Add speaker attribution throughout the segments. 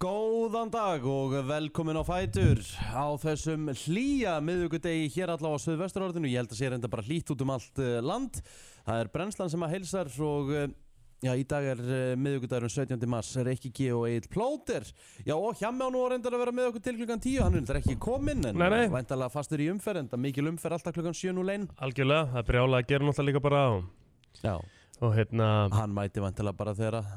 Speaker 1: Góðan dag og velkomin á Fætur á þessum hlýja miðugudegi hér allavega á Suðvesturorðinu. Ég held að sé reynda bara hlýtt út um allt eh, land. Það er brennslan sem að heilsar og eh, já, í dag er eh, miðvikudagurum 17. mars, Reykji G og Egil Plóter. Já, og hjá mig á nú að reyndar að vera með okkur til klukkan 10, hann er reyndar ekki kominn en
Speaker 2: Nei, nei.
Speaker 1: væntalega fastur í umferð, enda mikil umferð alltaf klukkan 7 nú lein.
Speaker 2: Algjörlega, það er brjála að gera náttúrulega líka bara á
Speaker 1: Já,
Speaker 2: Og hérna,
Speaker 1: hann mæti væntalega bara þegar að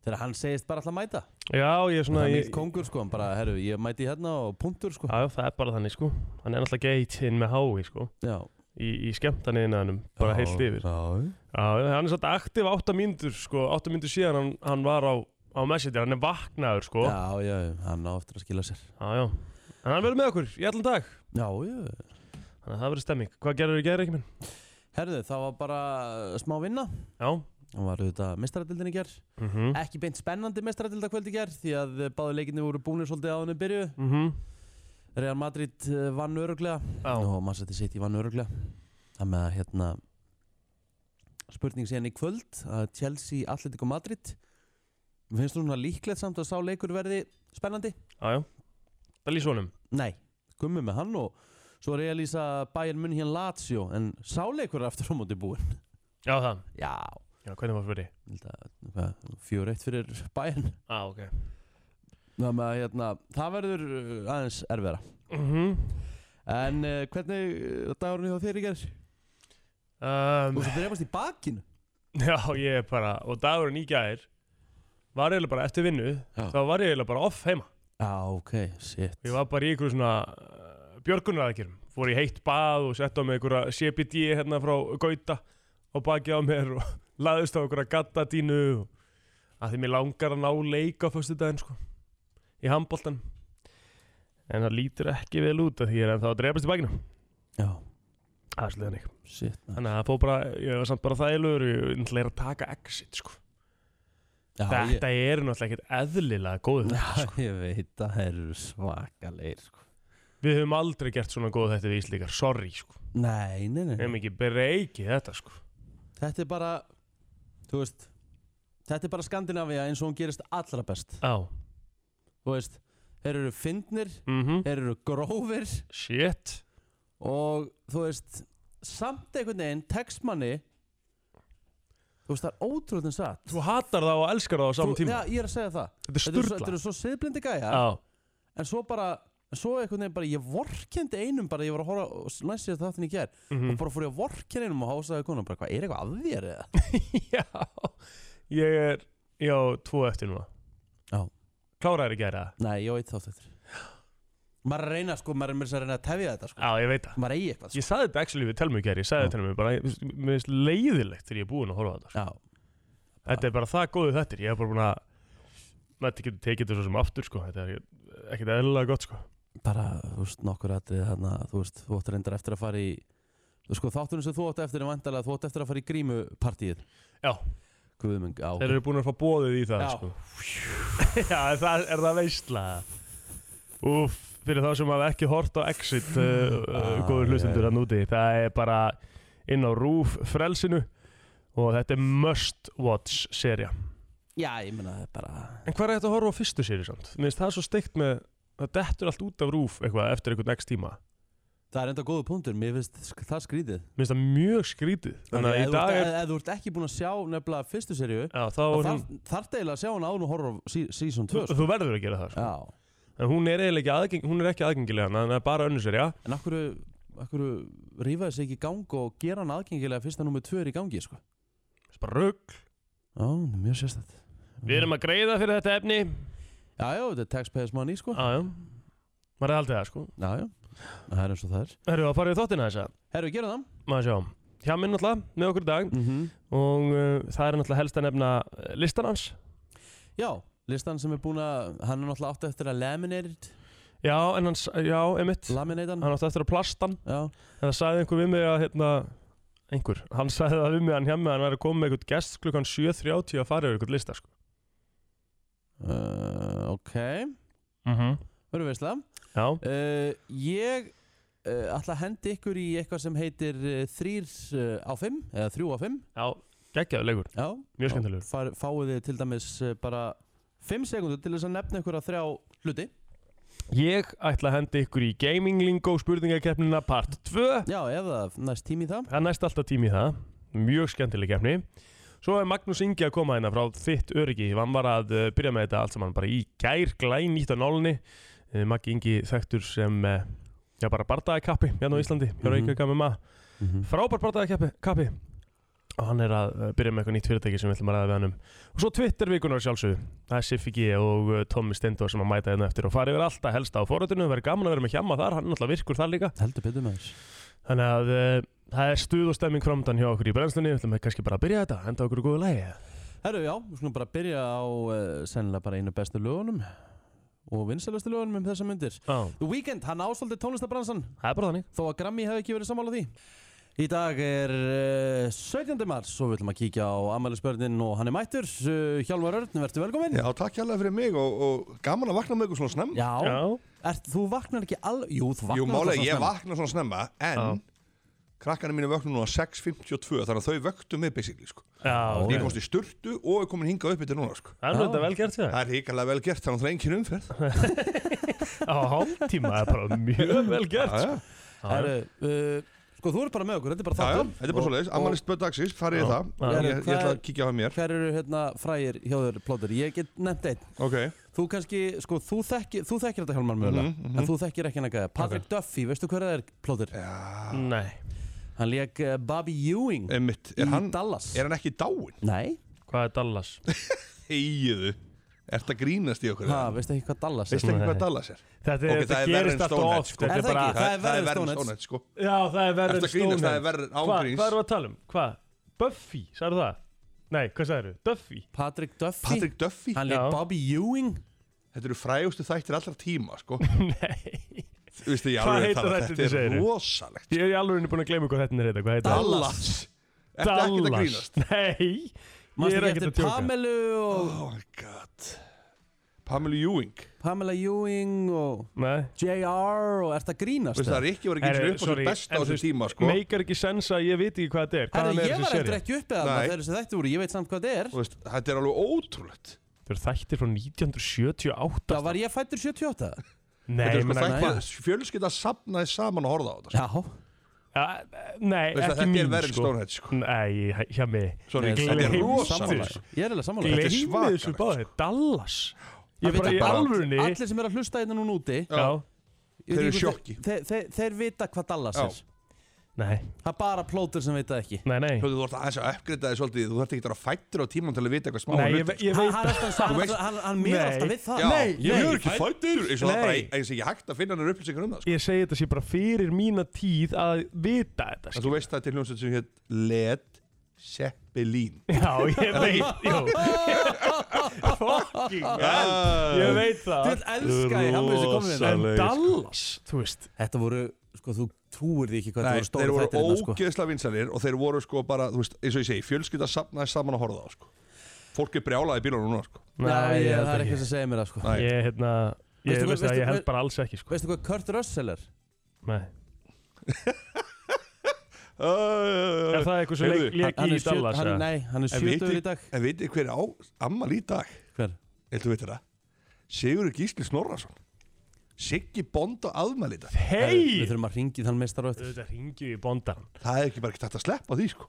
Speaker 1: Þegar hann segist bara alltaf mæta.
Speaker 2: já ég er svona
Speaker 1: Svona, það er
Speaker 2: ég,
Speaker 1: nýtt kongur sko, hann bara, herru, ég mæti hérna og punktur sko.
Speaker 2: já, Það er bara þannig sko Hann er náttúrulega geitinn með hái sko
Speaker 1: Já.
Speaker 2: Í, í skemmtaniðinanum, bara heilt yfir Já,
Speaker 1: Já,
Speaker 2: hann er svolítið aktiv átta mínútur sko Átta mínútur síðan hann, hann var á, á Messenger Hann er vaknaður sko Já,
Speaker 1: Já, já, já, hann á eftir að skila sér
Speaker 2: já En hann verður með okkur í allan dag
Speaker 1: Já, já
Speaker 2: Þannig að það verður stemming Hvað gerður í gerður ekki minn?
Speaker 1: Herðu, það var bara uh, smá vinna
Speaker 2: Já
Speaker 1: Hann var auðvitað mestaradildin í ger
Speaker 2: mm -hmm.
Speaker 1: Ekki beint spennandi mestaradildakvöld í ger Því að uh, báðu leikinni voru búinir svolítið á henni byrju Real Madrid uh, vann öruglega
Speaker 2: Mhm. Já,
Speaker 1: Og Massetti City vann öruglega Það með að hérna Spurning síðan í kvöld að Chelsea, Atletico Madrid Mér finnst núna líklegt samt að sá leikur verði spennandi
Speaker 2: já, já Það lýs honum
Speaker 1: Nei, gummi með hann og svo er ég að lýsa Bayern München Lazio en sáleikur er aftur á móti búinn.
Speaker 2: Já, það
Speaker 1: Já,
Speaker 2: Já, hvernig var fyrir?
Speaker 1: ég held að, hvað, fjór eitt fyrir Bayern.
Speaker 2: Já, ah, ok
Speaker 1: Þannig að hérna, það verður uh, aðeins erfiðara.
Speaker 2: mm
Speaker 1: En uh, hvernig uh, dagurinn hjá þér í gerð?
Speaker 2: um,
Speaker 1: Þú svo drefast í bakinu.
Speaker 2: Já, ég er bara, og dagurinn í gær var eiginlega bara eftir vinnu
Speaker 1: Já.
Speaker 2: þá var ég eiginlega bara off heima
Speaker 1: Já, ok, shit.
Speaker 2: ég var bara í einhverju svona uh, björgunaraðkjörum, fór í heitt bað og sett á mig einhverja CBD hérna frá Gauta og bakið á mér og laðist á einhverja gattadínu og að því mér langar að ná leik á föstu daginn sko, í handboltan en það lítur ekki vel út að því ég er ennþá að drefast í bakinu
Speaker 1: Já,
Speaker 2: það er sliðan ekki,
Speaker 1: shit. Man.
Speaker 2: þannig að það fór bara ég var samt bara þægilegur, ég náttúrulega er að taka exit sko
Speaker 1: Já, ég,
Speaker 2: Þetta eru náttúrulega ekkert eðlilega góð
Speaker 1: Já,
Speaker 2: þetta sko.
Speaker 1: ég veit að það eru svakalegir, sko.
Speaker 2: Við höfum aldrei gert svona góð þetta við Íslíkar Sorry sko,
Speaker 1: Nei, nei, nei.
Speaker 2: hefum ekki breyki þetta sko
Speaker 1: Þetta er bara, þú veist, þetta er bara Skandinavia eins og hún gerist allra best.
Speaker 2: Á,
Speaker 1: þú veist, þeir eru fyndnir,
Speaker 2: mhm,
Speaker 1: þeir eru grófir
Speaker 2: shit
Speaker 1: og þú veist, samt einhvern veginn textmanni, þú veist, það er ótrúðin satt.
Speaker 2: Þú hatar það og elskar það á saman tíma
Speaker 1: Já, ég er að segja það.
Speaker 2: Þetta er
Speaker 1: Þetta eru, svo, þetta
Speaker 2: sturla
Speaker 1: eru svo siðblindi gæja,
Speaker 2: Á,
Speaker 1: en svo bara, en svo einhvern veginn bara, ég vorkendi einum bara, ég var að horfa og næst sér þáttin í gær
Speaker 2: mhm.
Speaker 1: og bara fór ég að vorkendi einum og hásaði konan bara, hvað, er eitthvað að þér eða?
Speaker 2: Já, ég er Já, tvo eftir núna
Speaker 1: Já.
Speaker 2: Kláraðir ekki að gera það
Speaker 1: Nei, ég veit þátt þetta. Maður er að reyna, sko, maður er mér að reyna að tefja þetta, sko.
Speaker 2: Já, ég veit það
Speaker 1: Maður eigi eitthvað, sko.
Speaker 2: Ég saði þetta actually við telmu í gæri, ég saði
Speaker 1: Já.
Speaker 2: þetta telmu bara, ég- mér finnst leiðilegt þegar ég er búinn að horfa á þetta sko.
Speaker 1: Já,
Speaker 2: Þetta er bara það góðu þettir, ég hef bara búin að Þetta getur tekið þetta svo sem aftur sko Þetta er ekkert eðlilega gott sko
Speaker 1: bara, þú veist, nokkur atrið þarna, þú veist, þú átt reyndar eftir að fara í þú sko, þáttunum sem þú átt eftir er vandalega, þú átt eftir að fara í grímupartíð
Speaker 2: Já.
Speaker 1: Guðmung, á
Speaker 2: Þeir eru búin að fá bóðið í það
Speaker 1: Já.
Speaker 2: sko Já, er það, er það veistla Úf, fyrir þá sem hafa ekki hort á Exit uh, uh,
Speaker 1: Ah,
Speaker 2: Góður hlustendur
Speaker 1: já,
Speaker 2: að núti Það er bara inn á rúf frelsinu Og þetta er must watch seria
Speaker 1: Já, ég meina, það er bara
Speaker 2: En hvað er þetta að horfa á fyrstu séri samt? Mér finnst það svo steikt með Það dettur allt út af rúf eitthvað eftir einhvern x tíma
Speaker 1: Það er enda góðu punktur, mér finnst sk- það skrítið
Speaker 2: Mér finnst það mjög skrítið Þannig að
Speaker 1: ef
Speaker 2: í
Speaker 1: þú ert- e-
Speaker 2: dag er
Speaker 1: ef- Ef þú ert ekki búin að sjá nefnilega fyrstu serju
Speaker 2: Já, þá er hún
Speaker 1: þarf deila að sjá hún áður og horfa á sí, season 2
Speaker 2: Þú,
Speaker 1: sko.
Speaker 2: þú verður að gera það sko.
Speaker 1: Já,
Speaker 2: En hún er eiginlega ekki, aðgeng, hún er ekki aðgengilega hana, Þannig að bara önnur sér, já
Speaker 1: en akkur akkur rífaði sig ekki í gang og gera hann aðgengilega fyrst að nummer 2 er í gangi, sko
Speaker 2: Bara rugg
Speaker 1: Já, mjög sérstætt
Speaker 2: Við erum að greiða fyrir þetta efni
Speaker 1: Já, já, þetta er taxpayers money, sko
Speaker 2: Já, já Maður er aldrei það, sko
Speaker 1: Já, já, það er eins og það er
Speaker 2: Erum við að fara í þóttina þessa?
Speaker 1: Herru, gerum það
Speaker 2: Maður sjá Hjá minn náttúrulega, með okkur í dag
Speaker 1: mm
Speaker 2: Og uh, það er náttúrulega helst að nefna eh, listan hans
Speaker 1: Já, listan sem er búin að Hann er náttúrulega átt eftir að laminate
Speaker 2: Já, en hans, já, emitt
Speaker 1: Laminate hann
Speaker 2: Hann átti eftir að plastan
Speaker 1: Já,
Speaker 2: En það sagði einhver við mig að, hérna Einhver, hann sagði það við mig að hann hjá mig að Hann væri að koma með einhvern gest klukkan 7.30 að fara yfir einhvern lista, sko
Speaker 1: uh, ok
Speaker 2: mm
Speaker 1: Verður veistla
Speaker 2: Já,
Speaker 1: uh, Ég uh, ætla að hendi ykkur í eitthvað sem heitir uh, Þrýr uh, á fimm Eða þrjú á fimm
Speaker 2: já, geggjaðu leikur
Speaker 1: Já,
Speaker 2: Mjög skemmtilegur
Speaker 1: Far, fáið þið til dæmis uh, bara 5 sekundur til þess að nefna ykkur að þrjá hluti
Speaker 2: Ég ætla að henda ykkur í Gaming Lingo spurningakeppnina part 2
Speaker 1: Já, ef það næst tími í það
Speaker 2: Það er næst alltaf tími í það Mjög skemmtileg keppni Svo er Magnús Ingi að koma hérna frá þitt öryggi Hann var að uh, byrja með þetta allt saman bara í gær glæn nýtt á nálunni uh, Maggi Ingi þekktur sem uh, Já bara bardagakappi hérna á Íslandi Hjá
Speaker 1: Mhm.
Speaker 2: Reykjavík með maður frábær barndagakappi og hann er að uh, byrja með eitthvað nýtt fyrirtæki sem við ætlum að ræða við hann um og svo Twitter vikunar sjálfsögðu það er Siffi G og uh, Tommy Stendor sem að mæta hérna eftir og fara yfir alltaf helsta á forutinu verður gaman að vera með hjama þar, hann er náttúrulega virkur þar líka
Speaker 1: Heldur betur með þess
Speaker 2: þannig að uh, það er stuð og stemming framdann hjá okkur í brennslunni við ætlum að kannski bara að byrja þetta, henda okkur góðu lægi
Speaker 1: Herru, já, við skulum bara byrja á uh, sennilega bara einu bestu lögunum og vinsælustu lögunum um þessa myndir The Weeknd, hann ásvöldi tónlistabransan
Speaker 2: það er bara þannig
Speaker 1: þó að Grammy hefði ekki verið sammála því. Í dag er uh, 17. mars og við ætlum að kíkja á amælisbörnin og hann er mættur. Uh, Hjálmar Örn, verður velkominn?
Speaker 3: Já, takk hérlega fyrir mig og, og gaman að vakna með ykkur svona snemma.
Speaker 1: Já.
Speaker 2: Já.
Speaker 1: Ert, þú vaknar ekki alveg, jú, þú vaknar
Speaker 3: Jú, málega, ég
Speaker 1: vaknar.
Speaker 3: vakna svona snemma, en
Speaker 2: Já.
Speaker 3: krakkarnir mínu vöknu núna 6.52, þannig að þau vöktu mig basically, sko.
Speaker 2: Já,
Speaker 3: Ég komst í sturtu og er komin hingað upp yfir núna, sko.
Speaker 2: það er nú þetta vel gert við
Speaker 3: Það er híkalega vel gert, þannig að það er engin umferð.
Speaker 2: á hálftíma, það er bara mjög vel gert
Speaker 3: Já, já.
Speaker 1: Herru, uh, sko, þú ert bara með okkur, þetta er bara
Speaker 3: Já, já,
Speaker 1: þáttum.
Speaker 3: þetta er bara svoleiðis, ammalist böð dagsins, farið ég það.
Speaker 1: Já.
Speaker 3: Ég, ég, ég ætla
Speaker 1: Hvað-
Speaker 3: að kíkja á það mér.
Speaker 1: Hver eru hérna frægir hjá þér plóður? Ég get nefnt einn.
Speaker 3: Ok, Mhm,
Speaker 1: Þú kannski, sko, þú, þekki, þú þekkir þetta Hjálmar mögulega, en þú þekkir ekki hann gæða. Patrick Duffy, veistu hver það er plóður?
Speaker 2: Nei,
Speaker 1: Hann leik uh, Bobby Ewing
Speaker 3: einmitt,
Speaker 1: í
Speaker 3: er hann,
Speaker 1: Dallas.
Speaker 3: er hann ekki dáin?
Speaker 1: Nei,
Speaker 2: hvað er Dallas?
Speaker 3: Heiðu, ert að grínast í okkur?
Speaker 1: ha,
Speaker 3: eða?
Speaker 1: veistu ekki hvað Dallas er?
Speaker 3: Veistu ekki
Speaker 2: Nei.
Speaker 3: hvað Dallas er?
Speaker 2: Þetta,
Speaker 3: Ok, það
Speaker 2: okay, þetta
Speaker 3: er verra en
Speaker 2: gerist alltaf
Speaker 3: Stonehenge,
Speaker 2: oft
Speaker 3: sko.
Speaker 2: Þetta
Speaker 1: Er
Speaker 2: er
Speaker 1: það
Speaker 2: bara,
Speaker 1: ekki? Það er verra en
Speaker 3: verðins
Speaker 1: Stonehenge.
Speaker 3: ónætt, sko.
Speaker 2: já það er verður
Speaker 3: Ertu að grínast? Það er verra en ángríns.
Speaker 2: Hvað erum við að tala um? Hvað? Buffy, sagðu það? Nei, hvað sagðu? Duffy?
Speaker 1: Patrick Duffy?
Speaker 3: Patrick Duffy?
Speaker 1: Hann leik
Speaker 2: Já.
Speaker 1: Bobby Ewing
Speaker 3: Þetta eru frægustu þættir allra tíma, sko.
Speaker 2: Nei
Speaker 3: Vistu, ég
Speaker 2: Hvað
Speaker 3: alveg
Speaker 2: heitir
Speaker 3: tala, um
Speaker 2: þetta,
Speaker 3: þetta er
Speaker 2: segirðu?
Speaker 3: rosalegt.
Speaker 2: Ég er í alveg búin að gleyma hvað þetta er þetta Hvað heitir það?
Speaker 3: Dallas. Ertu ekkert að grínast?
Speaker 2: Nei Ég
Speaker 1: Manstu
Speaker 2: er
Speaker 1: ekki
Speaker 2: ekkert að
Speaker 1: eftir
Speaker 2: tjóka
Speaker 1: Pamelu og
Speaker 3: Oh my god. Pamela Ewing.
Speaker 1: Pamela Ewing og
Speaker 2: Nei
Speaker 1: JR og ert að grínast
Speaker 3: Vistu, það er ekki verið að
Speaker 2: Herru,
Speaker 3: gera upp á
Speaker 2: sorry,
Speaker 3: sér besta á
Speaker 2: en þú
Speaker 3: þessum
Speaker 2: veist,
Speaker 3: tíma, sko.
Speaker 2: Meikar ekki sens að ég veit ekki hvað þetta er Hvað er
Speaker 1: Herri, ég var
Speaker 2: þessi
Speaker 1: eftir
Speaker 2: seri?
Speaker 1: ekki uppið þarna
Speaker 3: Nei.
Speaker 1: þegar þessi þætti voru, ég veit samt hvað þetta er
Speaker 3: Þú Veist, þetta er alveg ótrúlegt.
Speaker 2: Þetta eru þættir frá 1978
Speaker 1: Já, var ég fættur 78?
Speaker 2: Nei,
Speaker 3: Þetta er sko
Speaker 2: menna
Speaker 3: þættir
Speaker 1: nei.
Speaker 3: að fjölskylda sapnaði saman að horfa á þetta. sko.
Speaker 1: Já
Speaker 2: Ja, Nei,
Speaker 3: Veist,
Speaker 2: ekki
Speaker 3: þetta
Speaker 2: mín
Speaker 3: er verið
Speaker 2: sko
Speaker 3: stónhætt, sko.
Speaker 2: Nei, hjá mig
Speaker 3: Sorry,
Speaker 1: Ég er
Speaker 3: þetta er
Speaker 2: gleymdu.
Speaker 1: sammála-
Speaker 3: rosalegt.
Speaker 1: sammála. Ég er eða
Speaker 3: Þetta
Speaker 1: sammála
Speaker 3: Gle- er sko.
Speaker 2: Gleimið
Speaker 3: svakalegt,
Speaker 2: þessu báði Dallas Ég
Speaker 1: Það
Speaker 2: bara
Speaker 1: vita
Speaker 2: í
Speaker 1: bara
Speaker 2: alvörunni
Speaker 1: Allir sem er að hlusta hérna núna úti
Speaker 3: Já.
Speaker 2: Já,
Speaker 1: ég veit
Speaker 3: Þeir eru
Speaker 1: ekki
Speaker 3: í
Speaker 1: hvort-
Speaker 3: sjokki.
Speaker 1: þeir- þeir- Þeir vita hvað Dallas
Speaker 3: Já.
Speaker 1: er
Speaker 2: nei,
Speaker 1: Það er bara plótur sem vita ekki
Speaker 2: nei, nei
Speaker 3: Þú veist, þú ert að uppgreita þig svolítið, þú ert ekki að vera fættur á tíman til að vita eitthvað smá
Speaker 2: Nei, ég,
Speaker 3: hluti,
Speaker 2: ve- ég
Speaker 1: Hann
Speaker 2: veit
Speaker 1: hann er alltaf-
Speaker 3: Þú
Speaker 1: hann-
Speaker 3: veist-
Speaker 1: hann- hann mér
Speaker 2: Nei.
Speaker 1: alltaf við það
Speaker 3: Já, ég
Speaker 2: nei.
Speaker 3: er ekki fættur eins og það
Speaker 2: Nei.
Speaker 3: er bara eins og ekki hægt að finna hann upplýsingar um það sko.
Speaker 2: Ég segi þetta sé bara fyrir mína tíð að vita þetta sko.
Speaker 3: en
Speaker 2: skil.
Speaker 3: þú veist það til hljómsveit sem hétt Led Zeppelin
Speaker 2: Já, ég veit, jú Fucking hell. Ég veit það
Speaker 1: Þú elskar ég, hann veist að koma
Speaker 2: En
Speaker 3: Rosaleg, sko.
Speaker 2: Dallas, þú veist
Speaker 1: Þetta voru, sko, þú trúir því ekki hvað
Speaker 3: Nei,
Speaker 1: þetta voru
Speaker 3: þeir
Speaker 1: stóri
Speaker 3: voru
Speaker 1: þættir hérna, sko.
Speaker 3: ógeðslega vinsalir og þeir voru sko bara, þú veist, eins og ég segi, fjölskylda safnaði saman að horfa á sko. Fólk er brjálaði í bílunum núna sko.
Speaker 1: Nei,
Speaker 2: Nei,
Speaker 1: ég,
Speaker 2: ég
Speaker 1: það er
Speaker 2: held
Speaker 1: ekki
Speaker 2: ekki
Speaker 1: sem segir mér það, sko.
Speaker 3: Nei.
Speaker 2: Ég, hérna, ég
Speaker 1: Veistu hvað-
Speaker 2: veist það,
Speaker 1: veistu
Speaker 2: ég held
Speaker 1: hvað-
Speaker 2: bara alls ekki, sko
Speaker 1: Veistu hvað Kurt Russell er?
Speaker 2: Nei Er
Speaker 3: uh,
Speaker 2: það eitthvað sem
Speaker 3: Heyrðu,
Speaker 2: leik- lék
Speaker 1: Hann
Speaker 2: í
Speaker 1: er sjö-
Speaker 2: Dallas?
Speaker 1: hann-
Speaker 2: eða?
Speaker 1: Nei, hann er
Speaker 3: En vitið-
Speaker 1: sjötur í dag.
Speaker 3: En veitir hver er á ammal í dag?
Speaker 1: Hver?
Speaker 3: Eitthvað veitir það? Sigurður Gísli Snorrason Siggi Bond og afmæli í dag
Speaker 1: Við
Speaker 2: Hei!
Speaker 1: þurfum að ringi þann meistar og eftir.
Speaker 2: Þetta ringju í bondaran
Speaker 3: Það er ekki bara ekki tætt að sleppa því sko.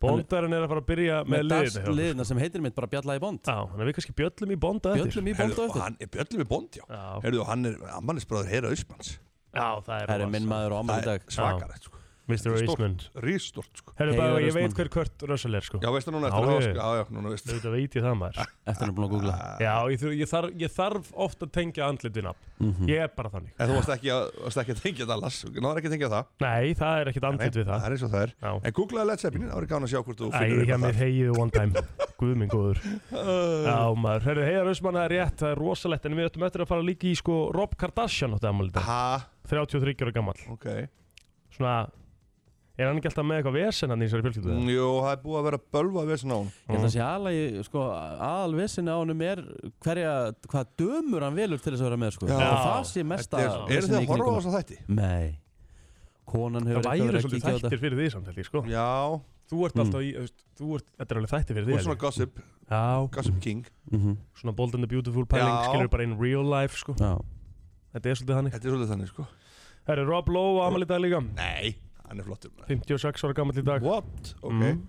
Speaker 2: Bondarinn er að fara að byrja með liðinu hjá
Speaker 1: dags-
Speaker 2: okkur. sko.
Speaker 1: liðina sem heitir mitt bara Bjalla í Bond.
Speaker 2: Já, þannig að við kannski bjöllum í bonda eftir
Speaker 1: Bjöllum í Bond
Speaker 3: Heyrðu,
Speaker 1: og
Speaker 3: og
Speaker 1: eftir.
Speaker 3: hann er bjöllum við Bond, já
Speaker 2: Já,
Speaker 3: Heyrðu, og hann er ammálisbróður Hera Ausmanns
Speaker 2: já, það er
Speaker 1: Það er
Speaker 2: rosa.
Speaker 1: minn maður og ámæli í
Speaker 3: Það
Speaker 1: dag.
Speaker 3: er svakarett sko.
Speaker 2: Mr.
Speaker 3: Þetta er stórt.
Speaker 2: Eastman
Speaker 3: Rísstort sko.
Speaker 2: Herru
Speaker 1: Hey,
Speaker 2: bara, ég
Speaker 1: Eastman.
Speaker 2: veit hver Kurt Russell er sko
Speaker 3: Já, veist það núna
Speaker 2: Já,
Speaker 3: eftir að hafa
Speaker 2: ég-
Speaker 3: sko Já, já, núna veist
Speaker 2: Þetta veit ég það maður
Speaker 1: Eftir hann er búin að googla.
Speaker 3: Ah.
Speaker 2: Já, ég, þur, ég, þarf, ég þarf oft að tengja andlitin af
Speaker 1: Mhm.
Speaker 2: Ég er bara þannig
Speaker 3: En þú varst ekki að, varst ekki að tengja Dallas Náður ekki að tengja það
Speaker 2: Nei, það er ekkit andlit við það
Speaker 3: Það er eins og það er
Speaker 2: Já.
Speaker 3: En googlaði Led Zeppelin Það var gáðan að sjá hvort þú
Speaker 2: Æ,
Speaker 3: finnur
Speaker 2: ég hef
Speaker 3: upp
Speaker 2: mér
Speaker 3: það
Speaker 2: heiðið one time Guð minn góður Já maður, herru, heiðar Ösmann það er rétt, það er rosalegt En við ættum eftir að fara líka í sko Rob Kardashian átti afmæli í dag.
Speaker 3: Ha,
Speaker 2: 33 ára gammal
Speaker 3: ok
Speaker 2: Svona, er hann ekki alltaf með eitthvað vesen hann í þessari fjölskyldu
Speaker 3: Mm, Jú, það er búið að vera bölvað við svona á hún
Speaker 1: Ég
Speaker 2: Mhm.
Speaker 1: held að sé aðlagi, sko, aðalvesinni á honum er hverja, hvað dömur hann velur til þess að vera með, sko.
Speaker 3: Já.
Speaker 1: Og það sé mesta
Speaker 3: Eru þið
Speaker 1: vesenið
Speaker 3: að
Speaker 1: í
Speaker 3: horfa á
Speaker 1: kringum.
Speaker 3: þessa þætti?
Speaker 1: Nei. Konan
Speaker 2: Það
Speaker 1: hefur eitthvað verið
Speaker 2: væri
Speaker 1: að
Speaker 2: svolítið
Speaker 1: kíkja á þetta. Mm.
Speaker 2: þættir fyrir því samt held ég sko
Speaker 3: Já,
Speaker 2: Þú ert alltaf í, þú veist, þú ert, þetta er alveg þætti fyrir
Speaker 3: Þú
Speaker 2: því
Speaker 3: ert svona gossip,
Speaker 2: Já,
Speaker 3: gossip king
Speaker 1: Mhm.
Speaker 2: svona bold and the beautiful pæling
Speaker 3: Já.
Speaker 2: skilur bara in real life sko
Speaker 1: Já.
Speaker 2: Þetta er svolítið þannig
Speaker 3: Þetta er svolítið þannig sko
Speaker 2: Herri, Rob Lowe á amal í dag líka
Speaker 3: Nei, hann er flottur maður.
Speaker 2: 56 ára gammal í dag
Speaker 3: What? Ok
Speaker 2: Mm.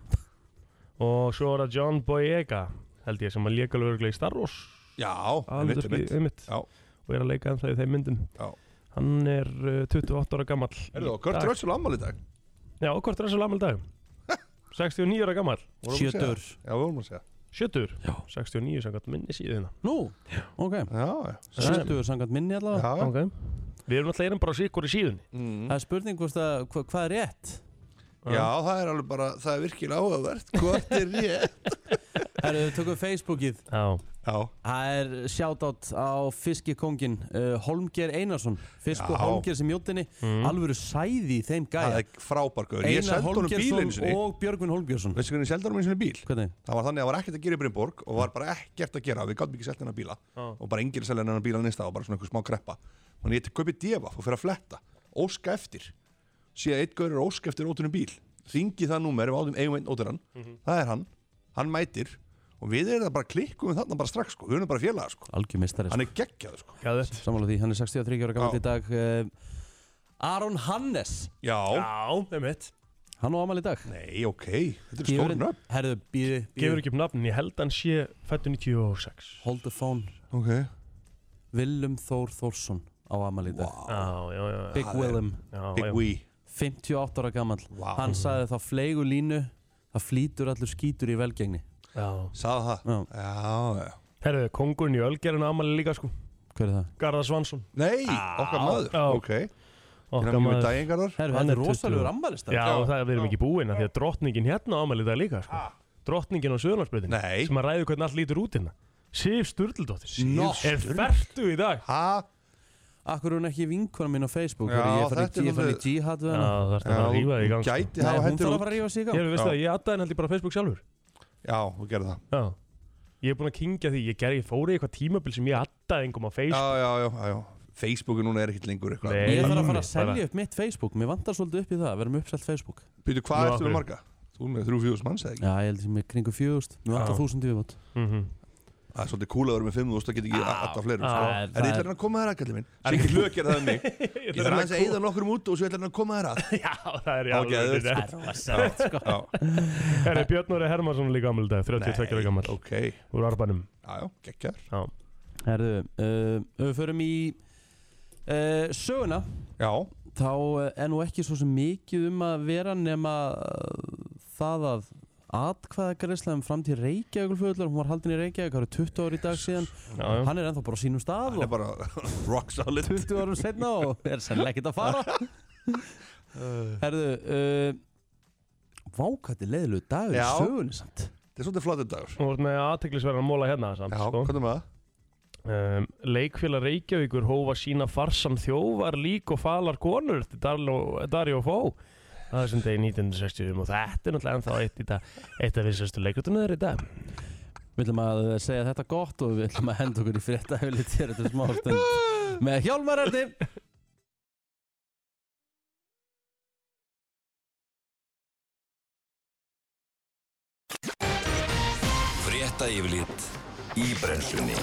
Speaker 2: Og svo er það John Boyega held ég sem að léka alveg örugglega í Star Wars um
Speaker 3: Já, einmitt,
Speaker 2: aðalhlutverkið,
Speaker 3: einmitt
Speaker 2: einmitt.
Speaker 3: Já.
Speaker 2: og er að leika ennþá í þeim myndum
Speaker 3: Já.
Speaker 2: Hann er uh, 28 ára gammal
Speaker 3: Erðu þá, Kurt Russell ammali í dag
Speaker 2: Já, og hvort er þessi gammal í dag? 69 ára gammal
Speaker 3: Vorum við að segja?
Speaker 1: Sjötur
Speaker 3: Já, við vorum að segja
Speaker 2: 70
Speaker 1: Já.
Speaker 2: 69 samkvæmt minni hérna. síðina
Speaker 1: Nú, ok
Speaker 3: Já, já
Speaker 2: sko.
Speaker 1: Sjötur sangat minni allavega
Speaker 3: Já,
Speaker 2: okay. Við erum alltaf erum bara síkur í síðunni
Speaker 3: mm.
Speaker 1: Það er spurning hvort að hva, hvað er rétt
Speaker 3: já, það er alveg bara, það er virkilega áhugavert Hvort er ég?
Speaker 1: Herru, við tökum Facebookið
Speaker 2: Já,
Speaker 3: Já,
Speaker 1: Það er shoutout á fiskikongin uh, Holmger Einarsson Fisk og
Speaker 3: Já.
Speaker 1: Holmger sem jótinni
Speaker 2: Mm.
Speaker 1: Alvöru sæði í þeim
Speaker 3: það
Speaker 1: gæja
Speaker 3: er frábarkaður Ég seldi honum bíl einu sinni
Speaker 1: og Björgvin Holmgjörsson
Speaker 3: Veistu hvernig ég seldi honum einu sinni bíl?
Speaker 1: Hvernig?
Speaker 3: Það var þannig að það var ekkert að gera í Brynborg og var bara ekkert að gera, við gáttum ekki selta hennar bíla
Speaker 2: Já.
Speaker 3: og bara enginn selja hennar bíla nýsta og bara svona einhver smá kreppa og ég til kaupið devaf og fyrir að fletta óska eftir, sé að eitt gaur er að óska eftir ótunum bíl, ringi það númer við átum eigum einn ótunan, það er hann hann mætir og við erum það bara klikkum við þarna bara strax sko, við erum bara félaga sko
Speaker 1: Algjör mistari
Speaker 3: hann er geggjað sko,
Speaker 2: gæðið
Speaker 1: Samála því, hann er 63 ára
Speaker 3: Já.
Speaker 1: gammal í dag uh, Aron Hannes
Speaker 3: já,
Speaker 2: Já, einmitt
Speaker 1: Hann á amal í dag
Speaker 3: nei ok þetta er stór nöfn,
Speaker 1: Herðu, býði,
Speaker 2: Gefur
Speaker 1: býði
Speaker 2: ekki upp nafnin, ég held hann sé fættu 96
Speaker 1: Hold the phone
Speaker 3: ok
Speaker 1: Willum Þór Þórsson á amal í dag
Speaker 2: Já, já, já, já.
Speaker 1: Big Willum
Speaker 2: já,
Speaker 3: big
Speaker 2: já. Mhm.
Speaker 3: we,
Speaker 1: 58 ára gammal
Speaker 3: Vá.
Speaker 1: Hann sagði þá flegu línu Það flýtur allur skítur í velgengni
Speaker 2: Já.
Speaker 3: sagði það
Speaker 1: Já,
Speaker 3: já, já,
Speaker 2: Herðu, kongurinn í Ölgerinu ámali líka sko
Speaker 1: hver er það?
Speaker 2: Garðar Svansson
Speaker 3: nei, okkar maður
Speaker 2: Já.
Speaker 3: ok, hérna mjög dæingarðar
Speaker 1: Herru,
Speaker 2: Hann
Speaker 1: þetta
Speaker 2: er
Speaker 1: er
Speaker 2: 20
Speaker 1: rosalegur ammælistag
Speaker 2: Já, það er við erum ekki búin af því að drottningin hérna ámali dag líka sko Drottningin á Söðurlandsbreytin
Speaker 3: Nei.
Speaker 2: Sem að ræði hvernig allt lítur út hérna Sif Sturldóttir
Speaker 3: Sif
Speaker 2: Er færtu í dag
Speaker 3: ha,
Speaker 1: Akkur er hún ekki vinkona mín á Facebook
Speaker 3: Já,
Speaker 1: Já, ég fann
Speaker 3: þetta er
Speaker 1: í, ég fann í
Speaker 3: svolítið-
Speaker 1: jihad við
Speaker 2: Já,
Speaker 1: hana
Speaker 2: það er
Speaker 3: Já,
Speaker 2: það að rífa þig í
Speaker 3: hún
Speaker 2: gang sko.
Speaker 3: gæti
Speaker 1: Nei,
Speaker 3: hafa
Speaker 1: hún
Speaker 3: hendur
Speaker 1: þarf að
Speaker 3: út
Speaker 1: fara að rífa sig í
Speaker 2: Ég
Speaker 1: gang
Speaker 2: er veist
Speaker 3: Já.
Speaker 2: að ég addaði henn held ég bara á Facebook sjálfur
Speaker 3: Já, hún gerði það
Speaker 2: Já Ég er búin að kingja því, ég gerði, ég fóri í eitthvað tímabil sem ég addaði engum á
Speaker 3: Já,
Speaker 2: Facebook
Speaker 3: já, já, já, já Facebooku núna er ekkert lengur eitthvað
Speaker 2: Nei.
Speaker 1: Ég þarf að fara
Speaker 2: Bara-
Speaker 1: að selja upp mitt Facebook Mér vantar svolítið upp í það að vera með uppselt Facebook
Speaker 3: Býtu,
Speaker 2: Nú,
Speaker 3: hvað ertu
Speaker 2: af hverju?
Speaker 3: með marga? Þú er með þrjú fjóðus manns eða ekki?
Speaker 1: Já, ég held sem ég kringu fjögust Mér vantar
Speaker 2: Já.
Speaker 1: þúsund yfirbót
Speaker 2: mm -hmm.
Speaker 3: Það er svolítið kúl að vera með fimm þúst, það get ekki
Speaker 2: Ah,
Speaker 3: alltaf fleirum
Speaker 2: já,
Speaker 3: sko.
Speaker 1: það er-
Speaker 3: En ég ætla hérna að koma þér að, kallið minn Sér ekki hlug að gera það um mig Ég þarf aðeins að eyða nokkrum út og svo ætla hérna að koma þér að
Speaker 2: Já, það er í
Speaker 3: Já,
Speaker 2: alveg
Speaker 3: geðveikt,
Speaker 2: rétt.
Speaker 1: Rosalegt sko
Speaker 3: Já,
Speaker 2: Það er Björn Óri Hermansson líka gammal dag, 32 ára gammal
Speaker 3: ok Já,
Speaker 2: Úr Arbanum
Speaker 3: já, geggjær
Speaker 2: Já,
Speaker 1: Herðu, uh, ef við förum í uh, söguna
Speaker 3: Já,
Speaker 1: Þá uh, er nú ekki svo sem mikið um að vera nema uh, það að atkvæða greiðslega um framtíð Reykjavíkulfjöldlar hún var haldin í Reykjavík, það eru 20 ári í dag síðan
Speaker 2: já, já.
Speaker 1: hann er ennþá bara á sínum stað
Speaker 3: hann
Speaker 1: og
Speaker 3: er bara rock solid
Speaker 1: 20 árum setna og er sennilega ekkert að fara
Speaker 3: Þetta
Speaker 1: Herðu uh, Vákætti leiðilegu dagur í
Speaker 3: Já.
Speaker 1: sögunni samt
Speaker 3: er svolítið flotið dagur
Speaker 2: Þú ert með aðteglisverðan móla hérna samt,
Speaker 3: Já,
Speaker 2: sko.
Speaker 3: hvað er með það?
Speaker 2: um, Leikfélag Reykjavíkur hófa sína farsan þjóvar lík og falar konur eftir Darlo- Dario Fó Það er sem degi 1960 og þetta er náttúrulega ennþá eitt, í dag, eitt af vissastu leikrutunar í dag
Speaker 1: Við ætlum að segja þetta gott og við ætlum að henda okkur í frétta hefur litið hér eftir smá stund með Hjálmar Erdi
Speaker 4: Frétta yfirlit í brennslunni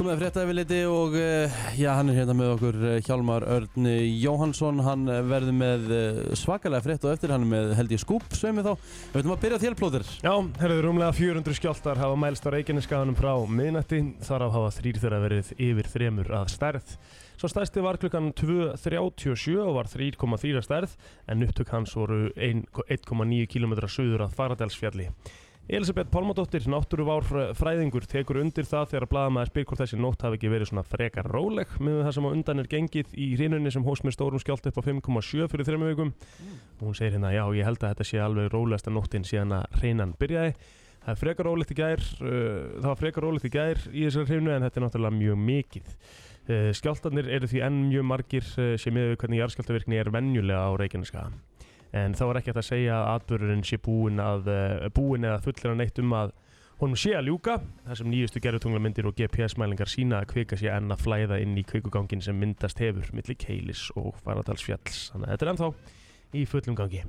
Speaker 1: komið að frétta hefur litið og uh, já, hann er hérna með okkur eh, Hjálmar Örn Jóhansson hann eh, verður með eh, svakalega frétt og eftir hann er með held ég skúp sveimi þá Við ætlum að byrja á þér plóður
Speaker 2: Já, herðu rúmlega 400 skjáltar hafa mælst á Reykjaneskaðanum frá miðnætti, þar af hafa þrýr þeirra verið yfir þremur að stærð. Svo stærsti var klukkan 2.37 og var 3,4 að stærð, en upptök hans voru ein- 1,9 km suður að Faradalsfjalli. Elisabeth Pálmadóttir, náttúruvár fræðingur, tekur undir það þegar blaðamaður spyr hvort þessi nótt hafi ekki verið svona frekar róleg með það sem á undan er gengið í hrínunni sem hóst með stórum skjált upp á 5,7 fyrir þremur vikum og hún segir hérna já ég held að þetta sé alveg rólegasta nóttin síðan að hreinan byrjaði það er frekar rólegt í gær uh, það var frekar rólegt í gær í þessari hreinu en þetta er náttúrulega mjög mikið uh, skjáltarnir eru því enn mjög margir uh, sem miður við hvernig jarðskjáltavirkni er venjulega á Reykjaneska en þá er ekki hægt að segja að atbörurinn sé búin, að, uh, búin eða fullir að neitt um að honum sé að ljúka þar sem nýjustu gerðutunglamyndir og GPS-mælingar sína að kvika sé enn að flæða inn í kvikugangin sem myndast hefur milli Keilis og Faradalsfjalls þannig að þetta er ennþá í fullum gangi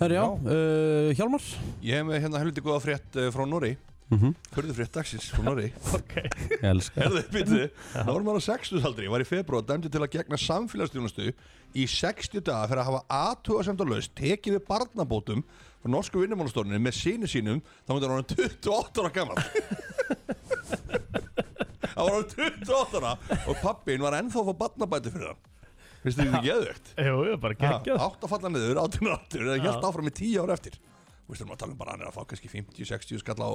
Speaker 1: Herri, já, uh, Hjálmar
Speaker 3: Ég hef með hérna helviti góða frétt uh, frá Norri
Speaker 1: mm -hmm.
Speaker 3: Hörðu frétt dagsins frá Norri
Speaker 1: Elskar
Speaker 3: Herðu, byrju, normann á 60 aldri var í februar dæmdi til að gegna samfélagsstjónustu í 60 daga fyrir að hafa aðtugasemdalaust tekið við barnabótum frá norsku vinnumálastórninu með sínu sínum þá myndi hann orðinn 28 ára gammal Það var hann 28 ára og pappin var ennþá að fá barnabæti fyrir hann Finnst þið þetta geðvögt?
Speaker 2: Jú, jú, bara geggjað
Speaker 3: Átt að falla niður, 18 ára aftur Það held áfram í 10 ára eftir Þú veist, við erum að tala um bara hann er að fá kannski 50-60 skall á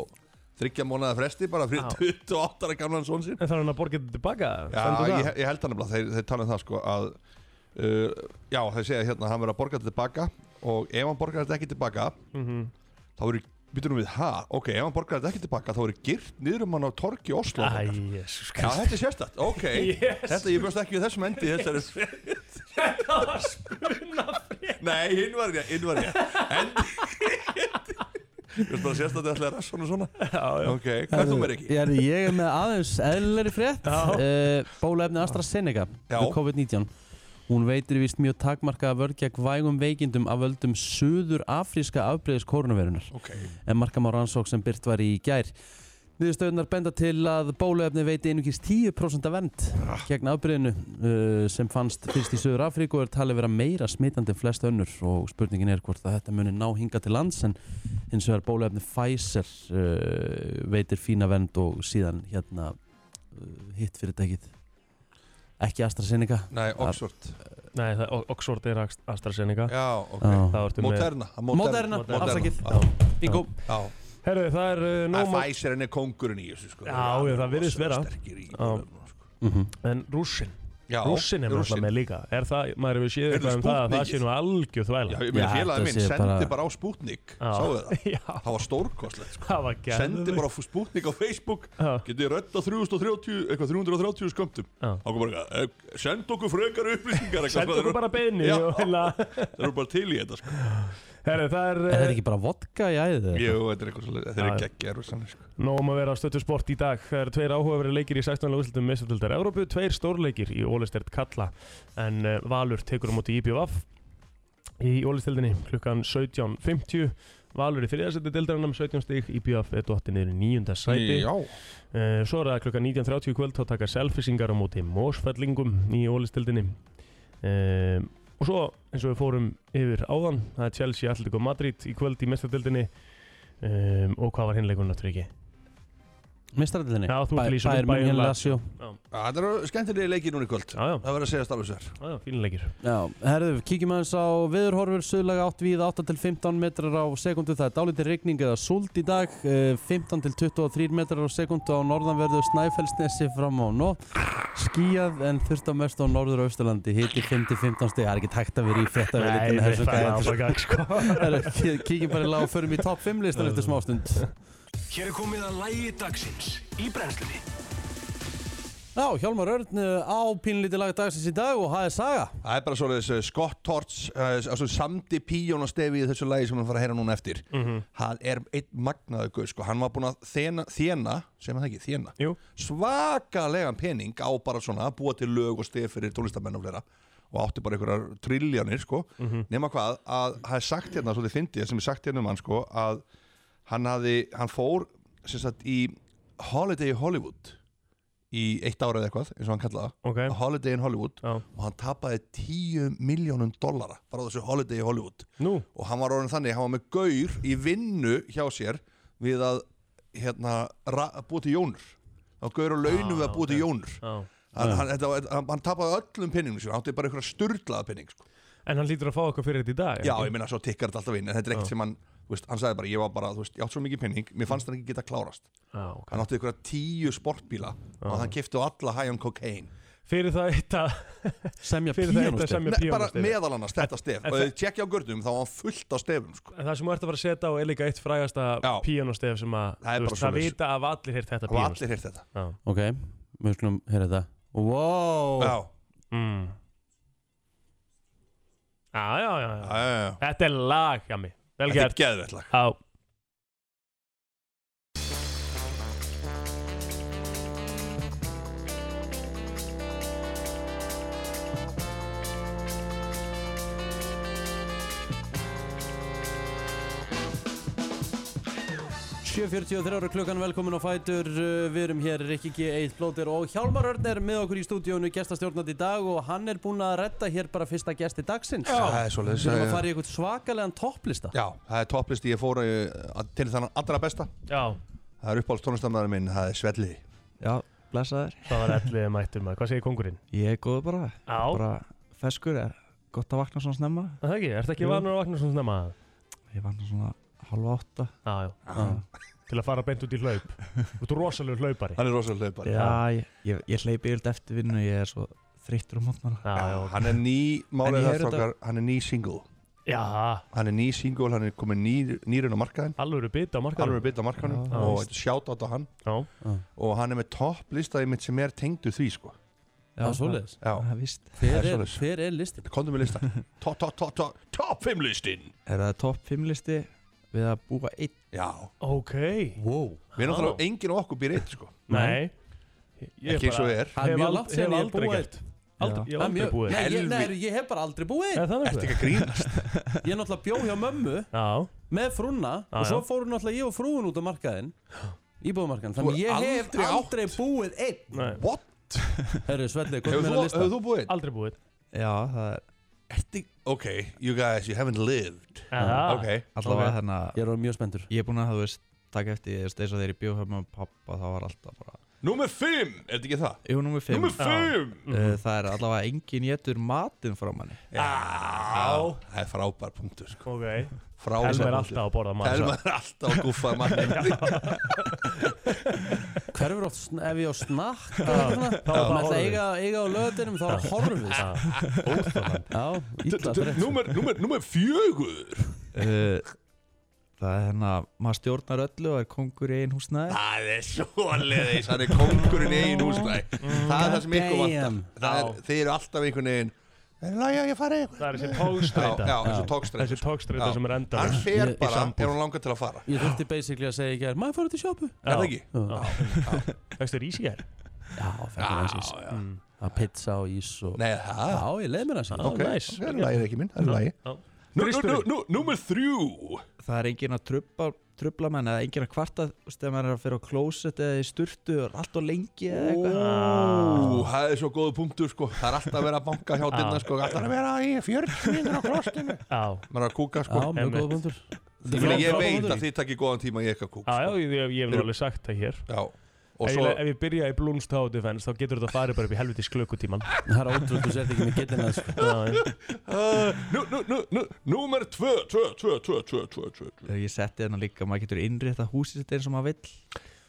Speaker 3: þryggja mónada fresti bara fyrir 28 ára gamlan son sinn
Speaker 2: En þarf hann að borga þetta tilbaka?
Speaker 3: Já, ég, ég held hann nefnilega, þeir, þeir tala um það sko að uh, Já, þeir segja hérna að hann verður að borga þetta tilbaka Og ef hann borgar þetta ekki tilbaka
Speaker 2: Mhm.
Speaker 3: Þá verður, býtum við, ha, ok, ef hann borgar þetta ekki tilbaka Þá verður girt niður um hann á torgi Oslo
Speaker 2: Æ,
Speaker 3: okkar.
Speaker 2: jésus
Speaker 3: Já, þetta er sérstætt, ok
Speaker 2: Yes.
Speaker 3: Þetta, ég bjóst ekki við þessum endi í Þessari
Speaker 2: Þetta var spunna frétt
Speaker 3: Nei, hinn var ég, hinn var ég En Þú veist bara sérst að þetta ætlaði rassan og svona
Speaker 2: Já, já
Speaker 3: Ok, hvað er þú mér ekki?
Speaker 1: Ég er, ég er með aðeins eðlilegri frétt
Speaker 2: Já.
Speaker 1: uh, Bólefni AstraZeneca
Speaker 3: Já.
Speaker 1: við COVID-19 Hún veitir vist mjög takmarkaða vörð gegn vægum veikindum af völdum suður afríska afbreyðis koronavirunar
Speaker 3: Ok,
Speaker 1: en markam á rannsók sem byrt var í gær. Niðurstöðunar benda til að bóluefni veiti einungis 10% af vernd gegn afbreyðinu uh, sem fannst fyrst í Suður Afríku og er talið vera meira smitandi en flest önnur og spurningin er hvort að þetta muni ná hinga til lands en eins og er bóluefni Pfizer uh, veitir fína vernd og síðan hérna uh, hitt fyrirtækið ekki AstraZeneca
Speaker 3: nei, Oxford
Speaker 2: Nei, það, Oxford er Ast- AstraZeneca
Speaker 3: Já, ok
Speaker 2: Það
Speaker 1: Já.
Speaker 2: vartu með
Speaker 3: Moderna að
Speaker 1: Moderna,
Speaker 2: Moderna.
Speaker 1: afsakið
Speaker 3: Já,
Speaker 1: Bingo,
Speaker 3: já
Speaker 2: Herðu, það er uh,
Speaker 3: Að
Speaker 2: nóg mál
Speaker 3: Pfizer henni er kongurinn í þessu sko
Speaker 2: Já, já, það virðist vera.
Speaker 3: Sterkir í sko.
Speaker 2: Já.
Speaker 1: Mhm.
Speaker 2: En rússin
Speaker 3: Já,
Speaker 2: Rússin er
Speaker 3: Rússinn.
Speaker 2: náttúrulega með líka Er það, maður hefur séð
Speaker 3: Heyrðu,
Speaker 2: eitthvað um það að Það
Speaker 3: Sputnikið.
Speaker 2: sé nú algjöð
Speaker 3: Já,
Speaker 2: þvæla
Speaker 3: ég meina
Speaker 1: Já,
Speaker 3: félagið
Speaker 1: þetta
Speaker 3: minn
Speaker 1: sé
Speaker 3: sendi
Speaker 1: bara-
Speaker 3: bara á Sputnik
Speaker 2: Já.
Speaker 3: Sáu það?
Speaker 2: Já,
Speaker 3: Það var stórkostlegt sko
Speaker 2: það var gæð
Speaker 3: Sendi bara á Sputnik á Facebook
Speaker 2: Já.
Speaker 3: Getið rötta 330, eitthvað 330 skömmtum
Speaker 2: Já.
Speaker 3: Þá kom bara eitthvað, eh, send okkur frekar upplýsingar eitthvað,
Speaker 2: Sendu
Speaker 3: það eru-
Speaker 2: okkur bara beini
Speaker 3: Já.
Speaker 2: og hérna- heila-
Speaker 3: Það eru bara til í þetta sko
Speaker 2: Herru, það er,
Speaker 1: er
Speaker 2: er
Speaker 1: þetta ekki bara vodka í æðið?
Speaker 3: Jú, þetta er eitthvað svolítið, þeir
Speaker 2: Já,
Speaker 3: eru
Speaker 2: já.
Speaker 3: geggjar og sannig sko.
Speaker 2: Nóg um að vera á stöttu sport í dag. Það eru tveir áhugaverið leikir í 16. úrslutum meðstöldar Evrópu, tveir stórleikir í Ólistert Kalla en uh, Valur tekur á móti IBVF í Ólistöldinni klukkan 17.50 Valur í þriðarsætti deildarinnar með 17 stig IBVF er dottin niður í nýjunda sæti
Speaker 3: Já,
Speaker 2: uh, Svo er það klukkan 19.30 í kvöld þá taka selfisingar á móti Mósfellingum í Ólistildinni uh, og svo eins og við fórum yfir áðan það er Chelsea Atletico Madrid í kvöld í mestardildinni um, og hvað var hinleikunum náttúrulega ekki
Speaker 1: Mistarætlinni?
Speaker 2: Já, þú ert að lýsa upp
Speaker 1: Bæir München
Speaker 2: Bayern
Speaker 1: Lazio
Speaker 3: það eru skemmtilegi leikir núna í kvöld
Speaker 2: Já, já,
Speaker 3: Það verður að segja alveg sér
Speaker 2: já, já, fínleikir
Speaker 1: Já, herðu, kíkjum aðeins á viðurhorfur suðlaga 8 við 8 til 15 metrar á sekundu það er dálítið rigning eða súld í dag eh, 15 til 23 metrar á sekundu á norðanverðu Snæfellsnesi fram á nótt skíjað en þurft á mest á norður og austurlandi hiti 5 til 15 stig það er ekki tækt að vera í frétta
Speaker 2: Nei, það er bara gang, sko
Speaker 1: kíkjum bara í lag og förum í topp 5 listan eftir smástund
Speaker 4: Hér er komið að lægi dagsins í brennslunni
Speaker 1: Já, Hjálmar Örn eh, á pínlítið lag dagsins í dag og það er Saga
Speaker 3: Það er bara svolítið Scott Torts uh, altså, samdi píjón og stefi í þessu lagi sem hann fara að heyra núna eftir
Speaker 1: Mm.
Speaker 2: Mhm.
Speaker 3: Hann er einn magnaðu guð sko. Hann var búinn að þena, þena sem hann ekki, þena
Speaker 2: Jú,
Speaker 3: svakalegan pening á bara svona að búa til lög og stef fyrir tólistamenn og fleira og átti bara einhverjar trilljanir sko
Speaker 1: Mhm.
Speaker 3: nema hvað að það er sagt hérna svolítið fyndið sem er sagt hérna um hann sko að hann, hafði, hann fór sem sagt í Holiday í Hollywood í eitt ára eða eitthvað eins og hann kallaði það
Speaker 2: ok
Speaker 3: okay. Holiday in Hollywood
Speaker 2: Já.
Speaker 3: og hann tapaði 10 miljónum dollara bara á þessu Holiday í Hollywood
Speaker 2: Nú,
Speaker 3: og hann var orðin þannig, hann var með gaur í vinnu hjá sér við að hérna, ra- að búa til jónur hann var gaur á launum við að búa til jónur
Speaker 2: Ah, já
Speaker 3: hann, hann, þetta var- hann, hann tapaði öllum penningum sér, hann átti bara einhverja sturlaða penning sko.
Speaker 2: En hann lítur að fá eitthvað fyrir þetta í dag
Speaker 3: já, ég meina svo tikkar þetta alltaf inn en þetta er ekkert sem hann, þú veist, hann sagði bara ég var bara, þú veist, ég átti svo mikið penning, mér fannst hann ekki geta klárast
Speaker 2: já ok
Speaker 3: hann átti einhverja tíu sportbíla og hann kefti á alla high on cocaine
Speaker 2: Fyrir það eitt að
Speaker 1: semja
Speaker 2: Fyrir það eitt
Speaker 1: píanóstef
Speaker 2: að semja
Speaker 3: Nei, bara
Speaker 2: píónustið
Speaker 3: meðal annars þetta stef
Speaker 2: en
Speaker 3: og
Speaker 2: það-
Speaker 3: þið tjekkja á gurnum þá var hann fullt á stefum sko.
Speaker 2: En það sem þú ert að fara að setja á er líka eitt frægasta
Speaker 3: Já.
Speaker 2: píanóstef sem að
Speaker 3: Það er bara
Speaker 2: þú veist, það
Speaker 3: svoleiðis.
Speaker 2: vita af allir heyrt þetta
Speaker 3: það var
Speaker 2: píanóstef
Speaker 3: allir heyrt þetta
Speaker 2: Já,
Speaker 1: Ok, við skulum heyra þetta Wow
Speaker 3: já,
Speaker 2: mm. já, já,
Speaker 3: já,
Speaker 2: já, já.
Speaker 3: já, já.
Speaker 2: Þetta er lag, Jami Vel
Speaker 3: þetta er
Speaker 2: gert
Speaker 3: geðvett lag
Speaker 2: Já,
Speaker 1: 7.43 ára klukkan, velkomin á Fætur, Uh, við erum hér Rikki G. Eitt Blóter og Hjálmar Örn er með okkur í stúdíónu gestastjórnand í dag og hann er búinn að redda hér bara fyrsta gesti dagsins.
Speaker 3: Það er svoleiðis,
Speaker 1: Við erum að
Speaker 3: já, já.
Speaker 1: fara í eitthvað svakalegan topplista.
Speaker 3: Já, það er topplisti ég fór uh, til þannig allra besta
Speaker 2: Já,
Speaker 3: Það er uppáhalds tónlistamæður minn, það er Svelli
Speaker 5: Já, blessaður.
Speaker 2: það var ellið mættum maður. Hvað segir kongurinn?
Speaker 5: Ég er góð bara.
Speaker 2: Já,
Speaker 5: Bara feskur, er gott að vakna svona snemma.
Speaker 2: Er það ekki, ertu ekki
Speaker 5: Jú.
Speaker 2: vanur að vakna svona snemma?
Speaker 5: Ég vakna svona halva átta.
Speaker 2: Já, já, til að fara beint út í hlaup. Þú ert rosalegur hlaupari.
Speaker 3: Hann er rosalega hlaupari
Speaker 2: Já.
Speaker 5: Já, ég, ég, ég hleypi yfirlt eftir vinnu, ég er svo þreyttur á mótnara.
Speaker 2: Já, já,
Speaker 3: Hann er ný,
Speaker 5: En ég
Speaker 3: málið það
Speaker 5: heyri þetta-
Speaker 3: strókar, hann er ný single
Speaker 2: já,
Speaker 3: Hann er ný single, hann er komið ný, nýrin á markaðin
Speaker 2: alveg eru bita á markaðum.
Speaker 3: Alveg byrta á markaðinu
Speaker 5: Já.
Speaker 3: og sjátt á hann
Speaker 2: Já,
Speaker 3: Og hann er með topplistaði mitt sem er tengdu því sko
Speaker 1: Já, svoleiðis.
Speaker 3: Já,
Speaker 5: Það er vist.
Speaker 3: það
Speaker 1: Hver
Speaker 3: er
Speaker 1: er,
Speaker 3: svoleiðis.
Speaker 1: hver er listin?
Speaker 3: komdu með listan Top, top, top, top, top 5 listin
Speaker 5: Er það topp 5 listi við að búa einn?
Speaker 3: Já,
Speaker 2: ok.
Speaker 1: Wow.
Speaker 3: við erum alltaf enginn af okkur býr eitt sko
Speaker 2: Nei. Ég
Speaker 3: Ekki eins og er
Speaker 1: Það er
Speaker 2: Hef
Speaker 1: mjög
Speaker 2: ald-
Speaker 1: langt sem
Speaker 2: hef
Speaker 1: ég er
Speaker 2: aldrei
Speaker 1: búið.
Speaker 2: gert. Aldrei, ég hef aldrei
Speaker 1: mjög-
Speaker 2: búið.
Speaker 1: Nei, ég, nei,
Speaker 3: Helvi-
Speaker 1: ég hef bara aldrei búið.
Speaker 2: Er það
Speaker 3: Ertu
Speaker 2: nokkuð?
Speaker 3: ekki að grínast?
Speaker 1: Ég náttúrulega bjó hjá mömmu
Speaker 2: Já,
Speaker 1: með frúna
Speaker 2: Já,
Speaker 1: og svo
Speaker 2: já.
Speaker 1: fóru náttúrulega ég og frúin út á markaðinn. Íbúðumarkan,
Speaker 3: Þú
Speaker 1: þannig ég
Speaker 3: hefur
Speaker 1: hef
Speaker 3: aldrei átt.
Speaker 1: aldrei búið einn
Speaker 2: nei,
Speaker 3: What?
Speaker 1: Herru Svelli, komið
Speaker 3: Hefur
Speaker 1: mér að
Speaker 3: þú,
Speaker 1: lista
Speaker 3: hefur þú búið einn?
Speaker 2: aldrei búið.
Speaker 5: Já, það er
Speaker 3: Ertu- Ok, you guys, you haven't lived
Speaker 2: Já,
Speaker 3: Ok,
Speaker 5: allavega
Speaker 2: Ok.
Speaker 5: hérna.
Speaker 1: Ég er orðinn mjög spendur
Speaker 5: Ég er búin að, þú veist, taka eftir, ég veist, eins og þegar ég bjó hjá með pappa, þá var alltaf bara...
Speaker 3: Númer 5, er þetta ekki það?
Speaker 5: Jú, númer 5.
Speaker 3: Númer 5!
Speaker 5: Það er allavega engin getur matinn frá manni.
Speaker 3: Já, það er frábær punktur sko.
Speaker 2: ok.
Speaker 3: Frábær
Speaker 2: Elma er alltaf að borða maður.
Speaker 3: Elma er alltaf að guffa mannin
Speaker 1: Hverfur oft, sn- ef ég á snakk
Speaker 2: Já, þá er
Speaker 1: Það
Speaker 2: það
Speaker 1: ætla að
Speaker 2: horfið.
Speaker 1: eiga, eiga á löðunum þá er horfið
Speaker 2: Já.
Speaker 1: Já, illa dreitt
Speaker 3: Númer, númer, númer fjögur
Speaker 5: Uh, það er hérna, maður stjórnar öllu og er kongur í einn húsnæði.
Speaker 3: Það er svoleiðis Hann er kongurinn í einu húsnæði Það er það sem ykkur vantar
Speaker 1: Damn.
Speaker 3: Það er,
Speaker 2: Mm. Já.
Speaker 3: Þið eru alltaf einhvern veginn Er lægja ég farið eitthvað?
Speaker 2: Það er þessi
Speaker 3: Já,
Speaker 2: tókstreita.
Speaker 3: já, eins og
Speaker 2: Þessi
Speaker 3: tókstreita sko.
Speaker 2: tókstreita
Speaker 3: Já.
Speaker 2: sem er
Speaker 3: Hann
Speaker 2: endalaus.
Speaker 3: fer
Speaker 1: Í- í
Speaker 3: bara
Speaker 1: sambúð.
Speaker 3: ef hún langar til að fara
Speaker 1: Ég þurfti basically að segja í gær Maður fór út í sjópu
Speaker 3: Er það ekki?
Speaker 2: Fækstu rís í hér?
Speaker 1: Já, fækka hans ís
Speaker 3: já
Speaker 1: Að pizza og ís og
Speaker 3: Nei, það
Speaker 1: Já, ég leið mér hans ís
Speaker 3: Ok,
Speaker 2: næs.
Speaker 3: það er lægið ekki minn, það er lægið
Speaker 2: Já.
Speaker 3: Nú, nú, nú,
Speaker 2: Þristurinn.
Speaker 3: nú, númer þrjú
Speaker 5: Það er engin að trubla, trubla menn eða engin að kvarta þú veist, ef maður er að fyrir á klósett eða í sturtu og er alltaf lengi eða eitthvað.
Speaker 3: Ó, það er svo góðu punktur sko Það er alltaf að vera að banka hjá dyrna sko Það er að vera í 40 minnur á klostinu
Speaker 2: Já,
Speaker 3: Maður er að kúka sko
Speaker 1: Já, mjög
Speaker 2: Einmitt.
Speaker 1: góða bundur
Speaker 3: Ég, meina, ég veit að þið takkir góðan tíma í eitthvað kúk
Speaker 2: já, já,
Speaker 3: sko.
Speaker 2: ég, ég, ég hef nú
Speaker 3: Eru-
Speaker 2: alveg sagt það hér
Speaker 3: já Og
Speaker 2: ef,
Speaker 3: svo
Speaker 2: ég, ef ég byrja í Bloom's Tower Defense þá getur þetta farið bara upp í helvitis klukkutíman Já,
Speaker 1: Það er ótrúð, þú sett ekki með getin að sko.
Speaker 2: já.
Speaker 3: uh, nú, nú, nú, nú, Númer 2 2, 2, 2, 2, 2, 2
Speaker 5: Þegar ég setti hérna líka, maður getur innrétta húsið sitt eins og maður vill.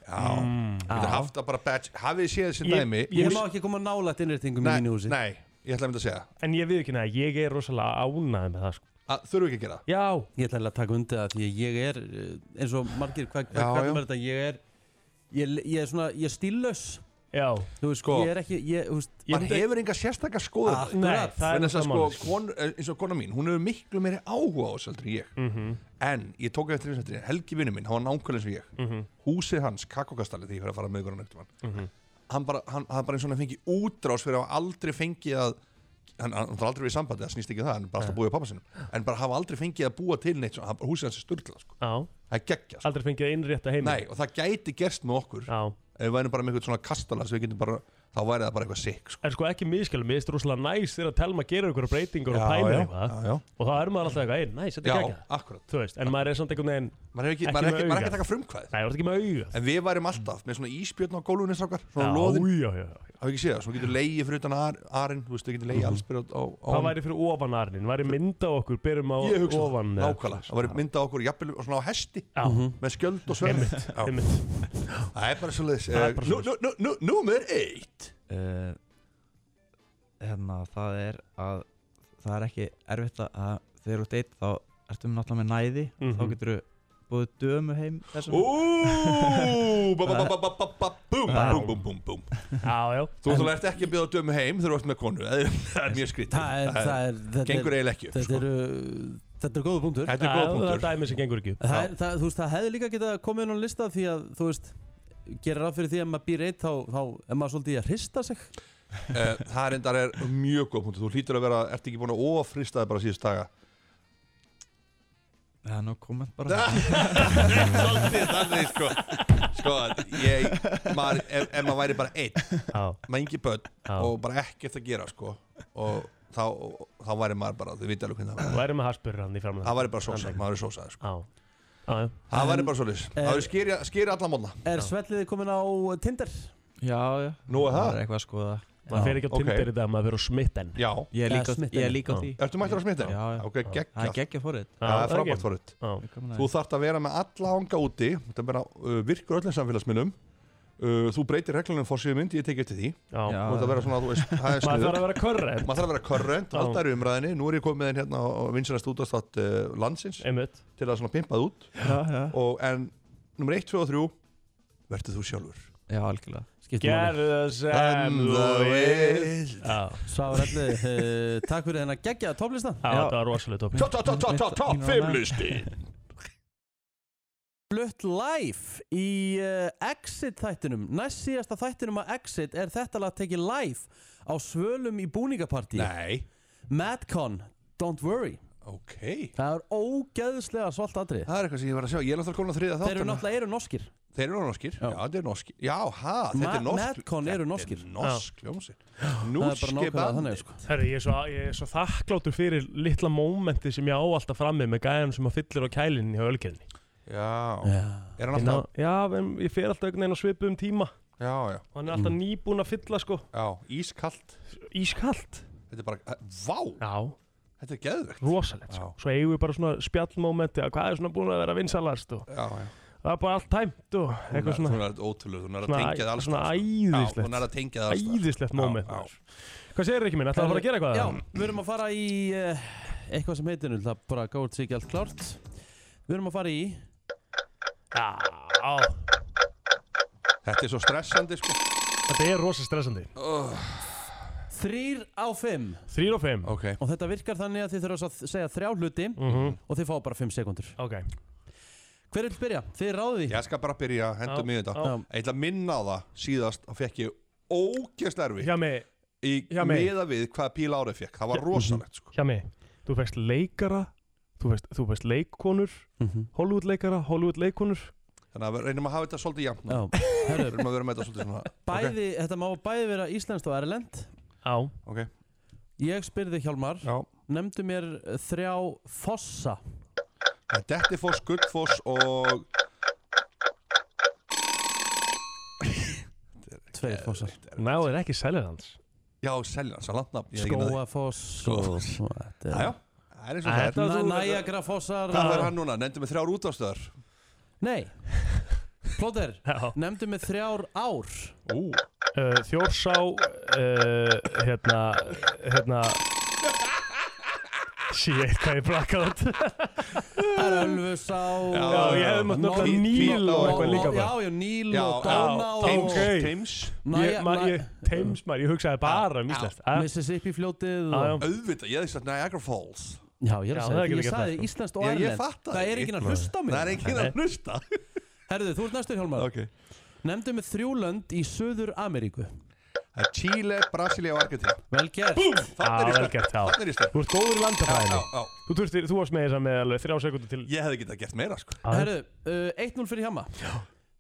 Speaker 5: Mm.
Speaker 3: Já Þetta er haft að bara batch Hafið þið séð þessi
Speaker 2: Ég-
Speaker 3: dæmi
Speaker 2: ég-
Speaker 1: Ég má ekki koma nálægt innréttingum í
Speaker 3: Nei,
Speaker 1: mínu húsi
Speaker 3: nei, ég ætla að mynda að segja
Speaker 2: En ég við ekki neða, ég er rosalega ánægð með það sko.
Speaker 3: að Þurfu ekki að gera það
Speaker 2: Já,
Speaker 1: Ég ætla eiginlega að taka undir það því að ég er eh, eins og margir, hvað hva,
Speaker 3: Já,
Speaker 1: hva,
Speaker 3: já.
Speaker 1: er þetta? Ég er, ég, ég er svona, ég er stíllaus
Speaker 2: já
Speaker 1: Þú veist,
Speaker 3: Sko.
Speaker 1: ég er ekki, ég, þú veist
Speaker 2: Ég
Speaker 3: Maður
Speaker 2: myndi-
Speaker 3: hefur enga sérstakka skoðun
Speaker 1: Ah,
Speaker 2: Nei,
Speaker 1: Akkurat.
Speaker 2: það er
Speaker 3: Þannig að
Speaker 2: það
Speaker 3: sko,
Speaker 2: máli sko.
Speaker 3: kon, eins og kona mín, hún hefur miklu meiri áhuga á þessu heldur en ég
Speaker 2: Mhm.
Speaker 3: En ég tók eftir eins og þetta, Helgi vinnu minn, hann var nákvæmlega eins og ég
Speaker 2: Mhm.
Speaker 3: Húsið hans, kakokastalli, því ég fyrir að fara með ykkur á nögtum hann Hann bara, hann, hann bara eins og hann fengi útrás fyrir að hafa aldrei fengið að Hann, hann, hann þarf aldrei verið í sambandi, það snýst ekki um það, hann er bara alltaf búið á pappa sinum En bara hafa aldrei fengið að búa til neitt, svona, hann, bara- húsið hans er sturglað, sko
Speaker 2: Já,
Speaker 3: Það er geggja, sko
Speaker 2: aldrei fengið að innrétta heim
Speaker 3: Nei, og það gæti gerst með okkur
Speaker 2: Já,
Speaker 3: Ef við værum bara með eitthvað svona kastala, svo við getum bara, þá væri það bara eitthvað sick, sko
Speaker 2: en sko ekki miskjálum, mér er rosalega næs þegar að telma gera ykkur breytingar og pæla eitthvað
Speaker 3: já, já,
Speaker 2: og þá er maður alltaf eitthvað, ei, næs, þetta
Speaker 3: já,
Speaker 2: er ekki
Speaker 3: akkurat
Speaker 2: Þú veist, en maður er samt einhvern veginn Nei,
Speaker 3: maður er ekki,
Speaker 2: Ekki
Speaker 3: maður er ekki,
Speaker 2: með
Speaker 3: maður er ekki
Speaker 2: auga.
Speaker 3: að taka frumkvæð
Speaker 2: það er ekki með auga
Speaker 3: en við værim alltaf með svona íspjörn á gólunni strákar, svona
Speaker 2: Já,
Speaker 3: loðin,
Speaker 2: já, já, já. Mhm.
Speaker 3: hafa ekki séð það svona getur leiði fyrir utan ar, arinn, þú veist, þú getur leiði allsbyrð á, á
Speaker 2: Það væri fyrir ofan arnin, væri mynda okkur, byrjum á
Speaker 3: ég hugsa það,
Speaker 2: ofan eða-
Speaker 3: nákvæmlega, það væri myndað okkur jafnvel og svona á hesti,
Speaker 2: Já,
Speaker 3: með skjöld og sverð
Speaker 2: einmitt,
Speaker 3: Já,
Speaker 2: einmitt
Speaker 3: það er bara svoleiðis
Speaker 2: Það er
Speaker 3: Eh,
Speaker 2: bara
Speaker 3: nú- nú- nú- nú- númer eitt
Speaker 5: Uh, hérna, það er að það er ekki erfitt að- að þegar þú ert einn þá ertum náttúrulega með næði
Speaker 2: Mhm.
Speaker 5: þá getur þú búið dömu heim þessum.
Speaker 3: Ó, ba- ba- ba- ba- ba- ba- ba- búm,
Speaker 2: Já.
Speaker 3: búm, búm, búm, búm.
Speaker 2: Já, já,
Speaker 3: þú þú ert ekki að byrja að dömu heim þegar þú ert með konu, það er- það er mjög skrítið
Speaker 1: Það er, það er, þetta
Speaker 3: gengur
Speaker 1: er,
Speaker 3: eiginlega ekki upp,
Speaker 1: þetta
Speaker 3: sko.
Speaker 1: eru, þetta eru góða punktur
Speaker 3: þetta er góð
Speaker 2: Það
Speaker 3: punktur
Speaker 2: er dæmi sem gengur ekki upp
Speaker 1: það, er, það, Þú veist, það hefði líka getað komið inn á lista því að, þú veist gerir ráð fyrir því að maður býr eitt þá, þá er maður svolítið í að hrista sig
Speaker 3: Eh, Það er endar er mjög góð punktu Þú hlýtur að vera, ert ekki búin að ofrista það bara síðust daga
Speaker 5: Það er nóg komment bara
Speaker 3: Svolítið þannig sko Sko, ég, maður, ef, ef maður væri bara einn
Speaker 2: Já,
Speaker 3: maður engi börn
Speaker 2: Já.
Speaker 3: og bara ekkert að gera sko og þá, þá væri maður bara, þau viti alveg hvernig það væri
Speaker 2: þú væri með harspurur hann í framlega
Speaker 3: það væri bara sósað, maður er sósað sko.
Speaker 2: Já, já, já
Speaker 3: það væri bara svolítið,
Speaker 1: Eh,
Speaker 3: það væri skýri, skýri alla mótna
Speaker 1: Er Svelliði komin á Tinder?
Speaker 5: Já, já
Speaker 3: Nú er
Speaker 5: er
Speaker 3: það?
Speaker 5: eitthvað að skoða
Speaker 2: Maður fer ekki á
Speaker 3: ok.
Speaker 2: Tinder í dag, maður fer á smitten
Speaker 3: Já,
Speaker 5: Ég er
Speaker 1: Eða
Speaker 5: líka,
Speaker 1: smitten.
Speaker 5: ég er líka á því
Speaker 3: ertu mættur að smita?
Speaker 5: Já, já.
Speaker 3: Ok,
Speaker 5: Það
Speaker 3: geggjað
Speaker 5: er geggja fórið
Speaker 3: Það er frábært forut
Speaker 2: Já,
Speaker 3: Þú þarft að vera með alla ánga úti Þetta er bara uh, virkur öllum samfélagsminnum uh, Þú breytir reglunum fórsíðu mynd Ég teki eftir því
Speaker 2: já
Speaker 5: Já.
Speaker 3: Þú þarft að vera svona, þú veist, það er
Speaker 2: Maður
Speaker 3: sniður
Speaker 2: þarf að vera korrekt
Speaker 3: Maður þarf að vera korrent,
Speaker 2: Já.
Speaker 3: alltaf er umræðinni Nú er ég komið með þinn hérna á vinsanast útastátt uh, landsins
Speaker 2: Einmitt
Speaker 3: Til að svona pimpa það út
Speaker 5: Já, já
Speaker 3: og, En nummer 1, 2 og 3 Vertu þú sjálfur
Speaker 5: Já, algjörlega
Speaker 1: Skiptum máli.
Speaker 2: Gerðu það sem
Speaker 3: And
Speaker 2: þú
Speaker 3: the
Speaker 2: vilt
Speaker 3: wild.
Speaker 2: Já,
Speaker 1: Svavar Elliði, uh, takk fyrir þennan geggja topplista
Speaker 2: já, það var rosalega tópi
Speaker 3: Top, top, top, top, top, top,
Speaker 5: Mín- mín-
Speaker 3: fimm listi
Speaker 1: Flutt live í uh, Exit þættinum Næst síðasta þættinum að Exit er þetta lag tekið live á svölum í búningapartí
Speaker 3: Nei,
Speaker 1: Madcon, Don't Worry
Speaker 3: ok
Speaker 1: Það er ógeðslega svolt atrið
Speaker 3: Það er eitthvað sem ég var að sjá, ég er náttúrulega komin að þriða
Speaker 1: Þeir eru
Speaker 3: þáttuna
Speaker 1: náttúrulega eru norskir
Speaker 3: Þeir eru norskir, já, þetta er norskir Já, ha, þetta er
Speaker 1: Ma-
Speaker 3: norsk
Speaker 1: Madcon eru norskir.
Speaker 3: Þetta er norsk, ljómsið
Speaker 1: Það er bara
Speaker 3: Norski
Speaker 1: nákvæmlega
Speaker 3: bandi
Speaker 1: þannig sko.
Speaker 2: Herri, ég er svo, ég er svo þakkláttur fyrir litla mómenti sem ég á alltaf frammi með gæðan sem að fyllir á kælinni hjá ölkerni
Speaker 3: Já,
Speaker 1: Já.
Speaker 3: er hann
Speaker 2: Já,
Speaker 3: alltaf
Speaker 2: en ég fer alltaf einhvern veginn á svipum tíma
Speaker 3: Já, já,
Speaker 2: og hann er alltaf nýbúinn að fylla sko
Speaker 3: já, ískalt
Speaker 2: Ískalt
Speaker 3: Þetta er bara, vá,
Speaker 2: Já,
Speaker 3: þetta er geðvegt
Speaker 2: rosalegt sko. Svo eigum við bara svona spjallmómenti að hvað er svona búin að vera vinsalast og
Speaker 3: Já, já
Speaker 2: það er bara allt tæmt og eitthvað
Speaker 3: Þú
Speaker 2: svona
Speaker 3: er ótrúlega, þú er að
Speaker 2: Svona
Speaker 3: tengja það alls
Speaker 2: svona
Speaker 3: staðar, sko.
Speaker 2: æðislegt.
Speaker 3: Já, Þú er að tengja það alls staðar.
Speaker 2: Æðislegt moment
Speaker 3: Já, já.
Speaker 2: maður. Hvað segir ekki minn? Ætlaðu að fara að gera eitthvað?
Speaker 1: Já, við erum að fara í uh, eitthvað sem heitir nú, það bara gáður sig ekki allt klárt Við erum að fara í
Speaker 2: Já, á,
Speaker 3: Þetta er svo stressandi, sko
Speaker 2: þetta er rosa stressandi
Speaker 1: þrýr á fimm
Speaker 2: 3 og 5
Speaker 3: Ok,
Speaker 1: og þetta virkar þannig að þið þurfa að segja þrjá hluti og þið fá bara fimm sekundur
Speaker 2: Mhm. Ok
Speaker 1: Hver vil byrja? Þið ráðu því
Speaker 3: ég skal bara byrja að henda
Speaker 2: Já,
Speaker 3: mig í þetta
Speaker 1: já.
Speaker 3: Ég ætla að minna á það síðast þá fekk ég ógeðslega erfitt
Speaker 2: Hjá mig,
Speaker 3: í
Speaker 2: hjá mig.
Speaker 3: meða við hvað píl árið fekk það var rosalegt sko
Speaker 2: hjá mig Þú veist leikara Þú veist, þú veist leikkonur
Speaker 1: Mhm.
Speaker 2: Hollywood leikara, Hollywood leikkonur
Speaker 3: þannig að við reynum að hafa þetta svolítið jafn
Speaker 1: Já, herru,
Speaker 3: reynum að vera með þetta svolítið svona
Speaker 1: bæði, þetta má bæði vera íslenskt og erlend
Speaker 2: Já
Speaker 3: ok, ok,
Speaker 1: Ég spyrði Hjálmar,
Speaker 3: já
Speaker 1: nefndu mér eh, þrjá fossa
Speaker 3: En Dettifoss, Gullfoss og
Speaker 1: Tveir fossar
Speaker 2: Náður ekki selja hans
Speaker 3: já, Seljans, að landnafn ég er ekki náði.
Speaker 1: Skóafoss
Speaker 3: Skógafoss.
Speaker 1: og- þetta
Speaker 3: já,
Speaker 1: er-
Speaker 3: já, það er eins og það er
Speaker 2: Þetta-
Speaker 1: Næ-
Speaker 2: þú-
Speaker 1: Niagarafossar
Speaker 3: hvað
Speaker 1: og-
Speaker 3: er hann núna, nefndum við þrjár útástöðar
Speaker 1: Nei Plóter,
Speaker 2: Já
Speaker 1: nefndu mig þrjár ár
Speaker 3: ú,
Speaker 2: uh, Þjórsá uh, hérna hérna Shit, hvað ég brakkaði út
Speaker 1: Ölfusá
Speaker 3: Já,
Speaker 2: ég hefði mátt
Speaker 1: Norð-
Speaker 2: nefna Níl og eitthvað líka
Speaker 1: Já,
Speaker 2: bara
Speaker 1: já, Níl
Speaker 3: já,
Speaker 1: og
Speaker 3: já,
Speaker 1: Dáná
Speaker 3: Thames,
Speaker 1: og
Speaker 2: Ok.
Speaker 3: Thames
Speaker 2: Ég,
Speaker 1: Næja-
Speaker 2: ma,
Speaker 1: Næ-
Speaker 2: ég, Thames maður, ég hugsaði bara um Ísland Já,
Speaker 1: Mississippi fljótið
Speaker 2: já,
Speaker 1: og-
Speaker 3: auðvitað, ég hefði sagt Niagara Falls
Speaker 1: Já, ég er
Speaker 2: Já,
Speaker 1: að
Speaker 2: það er
Speaker 1: segja,
Speaker 2: ekki
Speaker 1: ég
Speaker 2: líka
Speaker 1: sagði
Speaker 2: það, sko.
Speaker 1: Íslands og
Speaker 3: Ég- ég
Speaker 1: Erlend
Speaker 3: fatta
Speaker 1: Það
Speaker 3: það
Speaker 1: er
Speaker 3: ekki.
Speaker 1: enginn að hlusta á mig
Speaker 3: það er ekki að hlusta
Speaker 1: Herðu, þú ert næstur Hjálmar
Speaker 3: ok,
Speaker 1: Nefndu mig þrjú lönd í Suður Ameríku
Speaker 3: það er Chile, Brasilia og Argentina
Speaker 1: Vel gert
Speaker 3: þannig er
Speaker 2: vel
Speaker 3: ég
Speaker 2: gert,
Speaker 3: sterk,
Speaker 2: já
Speaker 3: þannig er ég sterk
Speaker 2: Þú ert góður í
Speaker 3: já,
Speaker 2: landafræðinu
Speaker 3: já,
Speaker 2: Þú, þurftir, þú varst með þess að með alveg þrjá sekundu til
Speaker 3: ég hefði getað gert meira sko
Speaker 2: Já.
Speaker 1: Herðu, uh, 1-0 fyrir Hjama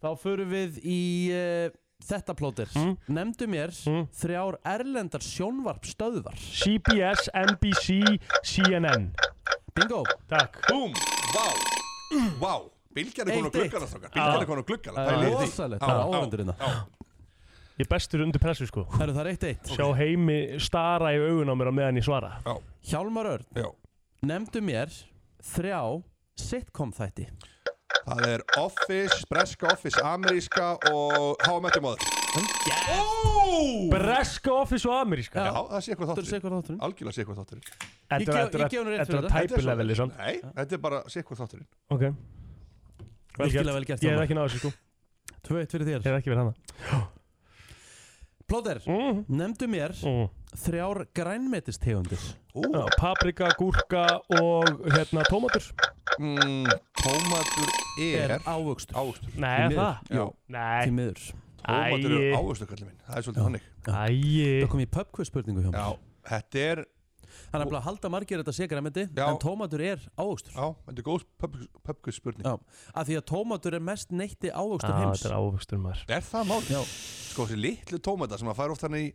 Speaker 1: Þá förum við í uh, þetta plóter
Speaker 2: Mm.
Speaker 1: Nefndu mér
Speaker 2: Mm.
Speaker 1: þrjár erlendar sjónvarpstöðvar
Speaker 2: CBS, NBC, CNN
Speaker 1: Bingo
Speaker 2: Takk
Speaker 3: búm, vá, vá Bilgjarni konar
Speaker 1: Eitt, eitt.
Speaker 3: gluggana strákar Bilgjarni konar gluggana pælið í því.
Speaker 1: Rósalegt, það
Speaker 3: Já, já,
Speaker 1: er ávendur hérna
Speaker 2: Ég er bestur undir pressu sko
Speaker 1: Herðu, það er 1-1
Speaker 2: Sjá heimi stara í augun á mér á meðan ég svara
Speaker 1: Hjálmar Örn,
Speaker 3: Já,
Speaker 1: nefndu mér þrjá sitcom þætti
Speaker 3: það er Office, breska Office, ameríska og How I Met Your Mother
Speaker 2: Breska Office og Hm? Ameríska
Speaker 3: Já, það sé eitthvað
Speaker 1: Þú sé
Speaker 3: þáttur
Speaker 1: hvað þátturinn
Speaker 3: Algjörlega sé eitthvað þátturinn
Speaker 1: Ég gef- ég gef honum rétt
Speaker 2: Þetta
Speaker 1: fyrir
Speaker 2: er
Speaker 1: þetta.
Speaker 2: tæpileveli samt
Speaker 3: Nei, þetta er bara sé eitthvað þátturinn
Speaker 2: Ok Vel
Speaker 1: Virkilega vel gert,
Speaker 2: Ég er
Speaker 1: Hjálmar.
Speaker 2: ekki náður sko Ég
Speaker 1: 2-1 fyrir þér
Speaker 2: er ekki verið hana
Speaker 1: Plóter,
Speaker 2: mm.
Speaker 1: nefndu mér
Speaker 2: Mm.
Speaker 1: þrjár grænmetistegundir
Speaker 2: Já, Paprika, gúrka og hérna tómatur
Speaker 3: Mm, Tómatur er
Speaker 1: Er ávöxtur
Speaker 3: ávöxtur
Speaker 2: Nei,
Speaker 1: miður.
Speaker 2: það
Speaker 3: Já,
Speaker 1: Því
Speaker 2: Nei
Speaker 1: miður
Speaker 3: tómatur
Speaker 2: Æi.
Speaker 3: er ávöxtur kallið minn Það er svolítið hannig
Speaker 2: Æi
Speaker 1: Það kom í pubquiz spurningu hjá mér
Speaker 3: Já, þetta er
Speaker 1: Það er nefnilega að halda margir þetta sé grænmeti
Speaker 3: Já.
Speaker 1: en tómatur er ávöxtur
Speaker 3: Já, þetta er góð pubquiz spurning
Speaker 1: Já, af því að tómatur er mest neytti ávöxtur
Speaker 2: Á,
Speaker 1: heims
Speaker 2: Þetta er ávöxtur maður
Speaker 3: Er það mál?
Speaker 1: Já.
Speaker 3: Sko þessi litlu tómata sem að færa oft hann í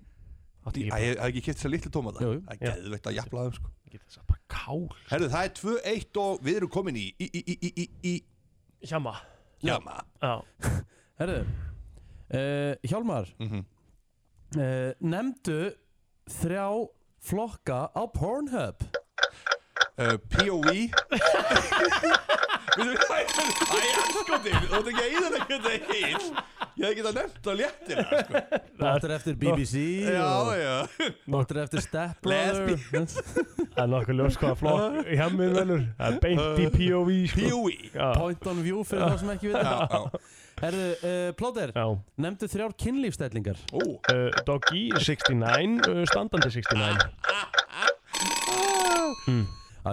Speaker 3: Æ,
Speaker 2: Átti ég
Speaker 3: ég
Speaker 2: bara,
Speaker 3: hef ekki kipt þessar litlu tómata
Speaker 1: Jú, jú.
Speaker 3: Það er
Speaker 2: Já.
Speaker 3: geðveikt að jafla þeim sko
Speaker 2: ég get þess að bara kál
Speaker 3: Herðu, það er 2-1 og við erum komin í í, í, í, í, í, í
Speaker 2: Hjama
Speaker 3: Jama
Speaker 2: Já,
Speaker 1: Herðu uh, Hjálmar
Speaker 3: mm
Speaker 1: uh, Nemndu þrjá flokka á Pornhub
Speaker 3: uh, POE Við erum Æ, anskoti, þú ert ekki að íða þetta ekki heil Ég hef ekki það nefnt á léttir sko.
Speaker 1: Nóttur eftir BBC og
Speaker 3: Já, já
Speaker 1: Nóttur eftir Step Brother
Speaker 2: það er nokkuð ljós hvaða flokk Hjamið velur, það er
Speaker 3: Eh,
Speaker 2: beint
Speaker 3: Uh,
Speaker 2: í POV sko.
Speaker 3: POE
Speaker 2: Já,
Speaker 1: Point on view fyrir þá sem ekki við
Speaker 3: Já, já
Speaker 1: Herðu, uh, Plóter
Speaker 2: já
Speaker 1: Nemndu þrjár kynlífstellingar
Speaker 3: Ó,
Speaker 2: uh, Doggy 69, uh, standandi 69
Speaker 3: Ah!
Speaker 1: Hmm.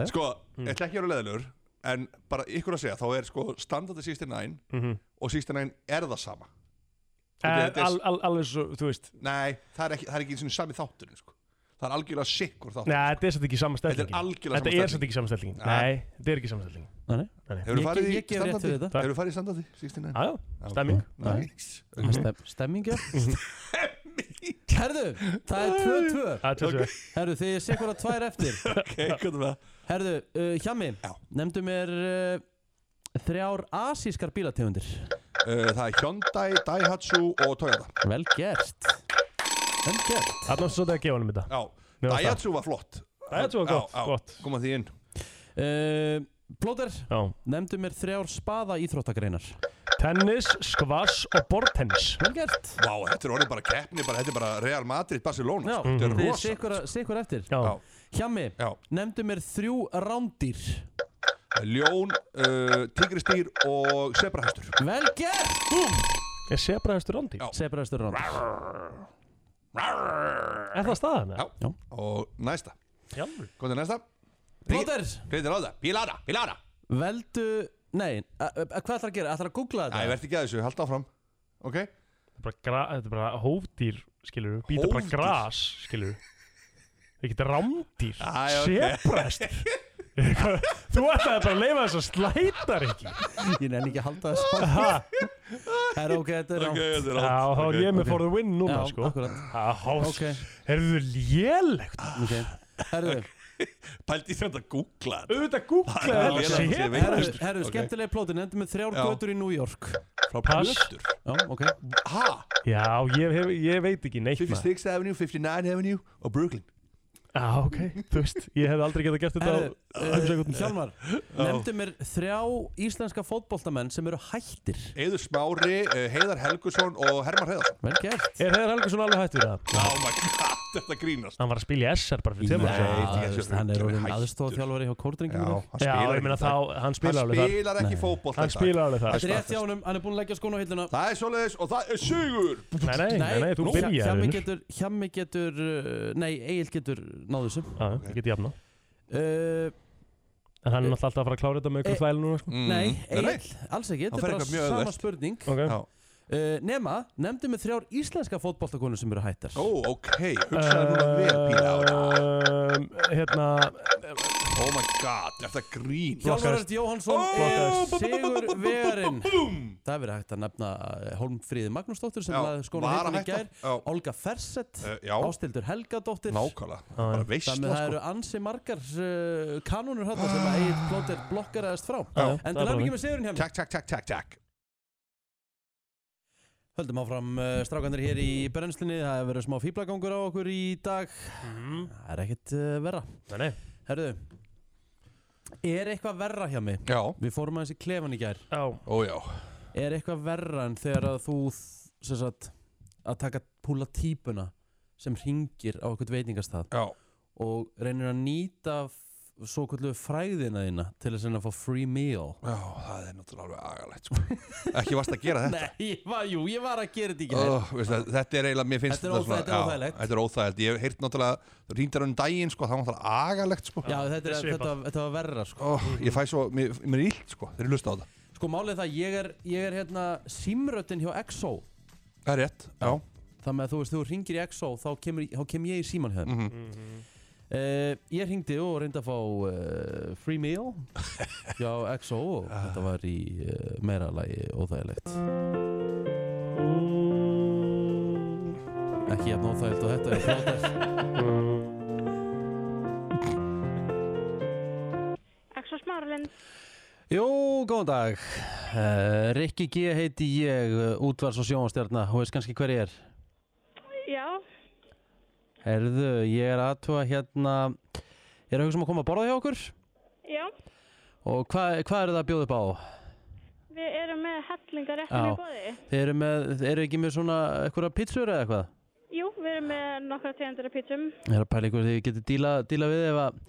Speaker 3: sko,
Speaker 2: Hmm.
Speaker 3: ég ætla ekki að vera leðilegur En bara ykkur að segja, þá er sko standardi 69 Og 69 er það sama
Speaker 2: Mhm. Eh,
Speaker 3: þetta er-
Speaker 2: al, al, Alveg svo, þú veist
Speaker 3: Nei, það er ekki, það er ekki eins og sami þátturinn sko. Það er algjörlega sikkur þáttur sko.
Speaker 2: Nei, þetta er svolítið ekki samanstellingin
Speaker 3: Þetta er algjörlega
Speaker 2: Þetta
Speaker 3: sama
Speaker 2: er svolítið ekki samanstellingin
Speaker 3: Ah.
Speaker 2: Nei, þetta er ekki samanstellingin
Speaker 1: Nei,
Speaker 3: Hefur
Speaker 1: Ég-
Speaker 3: þú farið í
Speaker 1: ég- ég gef rétt fyrir
Speaker 3: standardi?
Speaker 1: þetta.
Speaker 3: Hefur þú farið í standardi 69?
Speaker 2: Jájá, stemming Mhm.
Speaker 1: Nei.
Speaker 3: Nice.
Speaker 1: Stem, Stemmingja Herðu, það er 2-2
Speaker 2: Það er tjóðsveg
Speaker 1: Herðu, þið sé hvora tvær eftir
Speaker 3: Ok, hvað er það?
Speaker 1: Herðu, uh, Hjami,
Speaker 3: Já.
Speaker 1: nefndu mér uh, þrjár asískar bílategundir
Speaker 3: Uh, Það er Hyundai, Daihatsu og Toyota
Speaker 1: Vel gert Vel gert
Speaker 2: Það er svolítið að gefa honum þetta
Speaker 3: Já,
Speaker 2: Mér fannst
Speaker 3: Daihatsu var flott
Speaker 2: Daihatsu var
Speaker 3: Já,
Speaker 2: gott,
Speaker 3: já,
Speaker 2: gott.
Speaker 3: Koma því inn
Speaker 1: uh, Blóter,
Speaker 2: Já
Speaker 1: nefndu mér þrjár spaða íþróttagreinar
Speaker 2: Tennis, skvass og bortennis
Speaker 1: Vel gert
Speaker 3: Vá, þetta er orðið bara keppni bara, Þetta er bara Real Madrid, Barcelona
Speaker 1: Já,
Speaker 3: sko. Þetta er
Speaker 2: Mhm.
Speaker 1: þið sé
Speaker 3: rosa
Speaker 1: hvora, sé hvora eftir
Speaker 2: Já,
Speaker 3: Já.
Speaker 1: Hjami,
Speaker 3: Já,
Speaker 1: nefndu mér þrjú rándýr
Speaker 3: ljón, uh, tigristýr og sebrahestur
Speaker 1: Vel gert
Speaker 2: ég sé bara þessu rondi
Speaker 3: Já.
Speaker 1: Sebraðastur rándýr
Speaker 2: Er það staðan?
Speaker 3: Já. Og næsta,
Speaker 2: Já
Speaker 3: komið næsta
Speaker 1: Blóter,
Speaker 3: Hreitir á það, Pilara, Pilara
Speaker 1: veldu Nei, a- a- hvað ætlar að gera? Ætlar að googla
Speaker 3: Æ,
Speaker 1: þetta?
Speaker 3: verði ekki að þessu, halda áfram Ok,
Speaker 2: Þetta er bara gra- Þetta er bara hófdýr, skilur við Býta bara
Speaker 3: Hófdýr?
Speaker 2: gras, skilur við Ekkert rándýr
Speaker 3: Æ, ok.
Speaker 2: Sebrastur Þú ætlaði bara að leifa þess að slætar ekki
Speaker 1: Ég nefn ekki að halda þess Það
Speaker 2: Ha,
Speaker 1: er ok, þetta er ránd
Speaker 3: þetta er
Speaker 2: Já, þá er ég með for the win núna
Speaker 1: Já,
Speaker 2: sko
Speaker 1: akkurat.
Speaker 2: Hás,
Speaker 1: Ok.
Speaker 2: okay. Herðu lélegt
Speaker 1: okay. Herðu,
Speaker 3: Pældi þér að googla þetta
Speaker 2: Auðvitað googlaði
Speaker 3: Það er lélegt, ég
Speaker 2: þetta
Speaker 3: veit.
Speaker 1: herðu,
Speaker 3: Austur,
Speaker 1: herðu
Speaker 3: ok.
Speaker 1: skemmtilegi plótin Endur með þrjár
Speaker 3: Já.
Speaker 1: götur í New York
Speaker 3: Frá
Speaker 2: Pass.
Speaker 3: Plustur
Speaker 1: Já, ok
Speaker 3: Ha?
Speaker 2: Já, ég, hef, ég veit ekki neitt maður.
Speaker 3: 56 Avenue, 59 Avenue og Brooklyn
Speaker 2: Já, ok, þú veist, ég hef aldrei getað gert þetta
Speaker 1: Herðu,
Speaker 2: á-
Speaker 1: uh,
Speaker 3: eh,
Speaker 1: Hjálmar Nefndu mér þrjá íslenska fótboltamenn sem eru hættir
Speaker 3: Eður Smári, uh, Heiðar Helgusson og Hermar Heiðarsson
Speaker 1: Vel gert
Speaker 2: Er Heiðar Helgusson alveg hættur það?
Speaker 3: Oh my god, þetta grínast
Speaker 2: Hann var að spila í SR bara fyrir tveimur
Speaker 3: Nei.
Speaker 2: árum.
Speaker 3: þetta
Speaker 1: Já,
Speaker 3: er
Speaker 1: þú veist,
Speaker 3: svo
Speaker 1: Hann er orðin
Speaker 3: hættur.
Speaker 1: aðstóðþjálfari hjá
Speaker 3: Já,
Speaker 1: kórdrengjum
Speaker 3: hann
Speaker 2: Já,
Speaker 3: spilar
Speaker 2: ég meina þá, hann
Speaker 3: Hann
Speaker 2: spila alveg það
Speaker 3: spilar ekki fótboll
Speaker 2: Hann spila alveg
Speaker 1: Þetta
Speaker 2: það
Speaker 1: er rétt hjá honum, hann er búinn að leggja skóna á hilluna
Speaker 3: Það er svoleiðis og það er sigur
Speaker 2: Nei, nei, nei, nei, þú
Speaker 1: nú,
Speaker 2: byrjar
Speaker 1: Hjammi
Speaker 2: vinnur.
Speaker 1: getur, Hjammi getur uh, Nei, Egil getur náðu þessu
Speaker 2: Já, ég get jafna
Speaker 1: uh,
Speaker 2: En hann er náttúrulega alltaf að fara að klára þetta með ykkur
Speaker 1: Eh.
Speaker 2: þvæl núna sko.
Speaker 1: Nei,
Speaker 3: Mm. Nei.
Speaker 1: Egil, alls ekki
Speaker 3: Hann
Speaker 1: Þetta
Speaker 3: fer
Speaker 1: er bara
Speaker 3: eitthvað mjög
Speaker 1: sama
Speaker 3: auðvelt.
Speaker 1: spurning
Speaker 2: okay.
Speaker 3: Já.
Speaker 1: Uh, nema, nefndu mig þrjár íslenska fótboltakonur sem eru hættar
Speaker 3: Ó, ok, hugsaðu núna vel
Speaker 2: Uh,
Speaker 3: Píla
Speaker 2: um, Hérna,
Speaker 3: Oh my god, þetta grínast
Speaker 1: Hjálmar Örd Jóhansson
Speaker 2: Flokkaðist.
Speaker 1: er Sigur Vegarinn
Speaker 3: Búm
Speaker 1: Það er verið hægt að nefna uh, Hólmfríði Magnúsdóttir sem
Speaker 3: Já,
Speaker 1: laði skóna
Speaker 3: var
Speaker 1: hittin í
Speaker 3: að
Speaker 1: gær
Speaker 3: hætta. Já.
Speaker 1: Olga Fersett,
Speaker 3: Eh, Já,
Speaker 1: Ástildur Helgadóttir
Speaker 3: nákvæmlega Bara veist sko.
Speaker 1: Þannig að það eru ansi margar uh, kanónur hérna sem að Egil Plóter blokkar aðeist frá
Speaker 2: Já,
Speaker 1: En
Speaker 2: það er
Speaker 1: það er
Speaker 2: bara
Speaker 1: ekki með Sigurinn hérna. hjá mér
Speaker 3: Takk, takk, takk, takk, takk
Speaker 1: Höldum áfram uh, strákanir hér í brennslinni Það hefur verið smá fýblagangur á okkur í dag Það er ekkert uh, verra
Speaker 2: Mhm. nei, nei
Speaker 1: Herðu Er eitthvað verra hjá mig?
Speaker 3: Já,
Speaker 1: Við fórum aðeins í klefan í gær
Speaker 2: Já,
Speaker 3: ó já
Speaker 1: Er eitthvað verra en þegar að þú þ- sem sagt, að taka púla típuna sem ringir á eitthvað veitingastað
Speaker 3: Já,
Speaker 1: og reynir að nýta svo kvöldu fræðina þína til þess að reyna að fá free meal
Speaker 3: já, það er náttúrulega alveg agalegt sko. Ekki varst að gera þetta
Speaker 1: Nei, ég var, jú, ég var að gera þetta í gær
Speaker 3: Oh, veist, það, þetta er eiginlega, mér finnst
Speaker 1: Þetta er
Speaker 3: svona-
Speaker 1: óþæ- þetta er
Speaker 3: já,
Speaker 1: óþægilegt.
Speaker 3: Þetta er óþægilegt, ég hef heyrt náttúrulega þú Rýndar um daginn, sko, það var náttúrulega agalegt sko.
Speaker 1: Já, þetta, er,
Speaker 2: þetta er svipað.
Speaker 1: þetta, þetta var verra sko.
Speaker 3: oh, Ég fæ svo, mér, mér er illt sko, þeir eru lusta á það
Speaker 1: sko, málið er það, ég er, ég er hérna símröttin hjá EXO
Speaker 3: Það er rétt, já,
Speaker 1: Þannig að þú veist, þú ringir í EXO þá, kemur, í- þá kem ég í síman hérna
Speaker 3: Mhm.
Speaker 1: Uh, ég hringdi og reyndi að fá uh, free meal hjá XO og
Speaker 3: Ah.
Speaker 1: þetta var í uh, meira lagi óþægilegt ekki jafn óþægilegt og þetta er flótar
Speaker 6: Axos Marlind.
Speaker 1: Jú, góðan dag uh, Rikki G heiti ég uh, útvars og sjónastjarna og veist kannski hver ég er
Speaker 6: Já,
Speaker 1: Herðu, ég er aðtúa hérna ég er að hugsa um að koma að borða hjá okkur
Speaker 6: já,
Speaker 1: og hvað hva eru það að bjóða upp á?
Speaker 6: við erum með hellingar
Speaker 1: Já.
Speaker 6: eftir í bóði.
Speaker 1: Þeir eru, með, þeir eru ekki með svona eitthvað pítsur eða eitthvað?
Speaker 6: Jú, við erum með nokkra tegundir af pítsum.
Speaker 1: Ég er að pæla ykkur því ég geti díla, díla við ef að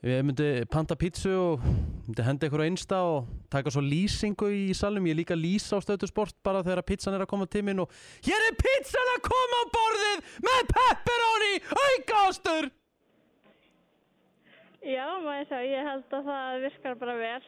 Speaker 1: ef ég myndi panta pítsu og myndi henda ykkur á einsta og taka svo lýsingu í salum ég er líka að lýsa á stöðtusport bara þegar að pizzan er að koma til minn og hér er pizzan að koma á borðið með pepperoni aukástur
Speaker 6: Já, maður sá, ég held að það virkar bara vel.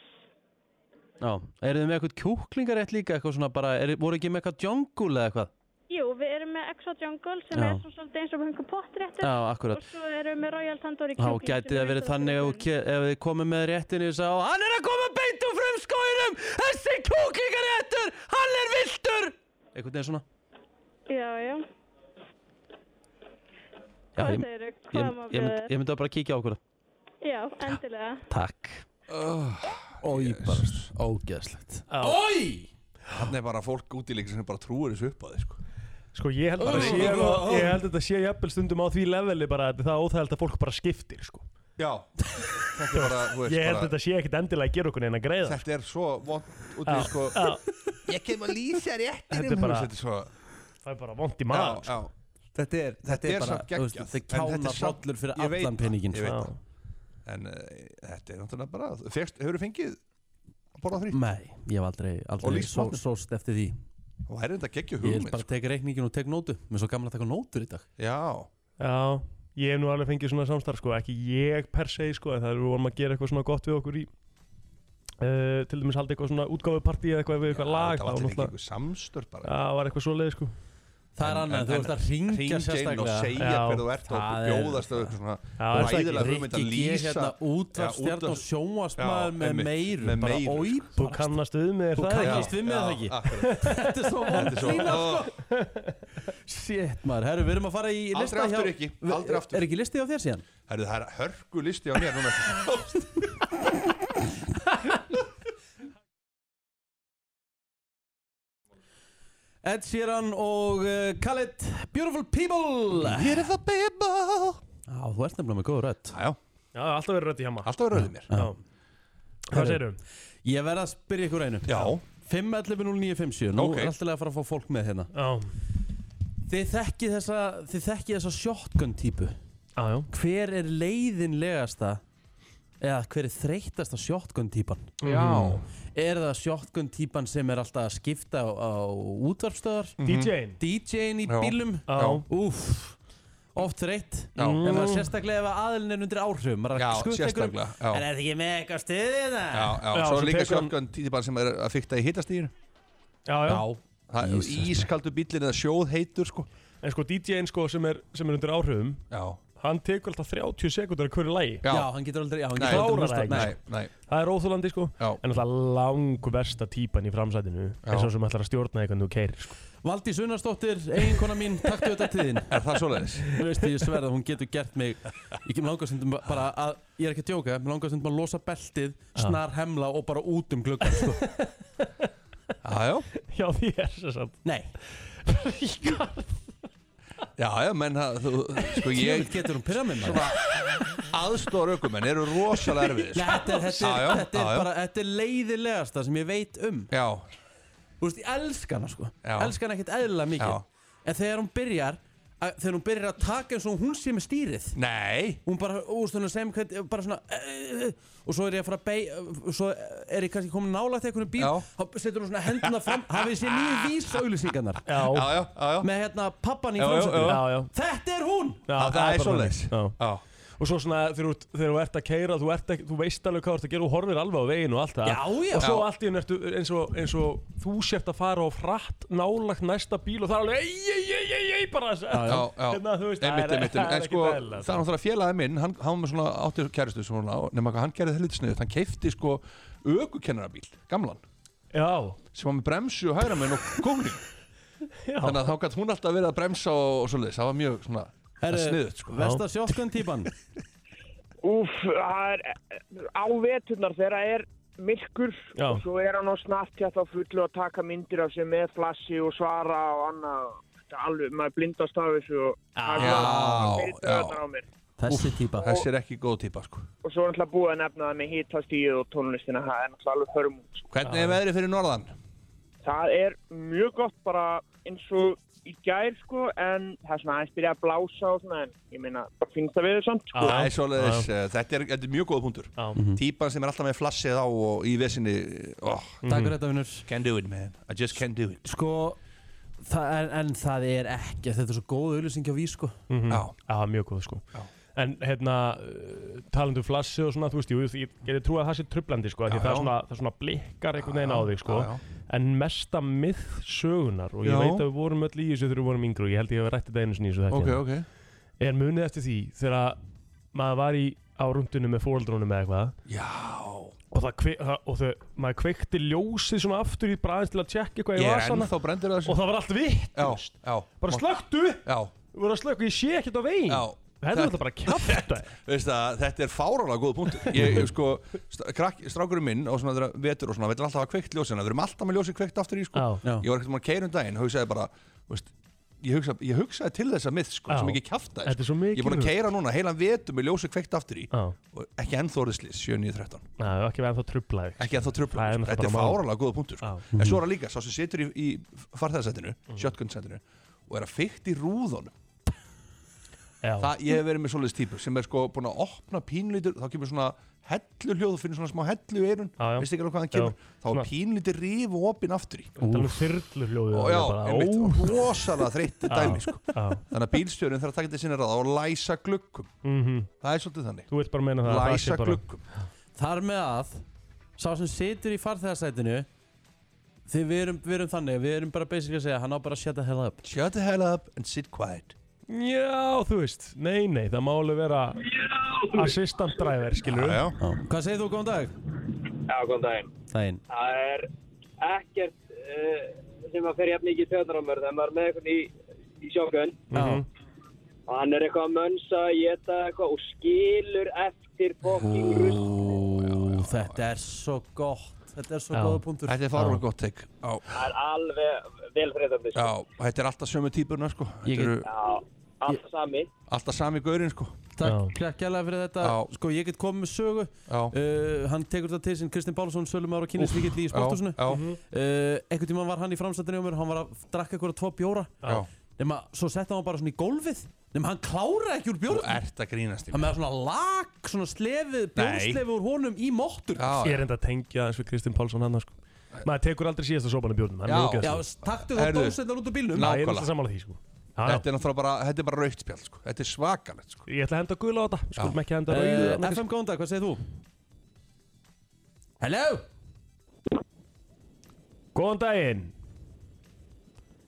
Speaker 1: Já, eru þið með eitthvað kjúklingarétt líka eitthvað svona bara, er, voru ekki með eitthvað djongul eða eitthvað?
Speaker 6: Jú, við erum með Exo Jungle sem
Speaker 1: Já.
Speaker 6: er svona svolítið eins og hungur pottréttur.
Speaker 1: Já, akkurat
Speaker 6: Og svo erum við með Royal Tandoori
Speaker 1: Þá
Speaker 6: kjúkling.
Speaker 1: gæti
Speaker 6: sem
Speaker 1: það
Speaker 6: er
Speaker 1: verið
Speaker 6: svona
Speaker 1: þannig ef, þú
Speaker 6: svolítið-
Speaker 1: ke- ef þið komið með réttinu og sagði Hann er að koma beint úr frumskóinum Þessi kjúklingaréttur, hann er viltur Einhvern veginn svona
Speaker 6: Já, já.
Speaker 1: Já,
Speaker 6: Hvað
Speaker 1: ég,
Speaker 6: segirðu?
Speaker 1: ég,
Speaker 6: Hvað má
Speaker 1: ég, mynd,
Speaker 6: bjóða þér?
Speaker 1: ég myndi að bara kíkja á okkur
Speaker 6: Já, endilega.
Speaker 1: Takk Ói, bara ógeðslegt
Speaker 3: Þannig er bara fólk út í leikin sem bara trúir þessu upp að þið sko.
Speaker 2: Sko ég held bara að sé Ég held að þetta sé jafnvel stundum á því leveli bara að það er óþægild að fólk bara skiptir sko.
Speaker 3: Já Þetta er bara, þú veist
Speaker 2: Ég held að
Speaker 3: bara
Speaker 2: þetta sé ekkit endilega að gera okkur neina greiða
Speaker 3: Þetta er svo vond út í sko Ég kem að lýsa réttinum
Speaker 2: Þetta er bara-
Speaker 3: þú veist, Þetta er svo
Speaker 2: Það er bara vond í sko.
Speaker 3: Já,
Speaker 2: maður
Speaker 3: já
Speaker 5: Þetta er,
Speaker 3: Þetta er samt
Speaker 1: þú veist,
Speaker 3: geggjað en
Speaker 1: þetta er
Speaker 3: þetta
Speaker 1: kjána
Speaker 3: er samt-
Speaker 1: hrollur fyrir
Speaker 3: Ég veit
Speaker 1: allan
Speaker 3: það,
Speaker 1: peninginn,
Speaker 3: Ég veit
Speaker 2: sko.
Speaker 3: það En uh, þetta er náttúrulega bara Fyrst, hefur þú fengið að borða frí?
Speaker 1: Nei, ég hef aldrei,
Speaker 3: Og
Speaker 1: aldrei
Speaker 3: lýst
Speaker 1: só,
Speaker 3: matnum.
Speaker 1: sóst eftir því
Speaker 3: Og það er þetta geggju
Speaker 1: Ég vil
Speaker 3: hugmynd
Speaker 1: bara
Speaker 3: sko.
Speaker 1: teka reikningin og teka nótu Mér er svo gaman að taka nótur í dag
Speaker 3: Já,
Speaker 2: Já, ég hef nú alveg fengið svona samstarf sko, ekki ég per se sko, en það er við vorum að gera eitthvað svona gott við okkur í uh, til dæmis haldi eitthvað svona útgáfupartí eða eitthvað við eitthvað lag
Speaker 3: það var til
Speaker 2: þá
Speaker 3: ekki
Speaker 2: náttúrulega-
Speaker 3: einhver samstör bara
Speaker 2: Já, var eitthvað svo leið sko
Speaker 1: Það er
Speaker 3: En-
Speaker 1: annað,
Speaker 3: en-
Speaker 1: þú
Speaker 3: en-
Speaker 1: ert að ringja
Speaker 3: Hringja inn og
Speaker 1: sérstaklega
Speaker 3: segja
Speaker 2: Já,
Speaker 3: hver þú ert og
Speaker 1: það er-
Speaker 3: bjóðast og eitthvað svona
Speaker 2: Já, er það ekki?
Speaker 3: ræðilega hugmynd að
Speaker 1: Rikki G
Speaker 3: lýsa
Speaker 1: hérna útvarstjarn
Speaker 3: Já,
Speaker 1: og sjónvarsmaður
Speaker 3: Já,
Speaker 1: með
Speaker 3: einmitt,
Speaker 1: meiru
Speaker 3: með
Speaker 1: bara
Speaker 3: meiru, sko."
Speaker 1: oi,
Speaker 2: Þú kannast við mig, er
Speaker 1: Þú
Speaker 2: það ekki?
Speaker 1: kannast- Kannist við með það ekki?
Speaker 3: akkurat.
Speaker 1: þetta er svo sko.
Speaker 3: Þetta er svo
Speaker 1: vonlína
Speaker 3: Ó,
Speaker 1: Shit maður, herru, við erum að fara í
Speaker 3: Aldrei
Speaker 1: lista
Speaker 3: aftur,
Speaker 1: hjá-
Speaker 3: Rikki,
Speaker 1: Vi-
Speaker 3: aldrei aftur.
Speaker 1: Er ekki listi á þér síðan?
Speaker 3: Herru, það er hörgu listi á mér núna
Speaker 1: Ed Sheeran og uh, Khaled Beautiful People
Speaker 3: Beautiful people
Speaker 1: Já, þú ert nefnilega með góð rödd
Speaker 3: Já,
Speaker 2: Já, alltaf verið rödd í hama
Speaker 3: alltaf rauðið mér
Speaker 2: Já Hvað segirðu? um?
Speaker 1: Ég verð að spyrja ykkur einu
Speaker 3: Já,
Speaker 1: 5.11.09.57 Nú
Speaker 3: Ok.
Speaker 1: er alltaf að fara að fá fólk með hérna
Speaker 2: Já,
Speaker 1: Þið þekkið þessa, þið þekkið þessa shotgun típu
Speaker 2: já, já
Speaker 1: Hver er leiðinlegasta eða hver er þreytasta shotgun típan? Mhm.
Speaker 3: já.
Speaker 1: Er það shotgun típan sem er alltaf að skipta á, á útvarpstöðar?
Speaker 2: DJ-in
Speaker 1: DJ-in í
Speaker 3: Já.
Speaker 1: bílum?
Speaker 2: Mhm. Já, Mm.
Speaker 1: Úff, oft þreytt
Speaker 3: Já.
Speaker 1: En maður sérstaklega ef að aðilin er undir áhrifum maður er
Speaker 3: Já,
Speaker 1: að skutta einhverjum.
Speaker 3: sérstaklega, já.
Speaker 1: En er þetta ekki með eitthvað stuðið það?
Speaker 3: Já, já,
Speaker 2: Já,
Speaker 3: svo
Speaker 2: svo
Speaker 3: er líka
Speaker 2: tekur hann-
Speaker 3: sjöfgan títibar sem er að fykta í hittastýr
Speaker 2: já, já
Speaker 3: Það er
Speaker 1: Jesus.
Speaker 3: ískaldu bíllinn eða sjóð heitur sko
Speaker 2: En sko DJ-in sko sem er, sem er undir áhrifum
Speaker 3: Já,
Speaker 2: Hann tekur alltaf 30 sekundur að hverju lægi
Speaker 1: Já,
Speaker 3: já,
Speaker 1: hann getur aldrei, já, hann
Speaker 3: Nei,
Speaker 1: getur
Speaker 2: klárar
Speaker 1: aldrei
Speaker 2: það sko.
Speaker 1: músta-
Speaker 3: nei, nei
Speaker 2: Það er óþúlandi sko
Speaker 3: Já.
Speaker 2: En alltaf lang versta típan í framsætinu
Speaker 3: Já.
Speaker 2: En svo sem ætlar að stjórna eitthvað þú keirir sko.
Speaker 1: Valdís Unnarsdóttir, eiginkona mín, takk til þetta tíðin
Speaker 3: Er það svoleiðis?
Speaker 1: Þú veist, ég sverð að hún getur gert mig Ég kem langar stundum bara að Ég er ekki að djóka, mér langar stundum að losa beltið Snar hemla og bara út um gluggan sko.
Speaker 3: Já, já,
Speaker 2: Já því er þess að
Speaker 1: Nei,
Speaker 3: já, já, menn það, þú, sko
Speaker 1: ég
Speaker 3: ég
Speaker 1: getur hún pyrra með maður
Speaker 3: Aðstóra aukumenn eru rosalega erfið
Speaker 1: Nei, þetta er, þetta
Speaker 3: Já,
Speaker 1: er,
Speaker 3: já,
Speaker 1: þetta er
Speaker 3: já, já.
Speaker 1: bara Þetta er leiðilegasta sem ég veit um
Speaker 3: Já,
Speaker 1: Þú veist, ég elska hana sko
Speaker 3: Já.
Speaker 1: Elska hana ekkert eðla mikið
Speaker 3: Já.
Speaker 1: En þegar hún byrjar að, Þegar hún byrjar að taka eins og hún sé með stýrið
Speaker 3: nei
Speaker 1: hún bara, úst, hún er sem hvern, bara svona uh, og svo er ég að fara að beig svo er ég kannski komin nálægt eitthvað bíl
Speaker 3: Já.
Speaker 1: þá setur hún svona henduna fram hafið sér nýju vísauðlýsingarnar
Speaker 3: Já,
Speaker 2: Já,
Speaker 3: já, já, já
Speaker 1: með hérna pappan í
Speaker 3: Já, já,
Speaker 2: já,
Speaker 1: framsöndinu
Speaker 2: já.
Speaker 1: þetta er hún
Speaker 2: Já,
Speaker 3: Já, það
Speaker 2: bara
Speaker 3: er svoleiðis
Speaker 2: þannig. Já.
Speaker 3: Já,
Speaker 2: Og og svo svona þegar þú ert- þegar þú ert að keira þú, ert ekki, þú veist alveg hvað þú ert að gera og horfir alveg á veginn og allt það
Speaker 1: Já, já.
Speaker 2: og svo allt í hennu ertu eins og, eins og þú sért að fara og frætt nálagt næsta bíl og það er alveg ei, ei, ei, ei, ei, bara þess
Speaker 3: já, já.
Speaker 2: Hérna, þú veist,
Speaker 3: einmitt,
Speaker 2: það er-
Speaker 3: einmitt, einmitt.
Speaker 2: það er
Speaker 3: en
Speaker 2: ekki
Speaker 3: sko,
Speaker 2: dæla,
Speaker 3: það er náttúrulega félagið minn hann, hann var með svona áttir kæristu sem svona, nema hvað hann gerði það lítið sniðut, hann keifti sko ökukennarabíl, gamlan
Speaker 2: já,
Speaker 3: sem var með bremsu og hægra minn og kóngring
Speaker 2: Já.
Speaker 3: þannig að þá gætt hún alltaf verið að bremsa og, og svoleiðis, það var mjög svona það er sniðut sko
Speaker 1: Vesta sjokkun típan
Speaker 7: Úf, það er á veturnar þegar það er myrkur
Speaker 2: Já.
Speaker 7: og svo er hann á snartja þá fullu að taka myndir af sér með flassi og svara og annað. Þetta er alveg, maður blindast af þessu og það
Speaker 3: Já,
Speaker 7: er bara fyrir
Speaker 3: já.
Speaker 7: taugarnar á mér.
Speaker 1: Þessi típa
Speaker 3: þessi er ekki góð típa sko
Speaker 7: Og svo er náttúrulega búið að nefna það með hitastíð og tónlistina, það er náttúrulega alveg hörmung. sko.
Speaker 3: hvernig er veðrið fyrir norðan?
Speaker 7: Það er mjög gott bara eins og í gær sko en það er svona aðeins byrja að blása og svona en ég meina, bara finnst það við þau samt sko.
Speaker 2: Já.
Speaker 3: Það er svoleiðis, eh, þetta er, þetta er mjög góð punktur
Speaker 2: Já.
Speaker 1: Mhm.
Speaker 3: típan sem er alltaf með flassið á og í vesinni oh,
Speaker 2: Mhm.
Speaker 1: Takk fyrir þetta vinnur
Speaker 3: can't do it man, I just can't do it
Speaker 1: Sko það er, En það er ekki Þetta er svo góð auðlýsing á vísko
Speaker 3: já,
Speaker 2: Mhm. Já, mjög góð sko En hérna, uh, talandu flassi og svona, þú veist, jú, ég geti trú að það sé trublandi sko, já,
Speaker 3: Já,
Speaker 2: það, er
Speaker 3: já.
Speaker 2: svona, það er svona blikkar einhvern veginn á þig sko,
Speaker 3: já, já.
Speaker 2: en mesta mið sögunar, og ég
Speaker 3: Já.
Speaker 2: veit að við vorum öll í þessu þegar við vorum yngri og ég held ég hef rætt þetta einu sinni í þessu þetta,
Speaker 3: ok, ok
Speaker 2: er munið eftir því þegar að maður var í á rúndunum með fóreldrónum eða eitthvað
Speaker 3: já,
Speaker 2: og, það, kve- það- og þau, maður kveikti ljósið svona aftur í bræðins til að tjekka eitthvað
Speaker 3: ég
Speaker 2: í
Speaker 3: er
Speaker 2: vasana
Speaker 3: ennþá brendur af
Speaker 2: og
Speaker 3: þessu
Speaker 2: það var allt vitt,
Speaker 3: já, já,
Speaker 2: bara slökktu,
Speaker 3: já,
Speaker 2: við vorum að slökku, ég sé ekkert á veginn,
Speaker 3: Já.
Speaker 2: þetta er alltaf bara kjafta
Speaker 3: veist það, þetta er fárálega góð punkt ég, ég sko, st- krakk, strákurinn minn og svona þeirra vetur og svona, við erum alltaf að hafa kveikt ljósina við erum alltaf með ljósið kveikt aftur í sko
Speaker 2: Já.
Speaker 1: Já.
Speaker 3: ég var ekkert maður að keyra um daginn, hugsaði bara veist, ég, hugsa, ég hugsaði til þessa mið sko,
Speaker 2: Já.
Speaker 3: sem ekki kjafta
Speaker 2: Þetta er svo mikið
Speaker 3: ég er búin að
Speaker 2: rugl.
Speaker 3: keyra núna, heilan vetur með ljósið kveikt aftur í
Speaker 2: Já.
Speaker 3: og ekki ennþóriðslis, 7.9.13
Speaker 2: Nei, það er ekki verið að það trubla þig
Speaker 3: ekki að þá tröfla,
Speaker 2: Það er náttúrulega
Speaker 3: þetta er
Speaker 2: bara mál. Mhm.
Speaker 3: fáralega góða punktur sko. en svo er það líka, sá sem situr í, í farþæðarsætinu shotgun-sætinu og er að fykta í rúðunum
Speaker 2: Já,
Speaker 3: það, ég hef verið með svoleiðis típu sem er sko búin að opna pínlítur, þá kemur svona hellu hljóð, þú finnir svona smá hellu í eirun
Speaker 2: Já, já.
Speaker 3: veist ekki alveg hvað hann
Speaker 2: Já.
Speaker 3: kemur þá
Speaker 2: Svona-
Speaker 3: er pínlítur ríf og opinn aftur í
Speaker 2: það er alveg þyrlu hljóðu
Speaker 3: og já, einmitt,
Speaker 2: ó,
Speaker 3: og rosalega þreytti dæmi sko.
Speaker 2: já.
Speaker 3: þannig að bílstjórinn þarf að taka þetta sinna ráða og læsa glukkum það er svolítið þannig
Speaker 2: Mhm. Þú vilt bara meina það að það sé
Speaker 3: læsa
Speaker 2: bara
Speaker 3: glukkum
Speaker 1: Þar með að Sá sem situr í farþegarsætinu Þið við erum, við erum þannig Við erum bara basic að segja Hann á bara að shut the hell up
Speaker 3: shut the hell up and sit quiet
Speaker 2: Já, þú veist, nei, nei, það má alveg vera Assistant driver, skilur
Speaker 3: já, já.
Speaker 1: Hvað segir þú, góðan dag?
Speaker 8: Já, góðan daginn.
Speaker 1: Daginn
Speaker 8: Það er ekkert uh, sem að fyrir jafn mikið tjóðnar á mér þegar maður er með einhvern í, í sjókun
Speaker 2: Mhm.
Speaker 1: Já,
Speaker 8: og hann er eitthvað að mönsa, geta eitthvað og skilur eftir fokking rull.
Speaker 1: Ó, þetta er svo gott Þetta er svo
Speaker 2: Já.
Speaker 1: góða punktur
Speaker 3: þetta er fáralega gott teik já,
Speaker 8: Það er alveg velfriðandi.
Speaker 3: já, og þetta er alltaf sömu típurna sko.
Speaker 1: Ég
Speaker 3: þetta eru
Speaker 8: Já, allt sami.
Speaker 3: alltaf sami gaurinn sko.
Speaker 1: Takk kjærlega fyrir þetta
Speaker 3: Já.
Speaker 1: Sko, ég get komið með sögu
Speaker 3: já,
Speaker 1: uh, Hann tekur þetta til sinn Kristinn Pálsson, Sölumar og Kynnesvíkill í sporthúsinu
Speaker 3: já,
Speaker 2: Mhm.
Speaker 1: uh, Ekkert tíma var hann í framsættinu á mér Hann var að drakka eitthvað tvo bjóra
Speaker 3: já.
Speaker 1: Nefna, svo setta hann bara svona í gólfið Nefna, hann klára ekki úr
Speaker 3: þú
Speaker 1: bjórnum
Speaker 3: ert að grínast í
Speaker 1: Hann
Speaker 3: mér
Speaker 1: með svona lag, svona slefið Bjórnslefi úr honum í móttur
Speaker 3: já, já.
Speaker 2: Ég er enda að tengja eins við Kristinn Pálsson hann sko. Maður tekur aldrei síðasta sopan í bjórnum hann er
Speaker 3: Já.
Speaker 2: ógeðslegur.
Speaker 1: Já, taktu þá
Speaker 3: Heyrðu.
Speaker 1: dósetnar út úr bílnum
Speaker 3: Ná.
Speaker 2: Já, ég er
Speaker 3: nákvæmlega.
Speaker 2: alltaf sammála því sko. já, já.
Speaker 3: þetta er náttúrulega bara, þetta er bara raukt spjall sko. þetta er svakalegt sko.
Speaker 2: Ég ætla að henda gula á þetta, við skulum ekki henda rauðu
Speaker 1: Uh,
Speaker 2: þarna, kannski.
Speaker 1: FM góðan dag, hvað segir þú? Hello?
Speaker 2: Góðan daginn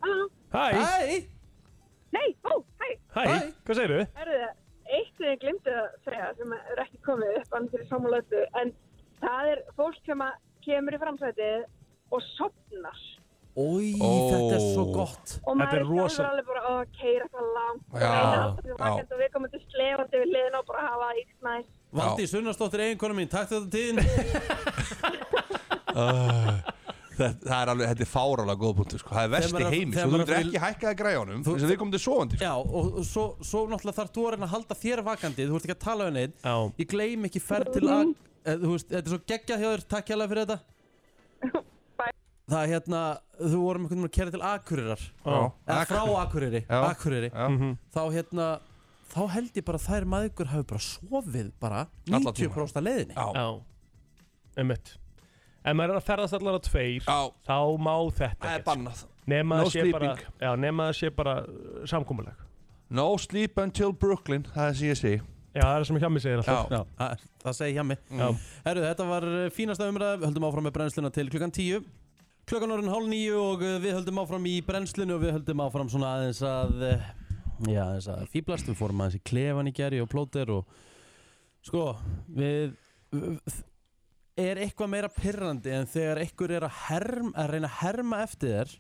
Speaker 6: Halló.
Speaker 2: Hæ,
Speaker 1: Hæ?
Speaker 6: Nei, ó, hæ,
Speaker 2: hæ,
Speaker 1: Hæ.
Speaker 2: hvað segirðu?
Speaker 6: erðu það, eitt sem ég glimti að segja sem er ekki komið upp annað fyrir samanlötu, en það er fólk sem að kemur í framsætið og sopnar.
Speaker 1: Ói,
Speaker 3: Ó.
Speaker 1: þetta er svo gott
Speaker 6: Og
Speaker 2: Þetta
Speaker 6: maður
Speaker 2: er
Speaker 6: er sjálfur
Speaker 2: rosa-
Speaker 6: alveg bara að keira eitthvað langt.
Speaker 3: Já,
Speaker 6: já.
Speaker 3: já.
Speaker 6: Og við komum til slefandi við liðin og bara hafa íkt næst.
Speaker 1: Valdi Sunnarsdóttir eiginkona mín, takk þetta tíðin
Speaker 3: það, Ah. það er alveg, þetta er fáralega góð punktur sko. það er
Speaker 1: Þegar
Speaker 3: vest í
Speaker 1: maður-
Speaker 3: heimi,
Speaker 1: þegar
Speaker 3: svo þú
Speaker 1: maður
Speaker 3: getur
Speaker 1: vil-
Speaker 3: ekki hækkaði græjánum eins og þið komum til sofandi sko.
Speaker 1: Já, og, og svo, svo náttúrulega þarf þú að reyna að halda þér vakandi Þú ert ekki að tala við neitt
Speaker 2: Já.
Speaker 1: Ég gleym ekki ferð til að eh, Þú veist, þetta er svo geggjað hjá þér, takk hérlega fyrir þetta Það er hérna, þú vorum einhvern veginn að kæra til Akureyrar
Speaker 3: Já.
Speaker 1: Eða
Speaker 3: Ak-
Speaker 1: frá Akureyri,
Speaker 3: Já.
Speaker 1: Akureyri.
Speaker 3: Já.
Speaker 1: Þá hérna, þá held ég bara að þær maðgur hafi bara sofið bara
Speaker 3: Alla tíma.
Speaker 1: 90% af leiðinni
Speaker 3: Já.
Speaker 2: Já, einmitt Ef maður er að ferðast allar á tveir
Speaker 3: Já.
Speaker 2: þá má þetta
Speaker 3: það er
Speaker 2: ekkert, sko.
Speaker 3: bannað
Speaker 2: Nema
Speaker 3: No
Speaker 2: að sé bara,
Speaker 3: sleeping.
Speaker 2: já, nema að sé bara uh, samkómulag
Speaker 3: no sleep until Brooklyn, það er sem ég segi
Speaker 2: Já, það er sem hjá mig segir
Speaker 3: Já,
Speaker 2: alltaf.
Speaker 1: Já, það, það segi hjá mig Herru, þetta var eh, fínasta umræða, við höldum áfram með brennsluna til klukkan 10 Klukkan orðin hálf nýju og eh, við höldum áfram í brennslunni og við höldum áfram svona aðeins að eh, Já, aðeins að fýblast, við fórum aðeins í klefan í gerri og plóter og Sko, við Er eitthvað meira pirrandi en þegar einhver er að, herm, að reyna að herma eftir þér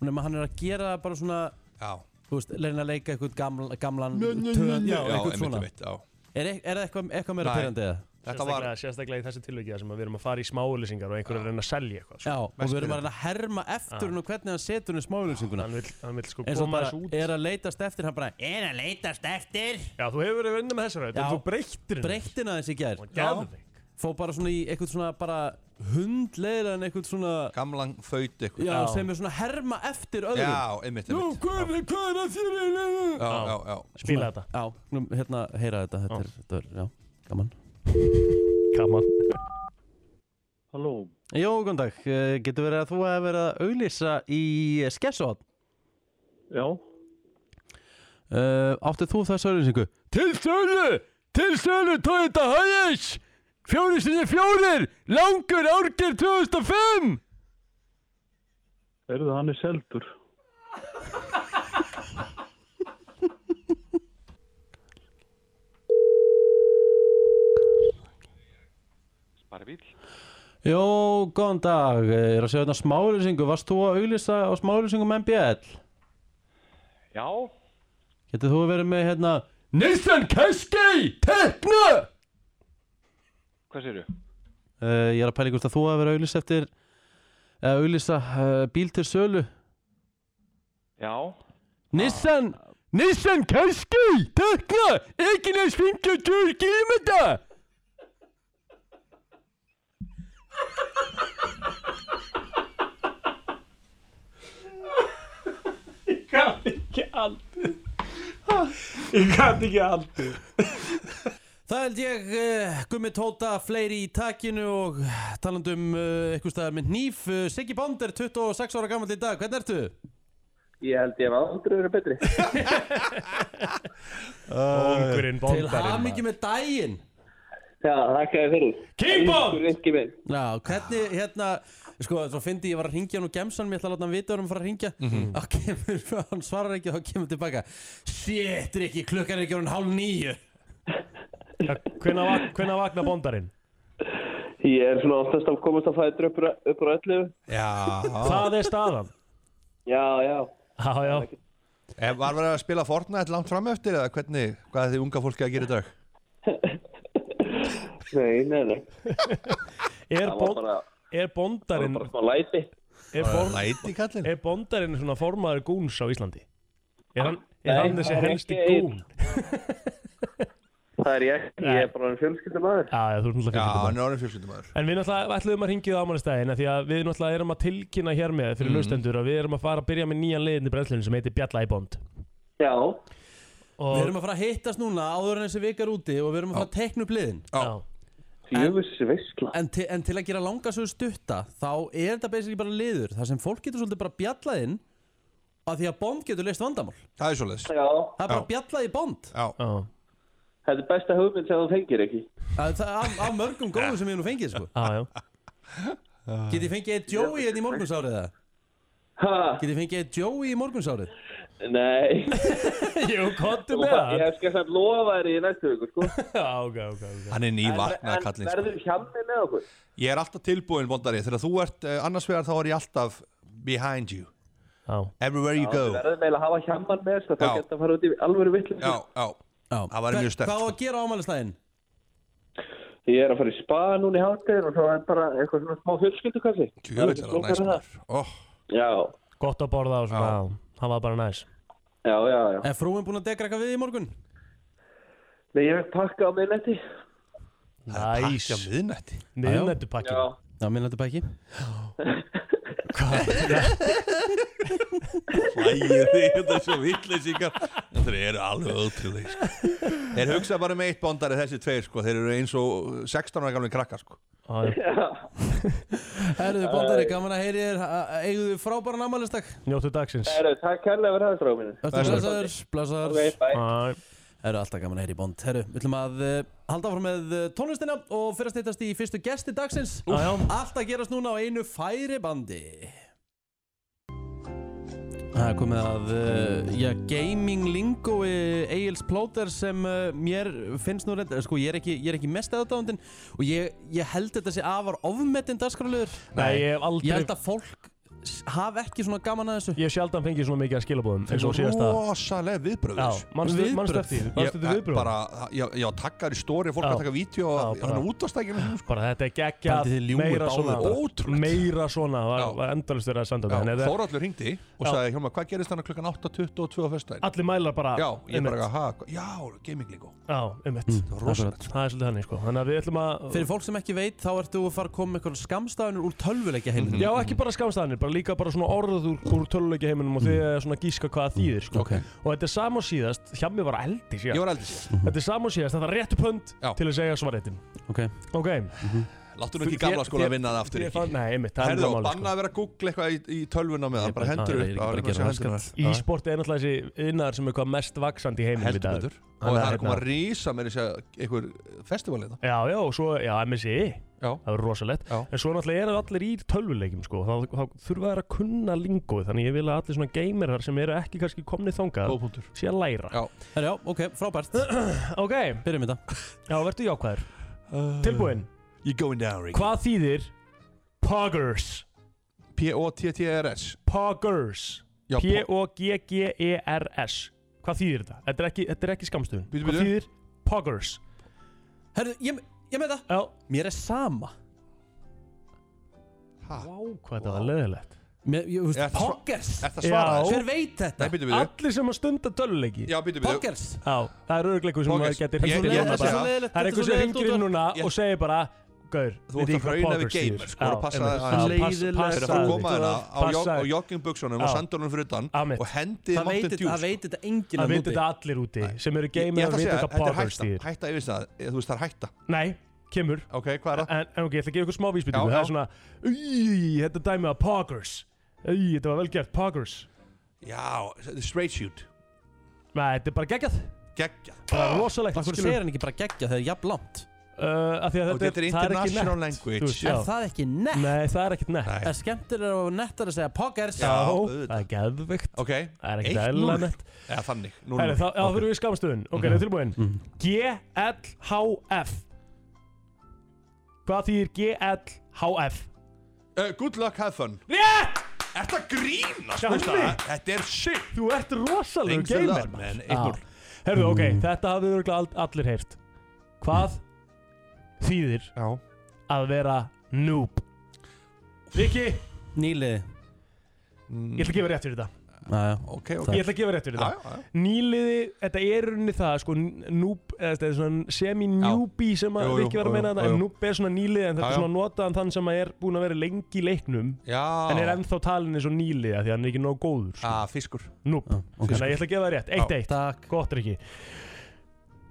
Speaker 1: og nema hann er að gera það bara svona
Speaker 3: já,
Speaker 1: Þú veist, reyna að leika eitthvað gamla, gamlan
Speaker 3: já,
Speaker 1: töð-
Speaker 3: já,
Speaker 1: Já,
Speaker 3: einmitt,
Speaker 1: eitthvað svona
Speaker 3: einmitt, já.
Speaker 1: Er, ek- er það eitthvað, eitthvað meira
Speaker 3: Nei.
Speaker 1: pyrrandi eða?
Speaker 3: Þetta var,
Speaker 2: Sérstaklega- Sérstaklega í þessu tilviki þar sem að við erum að fara í smáulisingar og einhverju reyna að selja eitthvað. sko.
Speaker 1: Já, og við erum að reyna að herma eftir hún og hvernig hann setur hún í smáulýsinguna
Speaker 2: Hann vill, hann vill sko
Speaker 1: Ah. eins og
Speaker 2: koma
Speaker 1: bara
Speaker 2: þessu út.
Speaker 1: er að leitast eftir hann bara er að leitast eftir
Speaker 2: Já, þú hefur verið unni með þessu rætt, en
Speaker 1: Já.
Speaker 2: þú breyttir henni.
Speaker 1: breyttin aðeins í gær
Speaker 2: Og Geðveik.
Speaker 1: fó bara svona í eitthvað svona bara hundleira en eitthvað svona
Speaker 3: gamlan þaut eitthvað
Speaker 1: já,
Speaker 2: Já.
Speaker 1: sem er svona að herma eftir öðrum
Speaker 3: Já, einmitt,
Speaker 1: Nú,
Speaker 3: einmitt
Speaker 1: hvað er hvað er að þér eiginlega?
Speaker 3: Já, já, já
Speaker 2: Spila þetta.
Speaker 1: Já, nú, hérna, heyra þetta, þetta er, þetta er, já, gaman
Speaker 2: Come on.
Speaker 1: Jó, góðan dag, Eh, getur verið að þú hef verið að auglýsa í skessótt?
Speaker 9: Já,
Speaker 1: Uh, áttið þú þessa auðlýsingu? Til sölu! Til sölu Toyota Hiace! Fjóri sinni fjórir! Langur árgir 2005!
Speaker 9: verður hann er seldur.
Speaker 1: Jó, góðan dag. Ég er að segja þetta smáauðlýsingu. Varst þú að auðlýsa á smáauðlýsingum MBL?
Speaker 9: Já,
Speaker 1: Getur þú verið með hérna Nissan Qashqai! Tekna!
Speaker 9: hvað séru?
Speaker 1: Uh, ég er að pæla ykkur að þú að vera að auðlýsa eftir eða auðlýsa uh, bíl til sölu.
Speaker 9: Já,
Speaker 1: Nissan! Nissan Qashqai! Tekna! Eginn er 52 kilometra!
Speaker 2: Ég kann ekki allt.
Speaker 1: Það held ég, uh, Gummi Tóta, fleiri í takinu og talandi um uh, eitthvað staðar með nýf. Uh, Siggi Bond er 26 ára gammal í dag, hvernig ertu?
Speaker 8: Ég held ég að aldrei verið betri.
Speaker 2: Ungurinn
Speaker 1: Til hamingi
Speaker 2: bondarinn.
Speaker 1: með daginn.
Speaker 8: Já, þakka þér fyrir.
Speaker 2: Kimbon!
Speaker 8: Ringi minn.
Speaker 1: Já, hvernig, hérna, sko, svo fyndi ég var að ringja hann og gemsan, mér ætla að láta hann vita um að fara að ringja.
Speaker 2: Mhm.
Speaker 1: Þá kemur, sko, hann svarar ekki og þá kemur tilbaka. Shit, Rikki, klukkan er ekki orðin hálf nýju.
Speaker 2: Hvenna vakna bondarinn?
Speaker 8: Ég er svona oftast að komast að fæða upp, á- upp á öllu.
Speaker 3: Já,
Speaker 2: Það er staðan.
Speaker 8: Já, já.
Speaker 2: Já, já.
Speaker 3: Eh, var verið að spila Fortnite langt fram eftir eða hvernig, hvað er því unga fólki að gera í dag?
Speaker 8: Nei, nei, nei. Það
Speaker 2: Er,
Speaker 8: var
Speaker 2: bond,
Speaker 8: bara,
Speaker 2: er
Speaker 8: það var
Speaker 2: bondarinn,
Speaker 8: bara smá læti.
Speaker 2: er, bond,
Speaker 3: Læti kallinn?
Speaker 2: er bondarinn svona formaður gúns á Íslandi? Er hann,
Speaker 8: Nei,
Speaker 2: er hann
Speaker 8: það
Speaker 2: þessi
Speaker 8: er
Speaker 2: helsti
Speaker 8: ekki einn.
Speaker 2: gún?
Speaker 8: Það er ég. Ég er bara en fjölskyldum aður.
Speaker 2: Já, já, þú erum
Speaker 3: Já, hann
Speaker 2: náttúrulega fjölskyldum.
Speaker 3: er orðin fjölskyldumæður
Speaker 2: En við náttúrulega ætluðum að ringið á ámælistæðin því að við náttúrulega erum að tilkynna hér með
Speaker 3: Mm.
Speaker 2: fyrir laustendur að við erum að fara að byrja með nýjan leiðin í brennslunum sem heitir Bjalla í bond
Speaker 8: Já.
Speaker 2: og,
Speaker 1: Við erum að fara að hittast núna áður en þessi vikar úti og við erum að fara að tekna upp liðin.
Speaker 2: já,
Speaker 8: Fjöfus veistla.
Speaker 1: En, til, en til að gera langa sögur stutta þá er þetta basically bara liður þar sem fólk getur svolítið bara bjallað inn að því að Bond getur leist vandamál það
Speaker 3: Það er svoleiðis
Speaker 8: Já.
Speaker 1: er bara
Speaker 3: Já.
Speaker 1: bjallað í Bond
Speaker 3: Já,
Speaker 2: já,
Speaker 8: Þetta er besta hugmynd sem þú fengir ekki.
Speaker 1: Það- það- af, af mörgum góðum sem ég hef nú fengið sko.
Speaker 2: já, já.
Speaker 1: get ég fengið eitt Joey enn í morgunsárið eða?
Speaker 8: Ha?
Speaker 1: get ég fengið eitt Joey í morgunsárið
Speaker 8: Nei.
Speaker 2: Jú, kontu
Speaker 8: Þú
Speaker 2: með
Speaker 8: bara-
Speaker 2: það
Speaker 8: Ég skal samt lofa þér í næstu viku, sko.
Speaker 2: Já, ok, ok, ok
Speaker 3: hann er nývaknað
Speaker 8: En
Speaker 3: kallinn sko.
Speaker 8: verður hjálmið með okkur?
Speaker 3: Ég er alltaf tilbúin, Bondari, þegar þú ert eh, annars vegar þá er ég alltaf behind you
Speaker 2: Já,
Speaker 3: Everywhere you
Speaker 8: Við
Speaker 3: go
Speaker 8: verðum eiginlega að hafa hjamman með þess að
Speaker 3: Já.
Speaker 8: það geta að fara út í alvöru vittlum.
Speaker 3: Já, já, Það væri mjög sterkt,
Speaker 1: hvað á
Speaker 3: sko.
Speaker 1: að gera á ámælislæðin?
Speaker 8: Ég er að fara í spa núna í hátegin og svo er bara eitthvað svona smá fjölskyldukassi.
Speaker 3: djöfull er hann næst maður oh,
Speaker 8: Já,
Speaker 2: gott að borða og svona,
Speaker 3: Já.
Speaker 2: já, það var bara næs
Speaker 8: já, já, já.
Speaker 1: er frúin búin að degra eitthvað við í morgun?
Speaker 8: Nei, ég veit pakka á miðnætti.
Speaker 2: Næs,
Speaker 3: Pakka miðnætti
Speaker 2: miðnættu pakki
Speaker 8: Já.
Speaker 1: já, minn þetta bara ekki
Speaker 3: Hlægir þig, þetta er svo vittleysingar Þetta eru alveg öðtrúleik sko. Þeir hugsa bara með eitt Bondari þessi tveir sko. Þeir eru eins og 16 ára gamlega krakkar sko.
Speaker 2: Já,
Speaker 1: herruðu Bondari, gaman að heyri þér eigðu þið frábæran ámælistak
Speaker 2: Njóttu dagsins
Speaker 8: Herru, takk kærlega fyrir það, stráminu.
Speaker 1: blessaður, blessaður
Speaker 8: Ok, bæ.
Speaker 2: Æ,
Speaker 1: Það eru alltaf gaman að heyra í bond Herru, við ætlum að uh, halda áfram með uh, tónlistina og fyrir að steytast í fyrstu gesti dagsins
Speaker 2: Já, já.
Speaker 1: Allt að gerast núna á einu færibandi Það er komið að uh, já, gaming lingoi Egil's Plóter sem uh, mér finnst nú reynd sko, ég er ekki, ég er ekki mest aðdáðundin og ég, ég held þetta sé afar ofmetinn dagskráluður
Speaker 2: Nei, ég hef aldrei-
Speaker 1: Ég held að fólk s- hafi ekki svona gaman að þessu
Speaker 2: Ég hef sjaldan fengið svona mikið að skilabóðum eins og síðast að
Speaker 3: rosalega viðbröð
Speaker 2: Já,
Speaker 3: þessu.
Speaker 2: manstu
Speaker 1: Viðbrögð.
Speaker 2: manstu eftir því?
Speaker 3: Ég,
Speaker 2: Manstu eftir
Speaker 3: eh,
Speaker 2: viðbröð?
Speaker 3: bara, ég, ég var takkar í stóri fólk
Speaker 2: Já.
Speaker 3: að taka vídeo
Speaker 2: Já,
Speaker 3: og
Speaker 2: bara-
Speaker 3: hann útastækjum sko.
Speaker 2: bara þetta er
Speaker 1: Pældi þið
Speaker 2: geggjað
Speaker 1: ljúgið
Speaker 2: meira
Speaker 1: báðir
Speaker 2: svona
Speaker 1: bara.
Speaker 3: Ótrúlegt.
Speaker 2: meira svona var,
Speaker 3: Já.
Speaker 2: var endalist verið að senda mig þannig að það-
Speaker 3: Þórallur hringdi og
Speaker 2: Já.
Speaker 3: sagði Hjálmar, hvað gerist þannig klukkan 8.22 á fyrstæðin?
Speaker 2: allir mælar bara
Speaker 3: Já, ég
Speaker 2: einmitt.
Speaker 3: bara, ha, hva- já, gaming líka
Speaker 2: já, einmitt
Speaker 3: rosalegt,
Speaker 2: Mm, það er svolítið þannig sko þannig að við ætlum að
Speaker 1: Fyrir fólk sem ekki veit, þá ertu að fara að koma með eitthvað skamstafnir úr tölvuleikja heiminu.
Speaker 2: Mm-hmm. já ekki bara skamstæðanir bara líka bara svona orð úr, úr töluleiki heiminum og þið
Speaker 3: Mm-hmm.
Speaker 2: er svona að gíska hvað það þýðir sko
Speaker 1: Ok.
Speaker 2: og þetta er sam og síðast hjá mér var eldi
Speaker 3: Ég
Speaker 2: síðast
Speaker 3: var eldið sér
Speaker 2: þetta er sam og síðast þetta er réttu pönd
Speaker 3: Já. Mm-hmm.
Speaker 2: til að segja svarréttin
Speaker 1: Ok.
Speaker 2: ok
Speaker 3: Láttu nú ekki í gamla skóla að vinna það aftur
Speaker 2: Ég
Speaker 3: ekki
Speaker 2: fann- nei einmitt það er
Speaker 3: Herðu,
Speaker 2: það
Speaker 3: og
Speaker 2: máli
Speaker 3: banna
Speaker 2: sko
Speaker 3: að vera að googla eitthvað í, í tölvuna með það Bara hendur upp
Speaker 1: Ég er ekki bara að
Speaker 3: alveg
Speaker 1: gera
Speaker 3: sem
Speaker 1: það,
Speaker 3: hendur upp.
Speaker 2: e-sport er náttúrulega þessi innar sem er hvað mest vaksandi í heiminum í
Speaker 3: Heldur
Speaker 2: dag
Speaker 3: betur
Speaker 2: Þannig
Speaker 3: Og
Speaker 2: að
Speaker 3: það er
Speaker 2: hérna-
Speaker 3: komið að rísa með þessi einhver festival hérna
Speaker 2: Já, já, og svo, já, MSI
Speaker 3: Já.
Speaker 2: Það er rosalegt
Speaker 3: Já.
Speaker 2: En svo náttúrulega eru allir í tölvuleikjum, sko Þá, þá þurfa þær að kunna lingóið Þannig ég vil að allir svona geimerar sem eru ekki kannski komni þangað
Speaker 3: Góðpunktur
Speaker 2: sé að læra
Speaker 3: Já.
Speaker 1: Herra, já, ok, frábært.
Speaker 2: Ok,
Speaker 1: Byrjum þetta.
Speaker 2: já, verður jákvæður Tilbúinn,
Speaker 3: Uh, You going down, Rick
Speaker 2: hvað þýðir Poggers
Speaker 3: P-O-T-T-R-S
Speaker 2: Poggers
Speaker 3: E Já, po-
Speaker 2: P-O-G-G-E-R-S E Hvað þýðir þetta? Þetta er ekki, þetta er ekki skamstöðun
Speaker 3: Bíddu,
Speaker 2: Hvað
Speaker 3: bíddu.
Speaker 2: þýðir Poggers?
Speaker 1: Herru, ég, ég með það.
Speaker 2: Já,
Speaker 1: Mér er sama.
Speaker 3: Ha?
Speaker 2: vá, hvað þetta var leðilegt
Speaker 1: Mér, ég, þú
Speaker 3: Er
Speaker 1: veist,
Speaker 3: það svo-
Speaker 1: poggers.
Speaker 3: Er það svarað? þessu?
Speaker 1: Hver veit þetta?
Speaker 3: Nei, býtu við
Speaker 2: Allir sem að stunda tölvuleiki
Speaker 3: Já, býtu við
Speaker 1: Poggers.
Speaker 2: Já, það er örglega eitthvað sem
Speaker 3: Poggers.
Speaker 2: maður getur
Speaker 3: Ég-
Speaker 2: hringt í
Speaker 3: ég-
Speaker 2: núna
Speaker 3: þetta er
Speaker 2: bara.
Speaker 3: svo
Speaker 2: Það er
Speaker 1: leiðilegt, þetta er
Speaker 2: eitthvað
Speaker 1: svo
Speaker 2: sem
Speaker 1: leiðilegt
Speaker 2: hringir inn
Speaker 1: út af-
Speaker 2: núna
Speaker 3: Ég-
Speaker 2: og segir bara Gaur,
Speaker 3: Þú ert að hrauna við gamer, sko, og passa þig aðeins.
Speaker 1: Leiðilegt.
Speaker 3: Þeir
Speaker 1: Passa-
Speaker 3: að koma hérna á jog- á
Speaker 2: Passa-
Speaker 3: joggingbuxunum og
Speaker 2: Já.
Speaker 3: sandalunum fyrir utan
Speaker 2: Amit.
Speaker 3: og hendi
Speaker 1: Það veit,
Speaker 3: Mountain
Speaker 1: þetta-
Speaker 3: Dew
Speaker 1: það
Speaker 3: sko.
Speaker 1: veit þetta enginn
Speaker 2: Það
Speaker 1: að
Speaker 2: veit
Speaker 1: núti.
Speaker 2: þetta allir úti sem eru
Speaker 3: Ég- ég
Speaker 2: gamer
Speaker 3: ætla
Speaker 2: og
Speaker 3: að
Speaker 2: veit
Speaker 3: segja,
Speaker 2: þetta
Speaker 3: þetta er
Speaker 2: poggers
Speaker 3: hætta,
Speaker 2: þýðir
Speaker 3: hætta yfir það, þú veist það er hætta
Speaker 2: Nei, kemur
Speaker 3: Ok, hvað er það?
Speaker 2: En en ok, ég ætla að gefa ykkur smá vísbyttu
Speaker 3: Já,
Speaker 2: Það
Speaker 3: já.
Speaker 2: er svona "Í, Þetta dæmi að poggers Í, Þetta var vel gert, poggers
Speaker 3: Já, straight shoot
Speaker 2: Nei, þetta er bara geggjað
Speaker 3: Gekkja
Speaker 2: Bara rosalegt
Speaker 1: Akkur
Speaker 2: skilur.
Speaker 1: segir hann ekki bara geggja þegar jafn langt?
Speaker 2: Uh, af því að
Speaker 3: Og þetta er
Speaker 2: Þetta það ekki
Speaker 3: international
Speaker 2: nett,
Speaker 3: language.
Speaker 2: þú veist,
Speaker 1: Er
Speaker 2: já.
Speaker 1: það ekki nett?
Speaker 2: Nei, það er ekkert nett
Speaker 3: Nei.
Speaker 1: Er skemmtilega og nettar að segja poggers?
Speaker 3: Já. auðvitað.
Speaker 2: Það er geðvikt
Speaker 3: Ok,
Speaker 2: Það er ekkert
Speaker 3: 1-0
Speaker 2: eðlilega nett
Speaker 3: Eða þannig, núna
Speaker 2: Herri, þá, já, það fyrir við í skamstöðun. Ok, það er tilbúin.
Speaker 1: Mm.
Speaker 2: G-L-H-F. Hvað þýðir G-L-H-F?
Speaker 3: uh, Good luck, have fun
Speaker 2: Rétt!
Speaker 3: Þetta grínast,
Speaker 2: Hjalli!
Speaker 3: veistu það? sko, Þetta er shit
Speaker 2: Þú ert rosalega
Speaker 3: Thanks a
Speaker 2: gamer.
Speaker 3: lot, man.
Speaker 2: maður.
Speaker 3: 1-0.
Speaker 2: Já. Herðu, ok, þetta hafðu örugglega all, allir heyrt. Hvað þýðir
Speaker 3: Já
Speaker 2: að vera noob? Viki, ég
Speaker 1: Nýliði.
Speaker 2: ætla að gefa rétt fyrir þetta.
Speaker 1: Næja.
Speaker 3: Ok, ok
Speaker 2: Ég ætla að gefa rétt fyrir
Speaker 3: Já,
Speaker 2: þetta.
Speaker 3: já, já.
Speaker 2: Nýliði, þetta er runni það sko, n- noob, eða þetta er svona semi-newbie sem að
Speaker 3: Jú, jú,
Speaker 2: Viki var að
Speaker 3: jú,
Speaker 2: meina
Speaker 3: jú,
Speaker 2: þetta, en
Speaker 3: jú.
Speaker 2: noob er svona nýliði en þetta
Speaker 3: Já,
Speaker 2: er
Speaker 3: já.
Speaker 2: svona notaðan þann sem að er búin að vera lengi í leiknum en er
Speaker 3: Já
Speaker 2: ennþá talin eins og nýliði af því að hann er ekki nóg góður sko.
Speaker 3: Ah, fiskur
Speaker 2: noob, þannig að ég ætla að gefa það rétt, eitt eitt,
Speaker 1: Takk.
Speaker 2: gott er ekki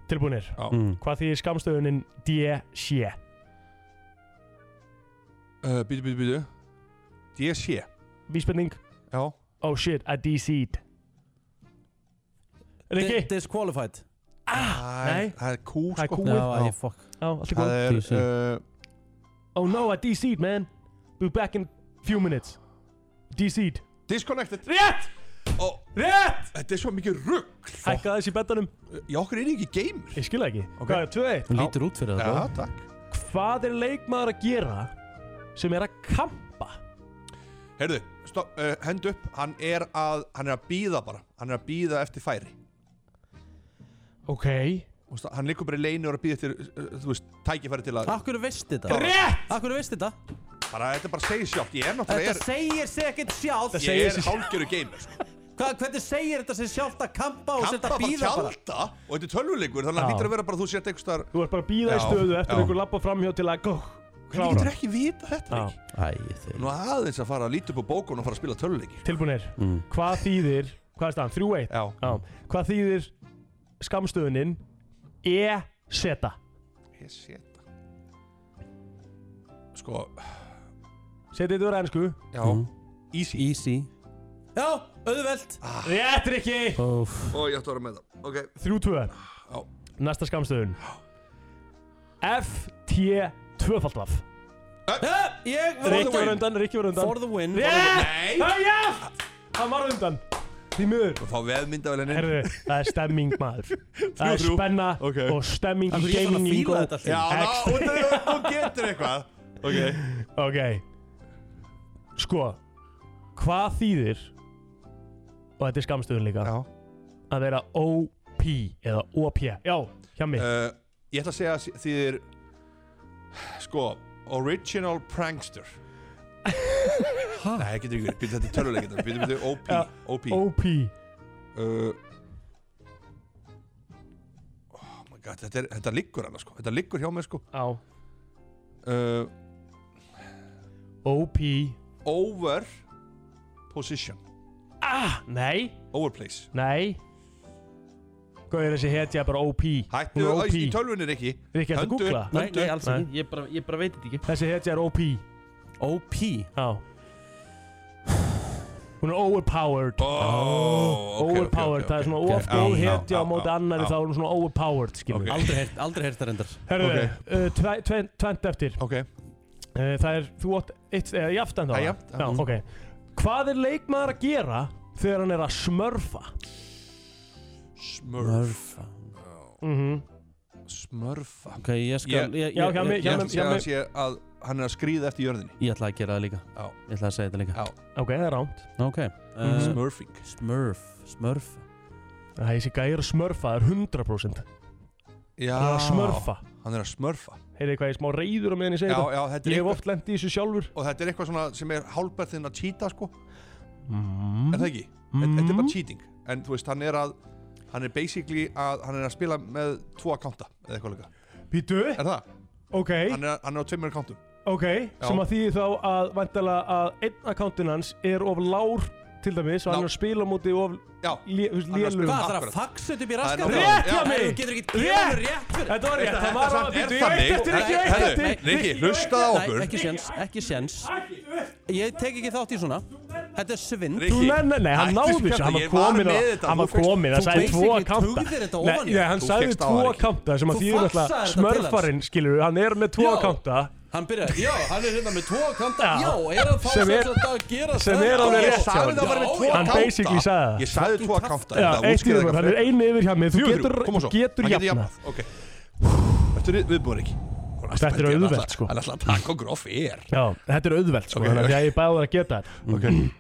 Speaker 2: Tilbúinir,
Speaker 3: Já.
Speaker 2: hvað þýðir skamstöðunin DC?
Speaker 3: uh, Býtu, býtu, býtu DSC
Speaker 2: Vísbending,
Speaker 3: Já
Speaker 2: oh shit, I DC'd Riki,
Speaker 1: Di- Disqualified.
Speaker 3: Æ, Það er kú,
Speaker 2: Það er
Speaker 3: sko
Speaker 2: kú.
Speaker 1: Já,
Speaker 3: Já.
Speaker 1: æ, fuck.
Speaker 2: Ah, já, allt er
Speaker 3: Það
Speaker 2: góð
Speaker 3: er
Speaker 1: DC.
Speaker 3: uh,
Speaker 2: Oh no, I DC'd man Be back in few minutes DC'd
Speaker 3: Disconnected
Speaker 2: Rétt!
Speaker 3: Ó,
Speaker 2: Rétt!
Speaker 3: Þetta er svo mikið rugg
Speaker 2: Hækka þessi betanum
Speaker 3: Já, okkur er ekki gamer
Speaker 2: Ég skil það ekki
Speaker 3: Ok.
Speaker 2: Hvað er 2-1?
Speaker 1: Hún lítur út fyrir það.
Speaker 3: Já,
Speaker 1: þó.
Speaker 3: takk
Speaker 2: Hvað er leikmaður að gera sem er að kampa?
Speaker 3: Heyrðu, stopp, uh, hend upp Hann er að, hann er að býða bara Hann er að býða eftir færi
Speaker 2: Ok
Speaker 3: Þú veist, Hann liggur bara í leinu og er að býða eftir uh, Þú veist, tækifæri til að
Speaker 1: Akkur veist þetta?
Speaker 2: Rétt!
Speaker 1: Akkur veist þetta?
Speaker 3: bara, Þetta bara segir sjálft Ég er náttúrulega
Speaker 1: Þetta
Speaker 3: er,
Speaker 1: segir sig ekkert sjálf
Speaker 2: Þetta
Speaker 3: Ég
Speaker 2: segir
Speaker 3: er
Speaker 2: sig-
Speaker 3: hálgjöru gamer sko.
Speaker 1: Hva, Hvernig segir þetta sig sjálft að kampa og setja
Speaker 3: Kappa
Speaker 1: að
Speaker 3: bara
Speaker 1: býða bara?
Speaker 3: tjálta Og þetta er tölvuleikur Þannig að
Speaker 2: Já.
Speaker 3: hlýtur að vera bara að Þú sért einhvers staðar
Speaker 2: Þú ert bara að býða í
Speaker 3: Já,
Speaker 2: stöðu eftir
Speaker 3: já.
Speaker 2: einhver lappa framhjá til að go,
Speaker 3: Þú
Speaker 2: klára
Speaker 3: getur ekki vita þetta
Speaker 2: Já.
Speaker 3: ekki
Speaker 1: Æ, þeir
Speaker 3: Nú aðeins að fara að líti upp á bókun og fara að spila tölvuleiki sko.
Speaker 2: Tilbúinir
Speaker 1: Mm,
Speaker 2: Hvað þýðir Hvað er staðan? 3-1
Speaker 3: Já.
Speaker 2: Hvað þýðir E skamstöðunin E-seta
Speaker 3: Ég sé þetta Sko,
Speaker 2: Setið þetta verið ennsku
Speaker 3: já Easy
Speaker 1: Mhm. Easy Já, auðvelt
Speaker 3: Ah.
Speaker 2: Rétt Rikki
Speaker 1: Óf
Speaker 3: Og ég ætti að vera með það Ok,
Speaker 2: 3-2
Speaker 3: Já.
Speaker 2: Næsta skamstöðun F, T, tvöfaldaf
Speaker 1: Ég var
Speaker 2: Rikki var undan, Rikki var undan
Speaker 1: For the win
Speaker 2: Rétt! Það er jæft! Hann var undan Því miður
Speaker 3: Fá veðmyndavelin
Speaker 2: Herðu, það er stemming maður Það er
Speaker 3: Þrjú, þrjú.
Speaker 2: spenna
Speaker 3: Ok.
Speaker 2: og stemming
Speaker 1: Af
Speaker 2: í
Speaker 1: hverju ég er svona að
Speaker 2: gaming
Speaker 1: fíla
Speaker 2: og-
Speaker 1: þetta allt í einu?
Speaker 3: Já,
Speaker 2: Ekstra-
Speaker 3: þá, þú- þú getur eitthvað Ok
Speaker 2: Ok Sko Hvað þýðir Og þetta er skamstöðun líka
Speaker 3: Já.
Speaker 2: Að vera OP Eða OP Já, hjá mig
Speaker 3: uh, Ég ætla að segja að þi- þýðir Sko Original prankster Nei, getur ekki verið Býtu þetta er töluleikir Býtu, býtu, OP
Speaker 2: Já.
Speaker 3: OP
Speaker 2: OP
Speaker 3: uh, Oh my god Þetta, er, þetta liggur hann sko Þetta liggur hjá mér sko
Speaker 2: Á
Speaker 3: uh,
Speaker 2: OP
Speaker 3: Over Position
Speaker 2: Ah, nei
Speaker 3: Overplace
Speaker 2: Nei Hvað er þessi hetja bara OP
Speaker 3: Hættu
Speaker 2: Hún er
Speaker 3: æst,
Speaker 2: OP
Speaker 3: í tölvunir ekki
Speaker 2: Rikki, ertu að
Speaker 3: Höndu.
Speaker 2: googla?
Speaker 1: Nei, nei, alls
Speaker 2: Nei.
Speaker 1: ekki Ég bara, ég bara veit þetta ekki
Speaker 2: Þessi hetja er OP
Speaker 1: OP
Speaker 2: Á Hún er overpowered
Speaker 3: oh, ok, ok,
Speaker 2: overpowered,
Speaker 3: ok,
Speaker 2: það er
Speaker 3: ok.
Speaker 2: svona
Speaker 1: ok.
Speaker 2: of
Speaker 3: Já,
Speaker 2: góð
Speaker 3: já,
Speaker 2: hetja á
Speaker 3: já,
Speaker 2: móti
Speaker 3: já,
Speaker 2: annari
Speaker 3: já.
Speaker 2: þá er hún svona overpowered skilur
Speaker 3: Ok.
Speaker 1: Aldrei heyrt, aldrei heyrt það reyndar
Speaker 2: Herðu,
Speaker 3: Ok.
Speaker 2: okay. uh, tvent eftir
Speaker 3: Ok,
Speaker 2: uh, Það er, þú átt eitt, eða jaft en þá
Speaker 3: Það er
Speaker 2: eða?
Speaker 3: jafnt, já. Mhm.
Speaker 2: Já, ok Hvað er leikmaður að gera þegar hann er að smörfa?
Speaker 3: smurf
Speaker 2: Mm
Speaker 3: Smurfa
Speaker 1: Ok, ég skal
Speaker 3: Ég-
Speaker 1: ég-
Speaker 2: Já,
Speaker 1: ég-
Speaker 2: hjá mig,
Speaker 3: Ég
Speaker 1: ég-
Speaker 2: hjá
Speaker 3: ætla
Speaker 2: mig.
Speaker 3: að segja að, sé að hann er að skríða eftir jörðinni
Speaker 1: Ég ætla að gera það líka
Speaker 3: Já.
Speaker 1: Ég ætla að segja þetta líka
Speaker 3: Já.
Speaker 2: Ok, það er rámt
Speaker 1: Ok
Speaker 2: Mhm.
Speaker 1: uh,
Speaker 3: Smurfing
Speaker 1: Smurf Smurf
Speaker 2: Það er sikka, ég er að smörfa, það er 100%
Speaker 3: Já
Speaker 2: Það er að smörfa
Speaker 3: Hann er að smurfa
Speaker 2: Heyrðu hvað ég er smá reyður á meðan ég segi
Speaker 3: Já,
Speaker 2: þetta
Speaker 3: já, þetta er
Speaker 2: Ég hef
Speaker 3: eitthvað
Speaker 2: oft lent í þessu sjálfur
Speaker 3: Og þetta er eitthvað svona sem er hálfberðin að cheata sko
Speaker 2: mm.
Speaker 3: Er það ekki? Þetta-
Speaker 2: Mhm.
Speaker 3: Þetta er bara cheating En þú veist, hann er að Hann er basically að Hann er að spila með tvo akkánta Eða eitthvað líka
Speaker 2: Býtu,
Speaker 3: Er það?
Speaker 2: ok,
Speaker 3: Hann er, hann er á tveimur akkántum
Speaker 2: ok Sem að því þá að væntalega að einn akkántin hans er of lár til dæmis og hann er að spila á móti of
Speaker 3: Já Hann er að
Speaker 2: lélum
Speaker 3: spila-
Speaker 1: Hvað það er að
Speaker 3: Akkurat.
Speaker 1: faxa þetta upp í
Speaker 3: Það er
Speaker 1: raskat?
Speaker 3: nákvæmlega-
Speaker 2: Rétt hjá
Speaker 3: Já,
Speaker 2: mig.
Speaker 1: Þú getur ekki gefið hann rétt fyrir
Speaker 2: Þetta var rétt, það var
Speaker 3: Þetta
Speaker 2: að
Speaker 3: er
Speaker 2: býtu, ég
Speaker 3: þannig
Speaker 2: eitt eftir, ekki
Speaker 1: Nei,
Speaker 2: eitt
Speaker 1: herðu,
Speaker 2: eftir
Speaker 1: nei,
Speaker 3: Riki, hlustaði á
Speaker 1: Nei,
Speaker 3: okkur
Speaker 1: ekki séns, ekki séns Ég tek ekki þátt í svona Þetta er svind
Speaker 3: Rikki,
Speaker 2: Þú nenni, nei, hann
Speaker 3: hættu
Speaker 2: náði
Speaker 3: þessu
Speaker 2: þessu, hann
Speaker 3: kjafti,
Speaker 2: var
Speaker 3: ég
Speaker 2: komin
Speaker 3: með
Speaker 2: að,
Speaker 3: þetta,
Speaker 2: hann
Speaker 3: þú
Speaker 2: var
Speaker 3: fékkst-
Speaker 2: komin, hann
Speaker 1: þú
Speaker 2: sagði tvo
Speaker 1: basically
Speaker 2: kanta.
Speaker 1: tuggðir
Speaker 2: Nei,
Speaker 1: þetta ofan í
Speaker 2: nei, hann
Speaker 3: Þú
Speaker 2: sagði
Speaker 3: fékkst á það,
Speaker 2: tvo
Speaker 3: Rikki.
Speaker 2: kanta, sem að
Speaker 1: Þú
Speaker 2: því er
Speaker 1: faxaðir
Speaker 2: alltaf
Speaker 1: þetta til hans.
Speaker 2: smörfarinn, skilur við, hann er með tvo
Speaker 1: Já.
Speaker 2: kanta,
Speaker 1: Hann byrjar, já, hann er hérna með tvo kanta
Speaker 2: Já.
Speaker 1: Já, er að fá
Speaker 2: Sem
Speaker 1: sem
Speaker 2: er-
Speaker 1: þetta að gera
Speaker 2: sem
Speaker 1: það?
Speaker 2: er alveg
Speaker 1: Já,
Speaker 2: rétt hjá
Speaker 3: Sagði
Speaker 2: honum.
Speaker 3: það að vera með tvo
Speaker 1: Já,
Speaker 2: Hann
Speaker 3: akkánta
Speaker 2: basically sagði það.
Speaker 3: Ég sagði tvo akkánta
Speaker 2: Já,
Speaker 3: þetta
Speaker 2: eitt
Speaker 3: útskýrði
Speaker 2: yfir,
Speaker 3: eitthvað
Speaker 2: hann er
Speaker 3: frekar.
Speaker 2: einu yfir hjá mig, þú
Speaker 3: Fjögur,
Speaker 2: getur,
Speaker 3: þrjú, koma svo.
Speaker 2: getur
Speaker 3: Hann getur
Speaker 2: jafna.
Speaker 3: jafnað, ok Þetta er viðbúin ekki
Speaker 2: Þetta er auðvelt, sko.
Speaker 3: Hann ætla að taka okkur á fyrr
Speaker 2: Já, þetta er auðvelt, sko,
Speaker 3: Ok.
Speaker 2: þannig að ég er bæði að geta þetta.
Speaker 3: okay.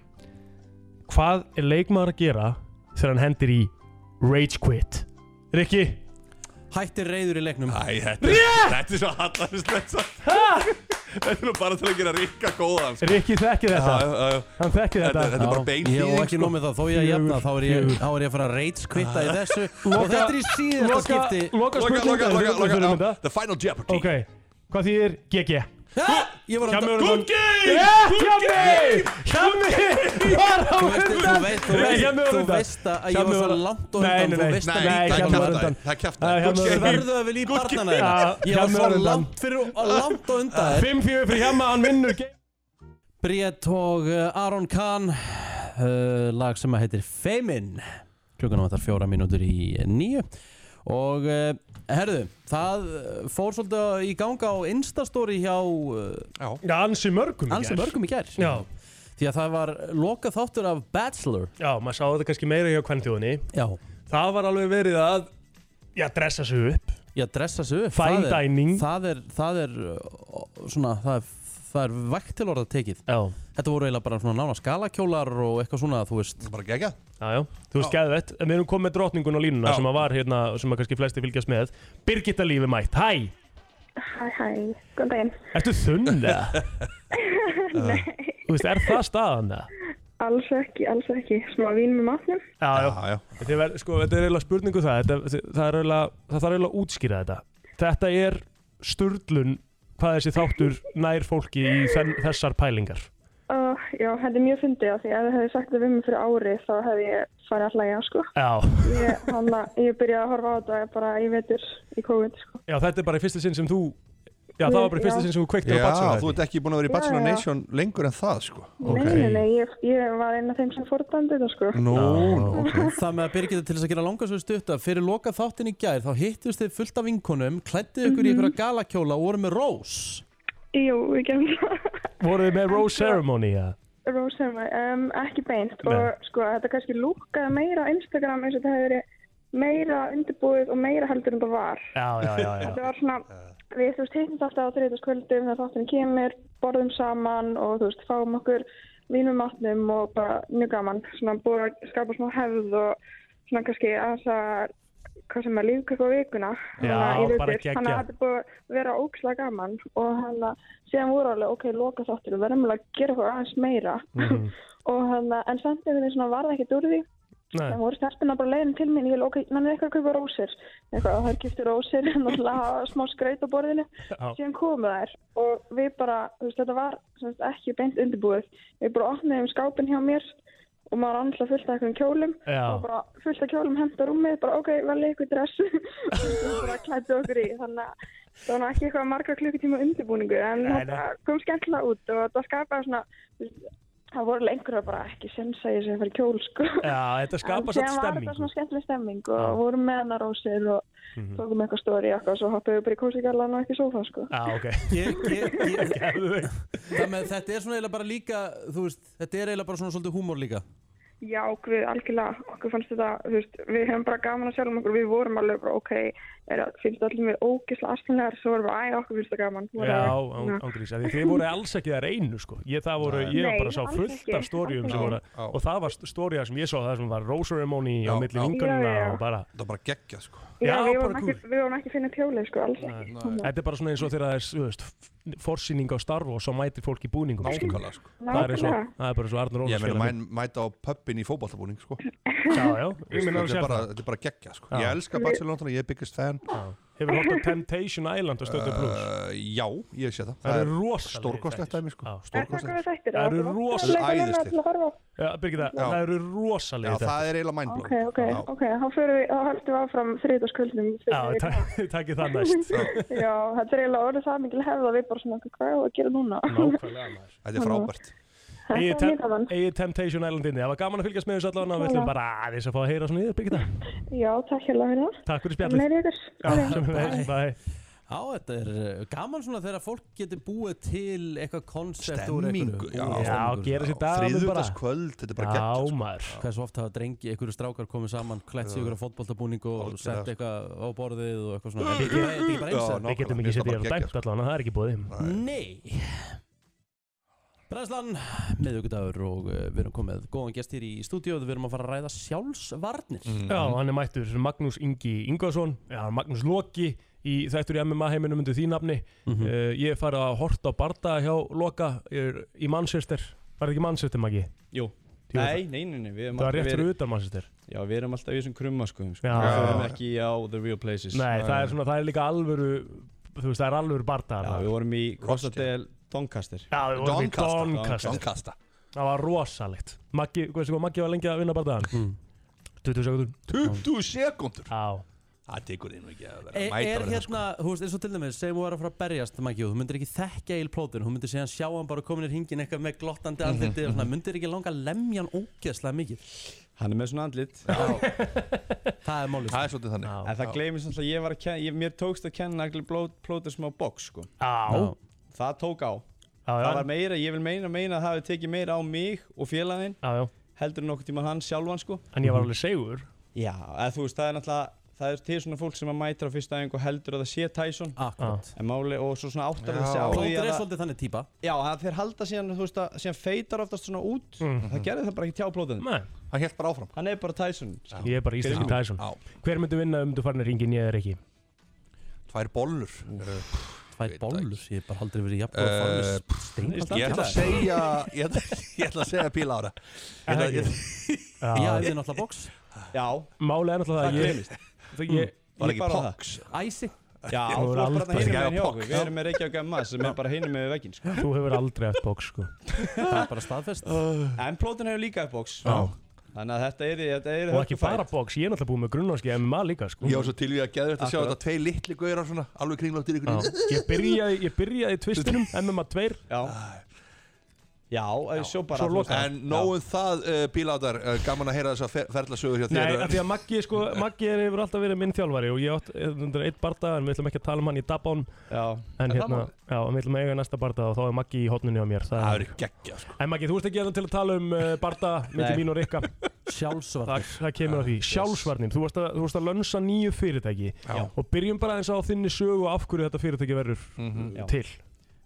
Speaker 2: Hvað er leikmaður að gera þegar hann hendir í rage quit? Rikki,
Speaker 1: Hættir reyður í leiknum
Speaker 3: Æ, þetta, er- þetta er svo hallarslegt Þetta er nú bara til að gera rikka góðan sko.
Speaker 2: Rikki þekkir
Speaker 3: Já,
Speaker 2: þetta,
Speaker 3: já, já, já.
Speaker 2: hann þekkir
Speaker 3: Þetta
Speaker 2: þetta.
Speaker 3: þetta er bara
Speaker 2: Já.
Speaker 3: bein
Speaker 1: Ég og ekki
Speaker 3: þýðing sko.
Speaker 1: nóg með það, þó ég að jafna
Speaker 2: Fjögur,
Speaker 1: þá er ég,
Speaker 2: fjögur. Ah.
Speaker 1: þá er ég að fara að reitskvitta í þessu Og
Speaker 2: Loka-
Speaker 1: þetta er í síðasta
Speaker 2: loka-
Speaker 1: skipti
Speaker 2: Loka
Speaker 3: Loka,
Speaker 2: spurning,
Speaker 3: loka,
Speaker 2: það er
Speaker 3: loka,
Speaker 2: auðvitað
Speaker 3: loka
Speaker 2: fyrir mynda
Speaker 3: já. The final jeopardy
Speaker 2: Ok, hvað þýðir GG?
Speaker 1: Ha, Ég var
Speaker 2: Hjá
Speaker 1: að
Speaker 2: mig var undan
Speaker 3: game!
Speaker 2: Yeah, hjá mig! Hjá mig! Var á
Speaker 1: Þú veist, þú
Speaker 2: undan
Speaker 1: veist, þú
Speaker 2: Nei,
Speaker 1: veist-
Speaker 2: hjá mig var
Speaker 1: þú
Speaker 2: undan
Speaker 1: veist að ég
Speaker 2: Hjá
Speaker 1: var
Speaker 2: mig
Speaker 1: svo
Speaker 2: var-
Speaker 1: langt á
Speaker 2: Nei,
Speaker 1: undan,
Speaker 2: nei,
Speaker 1: þú
Speaker 2: nei.
Speaker 1: veist
Speaker 3: Nei,
Speaker 1: það.
Speaker 2: Nei,
Speaker 3: það
Speaker 2: hjá
Speaker 3: er
Speaker 2: mér undan.
Speaker 3: kjaftaði Það er
Speaker 2: Nei,
Speaker 3: kjaftaði
Speaker 2: hjá
Speaker 3: Good
Speaker 2: mér
Speaker 1: Þú
Speaker 2: undan.
Speaker 3: game
Speaker 1: verður að vel í barnana
Speaker 2: Já,
Speaker 1: þeirra. Ég
Speaker 2: hjá
Speaker 1: var
Speaker 2: mér
Speaker 1: svo
Speaker 2: var undan.
Speaker 1: langt fyrir og langt á undan þér
Speaker 2: 5-4 fyrir hjá maður, hann vinnur game
Speaker 1: Briett og uh, Aron Kahn uh, lag sem að heitir Feimin klukkan vantar fjóra mínútur í nýju og uh, herðu það uh, fór svolítið í ganga á Instastory hjá uh,
Speaker 2: Já, ansi mörgum í
Speaker 1: ansi
Speaker 2: gær.
Speaker 1: mörgum í gær
Speaker 2: Já,
Speaker 1: því að það var loka þáttur af Bachelor
Speaker 2: já, maður sá þetta kannski meira hjá kvendjóðinni
Speaker 1: já,
Speaker 2: Það var alveg verið að Já, dressa sig upp
Speaker 1: ég að dressa sig upp
Speaker 2: Fine
Speaker 1: það er,
Speaker 2: dining.
Speaker 1: það er, það er uh, svona, það er það er vægt til orða tekið
Speaker 2: Já,
Speaker 1: þetta voru eiginlega bara svona nána skalakjólar og eitthvað svona þú veist
Speaker 3: Bara gegja
Speaker 2: já, já, þú veist gæðu þetta En við erum komið með drottningun á línuna
Speaker 3: Já.
Speaker 2: sem að var hérna, sem að kannski flesti fylgjast með Birgitta lífi mætt, hæ,
Speaker 6: Hæ, hæ, góðan daginn.
Speaker 2: ertu þunn eða? Þú veist, er það staðan eða?
Speaker 6: Alls ekki, alls ekki. Smá vín með matnum.
Speaker 2: Já, já,
Speaker 3: Já, já
Speaker 2: Þetta er, vel- sko, þetta er eiginlega spurningu það þetta, þi- það, er eiginlega, það þarf eiginlega að útskýra þetta Þetta er sturlun hvað þessi þáttur nær fólki í þen, þessar pælingar
Speaker 6: Uh, já, þetta er mjög fyndið af því ef þið hefði sagt það við mig fyrir ári þá hefði ég farið alltaf í sko.
Speaker 2: Já,
Speaker 6: Ég, hana, ég byrjaði að horfa á þetta bara í vetur í COVID sko.
Speaker 2: já þetta er bara í fyrsta sinn sem þú Já, það var bara í fyrsta sinn sem þú kveiktir á
Speaker 3: Já,
Speaker 2: Bachelor
Speaker 3: þú ert ekki búin að vera í
Speaker 6: Já,
Speaker 3: Bachelor
Speaker 6: já.
Speaker 3: Nation lengur en það sko
Speaker 6: Nei, nei, nei, ég, ég var einn af þeim sem fordandi þetta sko.
Speaker 3: Nú, ok
Speaker 1: Það með að Birgitta til þess að gera langar svo stutt að fyrir loka þáttin í gær þá hittust þið fullt af vinkonum, klættið ykkur í ykkur galakjóla og voru með rós.
Speaker 6: Jú, við gerum það.
Speaker 2: Voruð þið með Rose Ceremony, já
Speaker 6: Rose Ceremony, um, ekki beint
Speaker 2: Nei.
Speaker 6: og sko þetta kannski lúkkaði meira á Instagram eins og þetta hefði verið meira undirbúið og meira heldur en það var.
Speaker 2: Já, já, já, já
Speaker 6: Þetta var svona, við þú veist, hittum alltaf á þriðtaskvöldum þegar þátturinn kemur, borðum saman og þú veist, fáum okkur vínum matnum og bara mjög gaman, svona búið að skapa smá hefð og svona kannski aðeins að hvað sem er lífkökk á vikuna
Speaker 2: Já,
Speaker 6: Þannig að í vetur.
Speaker 2: bara geggjað.
Speaker 6: þannig að þetta er búið að vera ókslega gaman og hann að síðan voru alveg ok, loka þáttur við verðum alveg að gera eitthvað aðeins meira og hann að, en samt einhvern veginn svona varð ekkert úr því
Speaker 2: Nei.
Speaker 6: Það voru stelpuna bara leiðin til mín, ég vil okkur, nann er eitthvað að kaupa rósir. Eitthvað, og þær kipti rósir, náttúrulega hafa smá skraut á borðinu.
Speaker 2: Já.
Speaker 6: Síðan komu þær og við bara, þú veist, þetta var sem sagt, ekki beint undirbúið. Við bara opnaðum skápin hjá mér og maður var andla fullt af eitthvað kjólum.
Speaker 2: Já.
Speaker 6: Og bara fullt af kjólum henda rúmið, bara ok, velja eitthvað dress. og við bara klættu okkur í, þannig að það var nú ekki eitthvað marga klukkutíma undirbúningu. En
Speaker 2: Nei, nei.
Speaker 6: þetta kom skemmtilega út og það skapaði svona, þú veist, það voru lengur að bara ekki sensa í sig að fara í kjól, sko.
Speaker 2: Já, þetta skapa satt
Speaker 6: En síðan var þetta
Speaker 2: stemming
Speaker 6: svona skemmtileg stemming og
Speaker 2: Já. Mhm.
Speaker 6: vorum með hana rósir og tókum eitthvað stóri og svo hoppuðum við bara í kósigallan og ekki sófa sko.
Speaker 2: Já, ok
Speaker 1: Ég, ég, ég,
Speaker 2: Geðveikt.
Speaker 1: það með þetta er svona eiginlega bara líka, þú veist, þetta er eiginlega bara svona svolítið húmór líka.
Speaker 6: Já, við algjörlega, okkur fannst þetta, þú veist, við hefum bara gaman að sjálfum okkur, við vorum alveg bara, ok, er, finnst allir mér ógislega aðstæðlegar, svo vorum við, æ, okkur finnst það gaman.
Speaker 2: Já, án- ángríns, af því þið voru alls ekki þar einu sko Ég, það voru, ég
Speaker 6: Nei,
Speaker 2: bara sá
Speaker 6: alls
Speaker 2: fullt
Speaker 6: ekki,
Speaker 2: af stórium
Speaker 6: alls
Speaker 2: sem voru
Speaker 3: Já.
Speaker 2: Og það var stóriða sem ég sá, það sem var Rose Ceremony á
Speaker 3: Já,
Speaker 2: milli
Speaker 3: já.
Speaker 2: vingunina
Speaker 6: Já, já.
Speaker 2: og bara
Speaker 3: Það er bara geggjað sko
Speaker 6: já,
Speaker 2: Já,
Speaker 6: við
Speaker 2: bara
Speaker 6: vorum ekki,
Speaker 2: kúl.
Speaker 6: við vorum ekki að finna tjólið sko, alls ekki.
Speaker 2: Þetta er bara svona eins og þegar það er, þú veist, f- forsýning á starf og svo mætir fólk í búningum skilur.
Speaker 3: Nákvæmlega sko
Speaker 2: Það er, eins og,
Speaker 6: Nákvæmlega.
Speaker 2: það er bara svo Arnur
Speaker 3: Ég
Speaker 2: Ólafs
Speaker 3: meina mæn, mæta á pöppin í fótballtabúning sko
Speaker 2: Já, já, ég meina að
Speaker 3: Þetta
Speaker 2: sé
Speaker 3: er bara,
Speaker 2: það
Speaker 3: þetta er bara geggjað sko
Speaker 2: Já.
Speaker 3: Ég elska Bachelor London, ég er biggest fan
Speaker 2: Já. Hefur hótt á Temptation Island og Stötu Plus
Speaker 3: uh, Já, ég sé það
Speaker 2: Það
Speaker 3: Það er
Speaker 2: eru rosalegir
Speaker 3: stórkostlegt
Speaker 2: þættir.
Speaker 3: dæmi sko
Speaker 2: Já,
Speaker 6: Er það góðið
Speaker 3: Stórkostlegt
Speaker 6: þættir?
Speaker 2: Það eru rosalega
Speaker 3: æðislegir.
Speaker 6: æðistir.
Speaker 2: Já, Birgitta,
Speaker 3: Já.
Speaker 2: það eru
Speaker 3: Já,
Speaker 2: rosalega þetta
Speaker 3: það er eiginlega mindblowing
Speaker 6: Ok, ok,
Speaker 3: Já.
Speaker 6: ok, þá fyrir við, þá höldum við áfram þriðdagskvöldum.
Speaker 2: Já, ta- takk ég það næst
Speaker 6: Já, þetta er eiginlega orðið það mikil hefð að við bara svona, hvað er að gera núna?
Speaker 2: Nákvæmlega næst
Speaker 3: Þetta er frábært
Speaker 6: Þetta
Speaker 2: Egið
Speaker 6: var
Speaker 2: tem
Speaker 6: mjög gaman.
Speaker 2: Egið Temptation Island inni Það var gaman að fylgjast með þessu allan og við ætlum bara aðeins að fá að heyra svona í þér, Birgitta
Speaker 6: Já, takk hérlega fyrir það.
Speaker 2: Takk fyrir
Speaker 6: Gaman er
Speaker 2: spjallið
Speaker 6: ykkur.
Speaker 2: Já, sömuleiðis, bye.
Speaker 1: Já, þetta er uh, gaman svona þegar fólk getur búið til eitthvað konsept
Speaker 3: Stemmingu, já.
Speaker 2: Já, gera sér dagum bara
Speaker 3: Þriðutaskvöld, þetta er bara
Speaker 2: Já,
Speaker 3: geggjað sko.
Speaker 2: maður
Speaker 1: Hversu oft hafa drengi, einhverju strákar komið saman, klætt sig ykkur á fótboltabúning og
Speaker 3: Algjörlega,
Speaker 1: sett
Speaker 3: sko.
Speaker 1: eitthvað á borðið og eitthvað svona. En þetta er ekki bara eins
Speaker 3: Já,
Speaker 1: eða?
Speaker 2: Við getum
Speaker 3: Nákvæmlega, mér finnst það
Speaker 2: ekki setið þér
Speaker 3: bara sko.
Speaker 2: dæmt allan Það er ekki búið
Speaker 1: Nei Bræðslan, miðugudagur og uh,
Speaker 10: eh,
Speaker 1: við erum komið góðan gest hér í stúdíu og við erum að fara að ræða sjálfsvarnir
Speaker 3: Mm.
Speaker 2: Já, hann er mættur Magnús Ingi Ingvason Já, Magnús Loki í þættur í MMA heiminum undir því nafni
Speaker 10: Mhm.
Speaker 2: uh, Ég er farið að horta á barda hjá Loka Ég er í Manchester Var það ekki Manchester, Maggi?
Speaker 10: Jú.
Speaker 2: Jú,
Speaker 10: Nei, nei, nei, nei, við erum
Speaker 2: Það var rétt
Speaker 10: alltaf
Speaker 2: fyrir utan Manchester
Speaker 10: Já, við erum alltaf í þessum krumma sko sko.
Speaker 2: Já.
Speaker 10: Við erum ekki á the real places
Speaker 2: Nei, það er svona, það er líka alvöru Þú veist, það er alvöru barda
Speaker 10: Já,
Speaker 2: þarna.
Speaker 10: við vorum í Costa
Speaker 3: Rochdale.
Speaker 10: del Doncaster
Speaker 2: Já, við vorum í
Speaker 3: Doncaster.
Speaker 2: Doncaster
Speaker 3: Donkasta
Speaker 2: Það var rosalegt Maggi, veistu hvað, Maggi var lengi að vinna bardaðan
Speaker 1: Mm.
Speaker 2: 20 sekundur
Speaker 3: 20 sekundur
Speaker 2: Já
Speaker 3: Það tekur þið nú ekki að vera að
Speaker 1: Er,
Speaker 3: mæta sko. verið
Speaker 1: er
Speaker 3: það,
Speaker 1: hérna, þú veist, eins og til dæmis segjum þú er að fara að berjast, Maggi, og þú myndir ekki þekkja eil plótin, þú myndir segja hann sjá hann bara komin í hringin eitthvað með glottandi andliti og svona, myndir ekki langa að lemja hann ógeðslega mikið
Speaker 10: Hann er með svona andlit
Speaker 1: Það er málið sko.
Speaker 3: Það er svolítið þannig
Speaker 10: sko. En það gleymist alltaf, ég var að kenna ég, Mér tókst að kenna allir plóta smá box sko.
Speaker 2: Já
Speaker 1: Já.
Speaker 10: Það tók á
Speaker 2: Já,
Speaker 10: Það var
Speaker 2: já,
Speaker 10: meira, ég vil meina, meina að það hafi tekið meira á mig og félaginn
Speaker 2: já, já
Speaker 10: heldur en okkur tíma hann sjálfan sko
Speaker 2: En ég var
Speaker 3: Mhm.
Speaker 2: alveg segur
Speaker 10: Já, eða þú veist, það er náttúrulega það er til svona fólk sem að mæta á fyrsta æfingu og heldur að það sé Tyson
Speaker 1: Akkurat
Speaker 10: en máli og svo svona áttar
Speaker 3: Já.
Speaker 10: það sé á því
Speaker 1: Plótin
Speaker 10: að
Speaker 1: er
Speaker 10: það-
Speaker 1: svolítið þannig típa
Speaker 10: Já, það þeir halda síðan, þú veist að, síðan feitar oftast svona út Það gerði það bara ekki tjá plóðunum
Speaker 2: Mhm. Nei,
Speaker 3: Hann helt bara áfram
Speaker 10: Hann er bara Tyson sko. skilur.
Speaker 2: ég er bara íslenski Tyson
Speaker 3: Já,
Speaker 2: Hver myndi vinna um þú farin að ringin ég eða ekki?
Speaker 3: tvær bollur Uh,
Speaker 1: Tvær
Speaker 3: Veit það ekki.
Speaker 1: bollur, ég er bara aldrei verið jafn
Speaker 3: Eh,
Speaker 1: og farmis
Speaker 3: Ég ætla að segja Ég ætla- ég ætla að segja píla ára Ég ætla- ég ætla-
Speaker 1: Ég
Speaker 2: Já,
Speaker 1: æfði náttúrulega box,
Speaker 10: Já,
Speaker 2: málið er náttúrulega að ég
Speaker 10: Mm.
Speaker 2: Það ég
Speaker 3: Var
Speaker 10: Ég
Speaker 3: ekki
Speaker 10: bara það.
Speaker 3: pox
Speaker 1: æsi
Speaker 10: já,
Speaker 2: Þú
Speaker 10: þú
Speaker 2: voru
Speaker 10: er bara
Speaker 2: aldrei-
Speaker 10: hérna
Speaker 3: Ég
Speaker 10: meginn hjá
Speaker 3: er box.
Speaker 10: okkur Við erum með Reykjavík MMA sem er bara hinum með vegginn sko.
Speaker 2: Þú hefur aldrei eftir bóks sko
Speaker 1: Það er bara staðfest
Speaker 10: En plóðun hefur líka box
Speaker 2: Já
Speaker 10: Þannig að þetta er, þetta er
Speaker 2: Og ekki bara box, ég er náttúrulega búinn með grunnarski MMA líka sko.
Speaker 10: Ég var svo
Speaker 3: til við að geða þetta að sjá þetta tvei litli gaurar svona alveg kringláttir ykkur
Speaker 2: Ég byrjaði, ég byrjaði í tvistinum, MMA 2
Speaker 10: Já, já svo bara
Speaker 2: Svo lokaði.
Speaker 3: En nóðum það uh, bíláttar, uh, gaman að heyra þess að ferðlasögur hjá
Speaker 2: Nei,
Speaker 3: þér
Speaker 2: af því að Maggi, sko, Maggi er yfir alltaf verið minn þjálfari og ég átt undir eitt barda en við ætlum ekki að tala um hann í dabón
Speaker 10: Já,
Speaker 2: en
Speaker 10: Er það
Speaker 2: hérna,
Speaker 10: málið?
Speaker 2: já, en við ætlum að eiga næsta barda og þá er Maggi í hotninu á mér
Speaker 3: Það verður geggja sko.
Speaker 2: En Maggi, þú ert ekki hérna til að tala um uh, barda myndi
Speaker 10: Nei.
Speaker 2: mín og Rikka Sjálfsvarnir Það, það kemur að því, sjálfsvarnir, þú varst að, þú varst að lönsa nýju fyrirtæki já. og byrjum bara eins á þinni sögu af hverju þetta fyrirtæki verður
Speaker 10: Mhm, Já.
Speaker 2: til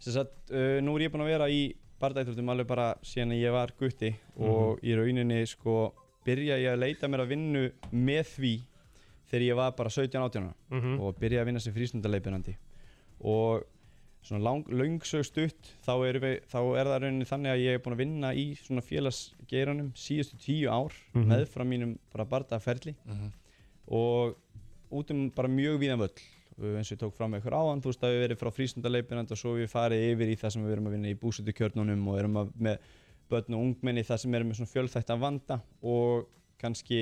Speaker 10: Sem sagt, uh, nú er ég búinn að vera í bardættröldum alveg bara síðan ég var gutti og
Speaker 2: Mhm.
Speaker 10: í rauninni sko byrja ég að leita mér að vinnu með því þegar ég var bara 17-18
Speaker 2: Mhm.
Speaker 10: og byrja að vinna sem frístundaleipinandi og svona lang, langsög stutt þá er, við, þá er það rauninni þannig að ég er búinn að vinna í svona félagsgeiranum síðustu tíu ár
Speaker 2: Mhm.
Speaker 10: með frá mínum bara bardaferli og út um bara mjög víðan völl Uh, eins og ég tók fram ykkur áðan, þú veist að við verið frá frísundaleipinand og svo við farið yfir í það sem við erum að vinna í búsutukjörnunum og erum að með börn og ungmenni það sem erum með svona fjölþættan vanda og kannski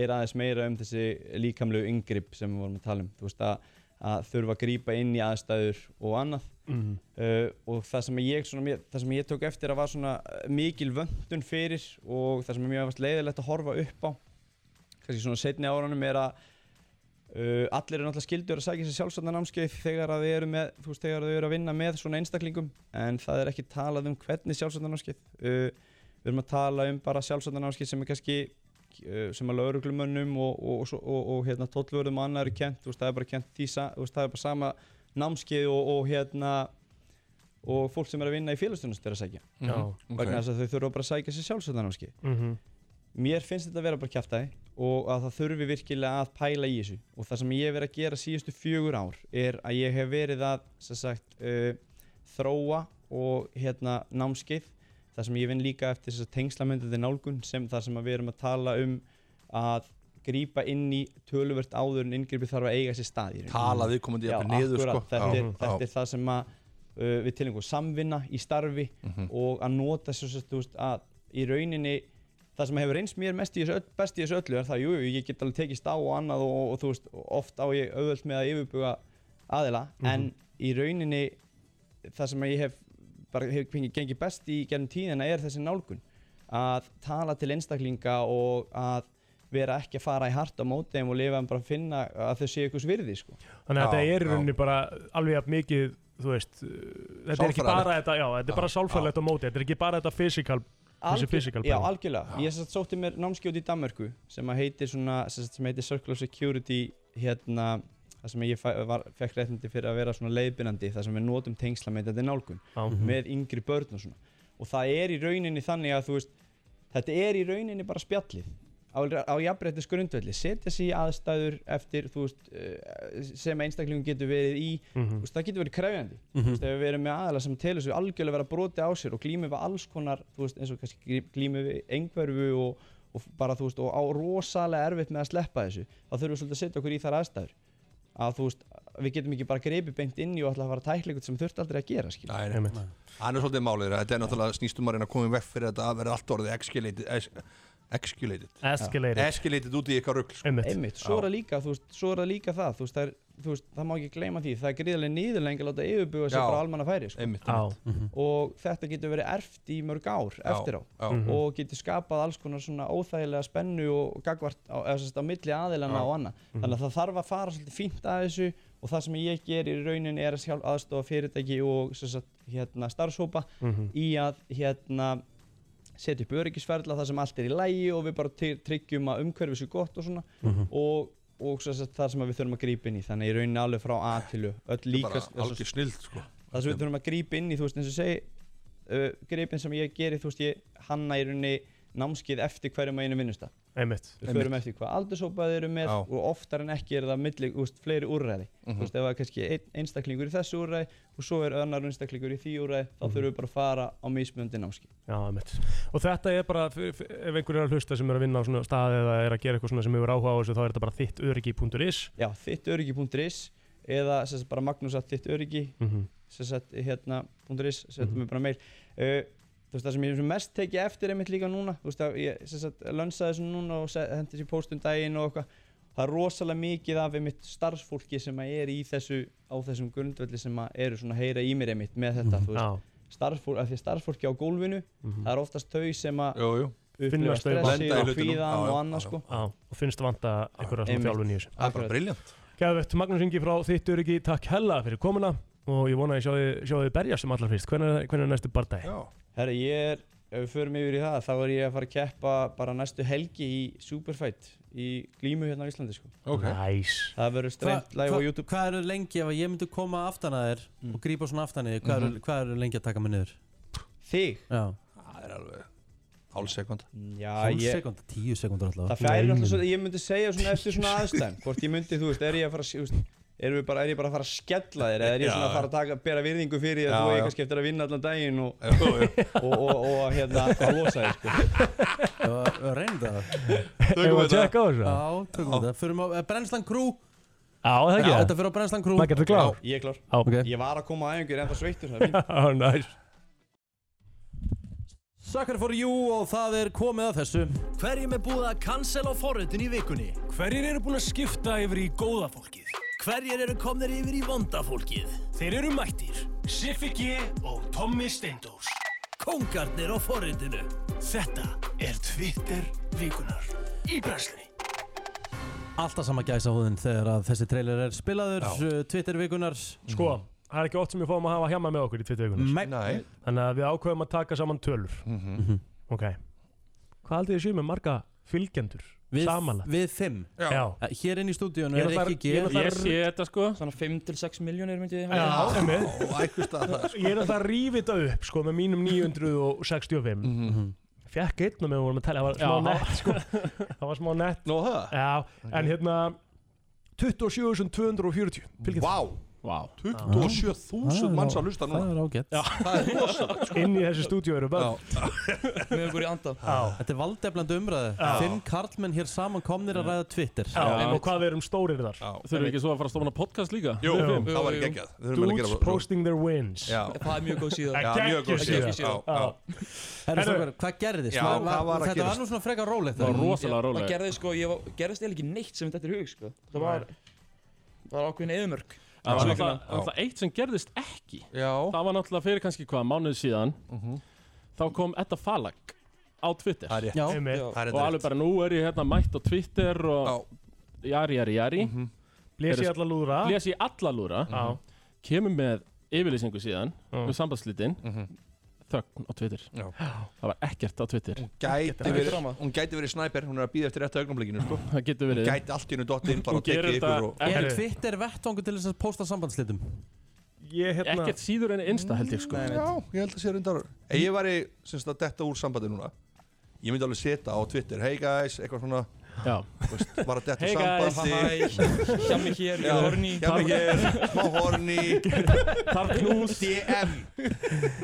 Speaker 10: er aðeins meira um þessi líkamlegu yngrip sem við vorum að tala um þú veist að, að þurfa að grípa inn í aðstæður og annað
Speaker 2: Mhm.
Speaker 10: uh, og það sem, ég, svona, mér- það sem ég tók eftir að var svona uh, mikil vöndun fyrir og það sem er mjög leiðilegt að horfa upp á kannski svona setni áranum er að uh, allir eru náttúrulega skildur að sækja sér sjálfsvarnanámskeið þegar að þau eru með þú veist, þegar þau eru að vinna með svona einstaklingum en það er ekki talað um hvernig sjálfsvarnanámskeið uh, við erum að tala um bara sjálfsvarnanámskeið sem er kannski uh, sem að lauruglumönnum og, og, og, svo- og, og hérna, tóllvörðum og annað eru kent þú veist, það er bara kent því sa- þú veist, það er bara sama námskeið og, og hérna og fólk sem er að vinna í félagsstjónust er að sækja
Speaker 2: Já, ok.
Speaker 10: vegna þess að þau þurfa bara að sækja sér sjálfsvöldanámski
Speaker 2: Mhm.
Speaker 10: mér finnst þetta að vera bara kjæftæði og að það þurfi virkilega að pæla í þessu og það sem ég hef verið að gera síðustu fjögur ár er að ég hef verið að sem sagt, uh, þróa og hérna, námskeið þar sem ég vinn líka eftir þess að tengslamöndandi nálgun sem þar sem að við erum að tala um að grípa inn í töluvert áður en inngripi þarf að eiga sér stað í rauninni.
Speaker 3: Tala viðkomandi
Speaker 10: Já,
Speaker 3: jafnvel niður,
Speaker 10: akkúrat.
Speaker 3: sko.
Speaker 10: þetta, er,
Speaker 3: Já, já.
Speaker 10: þetta er það sem að uh, við tilengum samvinna í starfi
Speaker 3: Mhm.
Speaker 10: og að nota svo sem þú veist að í rauninni það sem hefur reynst mér mest í þessu, öll, best í þessu öllu er það, jú, jú, ég get alveg tekist á og annað og, og, þú veist, oft á ég auðvöld með að yfirbuga aðila
Speaker 2: Mhm.
Speaker 10: en í rauninni það sem að ég hef bara hefur fengið gengið best í gennum tíðina er þessi nálgun að tala til einstaklinga og að vera ekki að fara í hart á móti þeim og lifa en bara að finna að þau séu eitthvað virði sko.
Speaker 2: Þannig að þetta er í rauninni bara alveg jafn mikið, þú veist, uh, þetta er ekki bara
Speaker 10: Sálfræðilegt.
Speaker 2: þetta, já, þetta er bara
Speaker 10: Já,
Speaker 2: sálfræðilegt á móti, þetta er ekki bara þetta physical, þessi
Speaker 10: Algjör-
Speaker 2: physical
Speaker 10: já,
Speaker 2: pæling.
Speaker 10: algjörlega, ég sem sagt sótti mér námskjóti í Danmörku sem að heitir svona, sem, sagt, sem heitir Circular Security hérna, það sem ég fæ, var, fekk réttindi fyrir að vera svona leiðbyrnandi, það sem við notum tengsla með þetta nálgun, með
Speaker 2: Mhm.
Speaker 10: yngri börn og svona, og það er í rauninni þannig að þú veist, þetta er í rauninni bara spjallið á, á jafnbrettis grundvelli, setja sig í aðstæður eftir, þú veist, eh, sem einstaklingum getur verið í,
Speaker 2: Mhm.
Speaker 10: þú veist, það getur verið krefjandi,
Speaker 2: Mhm.
Speaker 10: þú veist, ef við erum með aðala sem telur svo algjörlega vera broti á sér og glýmum við alls konar, þú veist, eins og kannski glýmum við einhverfu og, og bara, þú veist, og á rosalega erfitt með að sleppa þessu, þá þurfum við svolítið að setja okkur í þar aðstæður, að þú veist, við getum ekki bara greipið beint inn í og ætla að fara að tækla ykkur sem þurft aldrei að gera, skil.
Speaker 3: Nei, nei. Það eh. er svolítið málið þeirra, þetta er náttúrulega snýstum að reyna að koma í vekk fyrir þetta að vera allt orðið escalated es- Escalated
Speaker 2: Escalated.
Speaker 3: Já. Escalated út í eitthvað rugl sko.
Speaker 10: einmitt, svo er það líka, þú veist, svo er það líka það, þú veist, það er, þú veist, það má ekki gleyma því, það er gríðarlega nýðurlengi að láta yfirbuga sér
Speaker 3: Já.
Speaker 10: frá almanna færi, sko.
Speaker 3: Einmitt,
Speaker 2: Já. Mhm.
Speaker 10: Og þetta getur verið erft í mörg ár
Speaker 3: Já,
Speaker 10: eftir á
Speaker 3: já.
Speaker 2: Mhm.
Speaker 10: og getur skapað alls konar svona óþægilega spennu og gagvart á, eða, sérst, á milli aðilana
Speaker 3: Já.
Speaker 10: og annað.
Speaker 2: Mhm.
Speaker 10: Þannig að það þarf að fara svolítið fínt að þessu og það sem ég ger í raunin er að sjálf aðstofa fyrirtæki og sem sagt, hérna, starfshópa
Speaker 2: Mhm.
Speaker 10: í að hérna, setja upp öryggisferðla þar sem allt er í lægi og við bara ty- tryggjum að umhverfið sé gott og svona
Speaker 2: Mhm.
Speaker 10: og, og sem sagt, það sem að við þurfum að grípa inn í þannig í rauninni alveg frá A til U öll líka
Speaker 3: bara
Speaker 10: þessar-
Speaker 3: algjör snilld, sko.
Speaker 10: það sem við þurfum að grípa inn í þú veist eins og ég segi uh, gripin sem ég geri þú veist ég hanna í rauninni námskið eftir hverjum að einu vinnusta
Speaker 2: Einmitt.
Speaker 10: við förum eftir hvað aldurshópa þeir eru með
Speaker 2: Já.
Speaker 10: og oftar en ekki er það milli, úst, fleiri úrræði
Speaker 2: Mhm.
Speaker 10: þú veist ef það er kannski ein, einstaklingur í þessu úrræði og svo er annar einstaklingur í því úrræði þá
Speaker 2: Mhm.
Speaker 10: þurfum við bara að fara á mismjöndi námskið
Speaker 2: Já, einmitt. Og þetta er bara, f- f- ef einhver er að hlusta sem er að vinna á svona staði eða er að gera eitthvað svona sem hefur áhuga á þessu, þá er þetta bara þittöryggi.is.
Speaker 10: Já, þittöryggi.is eða sem sagt, bara magnus að þittöryggi
Speaker 2: Mhm.
Speaker 10: sem sagt, hérna, .is sem sagt, mm bara meil uh, þú veist það sem ég hef mest tekið eftir einmitt líka núna þú veist að ég sem sagt, lönsaði þessu núna og se- hendi þessi póst um daginn og eitthvað það er rosalega mikið af einmitt starfsfólki sem að er í þessu á þessum grundvelli sem að eru svona að heyra í mér einmitt með þetta þú
Speaker 2: Mhm. Já.
Speaker 10: veist starfsfólk, af því að starfsfólki á gólfinu
Speaker 2: Mhm.
Speaker 10: það er oftast þau sem að
Speaker 3: Jú, jú.
Speaker 10: upplifa
Speaker 2: Finnast þau vanda
Speaker 10: stressi
Speaker 2: í
Speaker 10: og
Speaker 2: hlutunum.
Speaker 10: hvíðan
Speaker 2: Já, já,
Speaker 10: og annað
Speaker 2: já,
Speaker 10: sko
Speaker 2: já. og finnst vanda einhverja svona
Speaker 10: Einmitt.
Speaker 2: þjálfun í þessu
Speaker 10: Það er bara Akkurat.
Speaker 3: brilljant
Speaker 2: Gæðvett, Magnús Ingi frá þitt öryggi, takk hella fyrir komuna og ég vona að ég sjá þið- sjá þið berja sem allar fyrst hvernig er næstu bardagi?
Speaker 10: Herra, ég er, ef við förum yfir í það, þá er ég að fara að keppa bara næstu helgi í Superfight í glímu hérna á Íslandi, sko.
Speaker 1: Ok.
Speaker 2: Nice.
Speaker 10: Það verður streymt
Speaker 1: Hva-
Speaker 10: live
Speaker 1: hva-
Speaker 10: á YouTube.
Speaker 1: Hvað eru lengi ef að ég myndi koma aftan að þér
Speaker 3: Mm.
Speaker 1: og grípa svona aftan í þér, hvað, mm
Speaker 10: Mhm.
Speaker 1: hvað eru lengi að taka mig niður?
Speaker 10: Þig?
Speaker 1: Já
Speaker 3: Það er alveg hálf sekund
Speaker 10: Já,
Speaker 1: Hálf
Speaker 10: ég-
Speaker 1: sekund, tíu sekundur alltaf
Speaker 10: Það færi náttúrulega svo, ég myndi segja svona eftir svona aðstæðum, hvort ég myndi, þú veist, er ég að fara að, þú veist, er, bara, er ég bara að fara að skella þér, eða er ég svona
Speaker 2: Já,
Speaker 10: að fara að taka, bera virðingu fyrir því
Speaker 2: Já,
Speaker 10: að þú
Speaker 2: já.
Speaker 10: eitthvað skiptir að vinna allan daginn og, og, og, og, og hérna, að losa þér, sko.
Speaker 1: Reynda
Speaker 2: Eigum við að tjekka á þessu?
Speaker 1: Já, tökum við það Förum á eh, Brennslan Crew
Speaker 2: Já, það ekki
Speaker 1: Já,
Speaker 2: það.
Speaker 1: þetta fyrir á Brennslan Crew
Speaker 2: Maggi, ertu klár?
Speaker 10: Ég er klár.
Speaker 2: Já, ok.
Speaker 10: Ég var að koma á æfingu, ég er ennþá sveittur, það er fínt.
Speaker 2: Já, næs
Speaker 1: Sucker for you og það er komið að þessu
Speaker 4: Hverjum er búið að cancel á forritun í vikunni? Hverjir eru búin að skipta yfir í góða fólkið? Hverjir eru komnir yfir í vonda fólkið? Þeir eru mættir. Siffi G og Tommi Steindós. Kongarnir á forritinu. Þetta er Twitter vikunar. Í brensli.
Speaker 1: Alltaf sama gæsa húðin þegar að þessi trailer er spilaður
Speaker 2: Já.
Speaker 1: uh, Twitter vikunar
Speaker 2: Sko, það er ekki oft sem við fáum að hafa hjama með okkur í
Speaker 1: Nei.
Speaker 2: tvittaugunar
Speaker 1: Nei.
Speaker 2: Þannig að við ákveðum að taka saman tölur
Speaker 1: Mhm.
Speaker 2: Ok Hvað haldið þið séu með marga fylgjendur?
Speaker 1: Við-
Speaker 2: Samanlagt?
Speaker 1: Við fimm
Speaker 2: Já. Já.
Speaker 1: Eh, Hér inn í stúdíunum
Speaker 2: Ég er
Speaker 1: er
Speaker 2: náttúrulega-
Speaker 1: ekki G
Speaker 2: ég er náttúrulega- Ég sé
Speaker 11: þetta sko Svona 5-6 miljónir myndi ég
Speaker 2: Já, einmitt.
Speaker 3: það,
Speaker 12: sko.
Speaker 2: Ég er alltaf að rífi þetta upp sko, með mínum 965 mm
Speaker 3: Mhm.
Speaker 2: -hmm. Fekk einn og með vorum að tala, það var smá
Speaker 11: Já.
Speaker 2: nett sko. Það var smá nett
Speaker 3: Nó það?
Speaker 2: Já, en hérna 27.240 fylgjum
Speaker 3: Vá,
Speaker 11: wow.
Speaker 3: 27.000 manns að hlusta núna
Speaker 1: Það er ágætt
Speaker 3: Það er rosalegt sko.
Speaker 2: Inn í þessu stúdíu eru börn
Speaker 11: Með okkur í andan
Speaker 1: Þetta er valdeflandi umræði
Speaker 2: Já.
Speaker 1: Fimm karlmenn hér saman komnir að ræða Twitter
Speaker 2: Já, og hvað við erum stórir þar
Speaker 11: Þurfum við ekki svo að fara að stofna podcast líka?
Speaker 3: Jú,
Speaker 11: Við fimm.
Speaker 3: það væri geggjað. Við þurfum að gera
Speaker 2: Dudes
Speaker 3: svo-
Speaker 2: posting their wins
Speaker 3: Já.
Speaker 11: Það er mjög góð síða.
Speaker 2: Já, mjög góð síða. Já.
Speaker 1: Herru,
Speaker 11: Herru.
Speaker 1: strákar, hvað gerðist?
Speaker 11: Já,
Speaker 1: Var- var-
Speaker 11: hvað sko. var að
Speaker 1: þetta
Speaker 11: gerast?
Speaker 1: var nú svona frekar rólegt
Speaker 11: Það var rosalega Það
Speaker 1: rólegt
Speaker 11: gerðist sko, ég var, gerðist eiginlega ekki neitt sem þetta er hug sko. Það var, það var ákveðin eðumörk
Speaker 1: Það var
Speaker 11: Svo
Speaker 1: náttúrulega-
Speaker 11: einhvern- náttúrulega eitt sem gerðist ekki Já. Það var náttúrulega fyrir kannski hvað, mánuð síðan Þá kom Edda Falag á
Speaker 3: Mhm.
Speaker 11: Twitter
Speaker 3: Það er rétt.
Speaker 11: Já.
Speaker 3: Já. Einmitt. Það er
Speaker 11: Og
Speaker 3: rétt.
Speaker 11: alveg bara nú er ég hérna mætt á Twitter og Jari, jari, jari
Speaker 3: Mhm.
Speaker 2: Blés í
Speaker 11: Gerðist-
Speaker 2: alla lúðra.
Speaker 11: Blés í alla lúra
Speaker 2: Já.
Speaker 11: Kemur með yfirlýsingu síðan
Speaker 2: Já.
Speaker 11: Með sambandslítin
Speaker 3: Mhm.
Speaker 11: Þögn á Twitter Já. Það var ekkert á Twitter
Speaker 3: Gæti verið, hún gæti verið snæper, hún er að býða eftir réttu augnablikinu sko.
Speaker 11: Það getur verið.
Speaker 3: Hún gæti allt í hennu dottinn bara
Speaker 11: Hún
Speaker 3: og tekið
Speaker 11: gerir
Speaker 3: ykkur
Speaker 11: þetta-
Speaker 3: og
Speaker 1: Er Twitter vettvangu til þess að posta sambandslitum?
Speaker 2: Ég
Speaker 11: hérna- Ekkert síður en Insta, held ég, sko.
Speaker 3: Já, ég held að sé reyndar Ef ég væri, sem sagt, detta úr sambandi núna Ég myndi alveg setja á Twitter Hey guys, eitthvað svona
Speaker 11: Já
Speaker 3: veist, Var að detta
Speaker 11: Hey
Speaker 3: úr
Speaker 11: guys,
Speaker 3: sambandi
Speaker 11: hi, hjá mig hér, ég er
Speaker 3: Já,
Speaker 11: horny.
Speaker 3: Hjá mig hér, smá horny
Speaker 11: Þarf knús.
Speaker 3: DM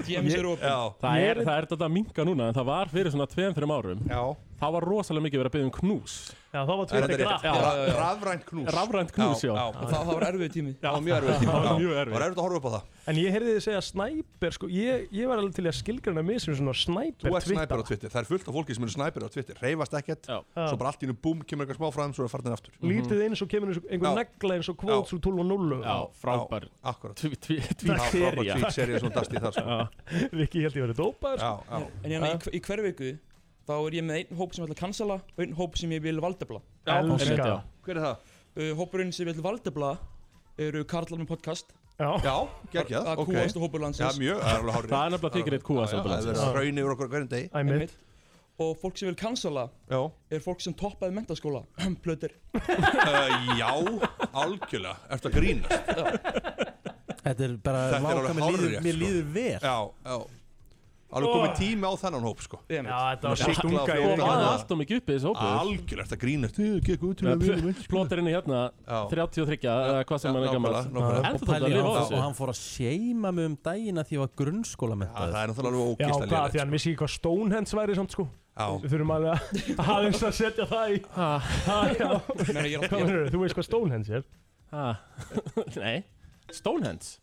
Speaker 11: DMs eru opið Það er, það er þetta að minga núna en það var fyrir svona 2-3 árum
Speaker 3: Já
Speaker 11: Það var rosalega mikið verið að byggja um knús
Speaker 2: Já, þá var
Speaker 3: Twitter glatt. Ra- rafrænt knús.
Speaker 11: Rafrænt knús,
Speaker 3: Já,
Speaker 11: já,
Speaker 3: já. Og það- það var erfiður
Speaker 11: tími
Speaker 3: Það var mjög erfið tíma
Speaker 11: Það var mjög
Speaker 3: Það var
Speaker 11: erfið
Speaker 3: erfið að horfa upp á það
Speaker 2: En ég heyrði þið segja snæper sko, ég, ég var alveg til í að skilgrana mig sem svona snæper
Speaker 3: Þú ert snæper á Twitter, það er fullt af fólki sem eru snæper á Twitter Reyfast ekkert, svo bara allt í hennu búm Kemur eitthvað smá fram, svo er farnir aftur
Speaker 1: Mhm.
Speaker 2: Lítið eins og kemur eins og
Speaker 3: Já.
Speaker 2: einhver negla eins og kvóts úr 12 og 0
Speaker 3: Já, frábær. Já, akkúrat. Já, frábær
Speaker 11: Tweet-sería.
Speaker 3: tweet-sería sem þú dast í það, sko.
Speaker 2: Viki, ég held ég verið dópaður
Speaker 3: Já, já.
Speaker 11: En
Speaker 2: hérna
Speaker 11: hérna í, í hverju viku þá er ég með einn hóp sem ég ætla að cancela og einn hóp sem ég vil valdefla
Speaker 2: Já, Elska.
Speaker 11: Einmitt, já.
Speaker 3: Hver er það?
Speaker 11: Uh, hópurinn sem ég vil valdefla eru Karlar með podcast
Speaker 2: Já,
Speaker 3: já geggjað,
Speaker 11: Það er
Speaker 3: ok.
Speaker 11: kúastu hópur landsins
Speaker 3: Já, mjög, það er alveg hárrétt.
Speaker 11: Það er nefnilega þykir eitt
Speaker 3: Já, já,
Speaker 11: kúast hópur
Speaker 3: það er verið að hrauna yfir okkur hverjum degi. Einmitt.
Speaker 11: Einmitt. Og fólk sem vil cancela
Speaker 3: já.
Speaker 11: er fólk sem toppaði mentaskóla Plötir
Speaker 3: Uh, já, algjörlega, ertu að grínast
Speaker 1: Þetta er bara
Speaker 3: Þetta er
Speaker 1: váka,
Speaker 3: alveg
Speaker 1: mér líður-
Speaker 3: hárrétt
Speaker 1: mér
Speaker 3: sko.
Speaker 1: líður vel.
Speaker 3: Já, já Alveg komið tími á þennan hóp sko
Speaker 11: Já,
Speaker 2: þetta
Speaker 11: var stunga í vikunni. Það var
Speaker 2: um
Speaker 11: allt of mikið uppið þessi hópur.
Speaker 3: Algjörlega, ertu að grínast Þið gekk út til að vinna með
Speaker 11: Plóterinn er hérna 33 eða hvað sem hann er gammal En þú
Speaker 1: Og
Speaker 11: þarf að
Speaker 1: pæli,
Speaker 11: lifa á
Speaker 1: hann,
Speaker 11: þessu
Speaker 1: og hann fór að seima mig um daginn að því ég var grunnskóla með það
Speaker 3: er náttúrulega alveg
Speaker 2: Já, hvað,
Speaker 3: sko.
Speaker 2: því hann vissi ekki hvað Stonehenge væri samt sko
Speaker 3: Já
Speaker 2: Við þurfum alveg að aðeins að setja það í Ha, já
Speaker 11: Meina, ég er-
Speaker 2: Hvað mennur þú? Þú veist hvað Stonehenge er?
Speaker 11: Ha, Nei, Stonehands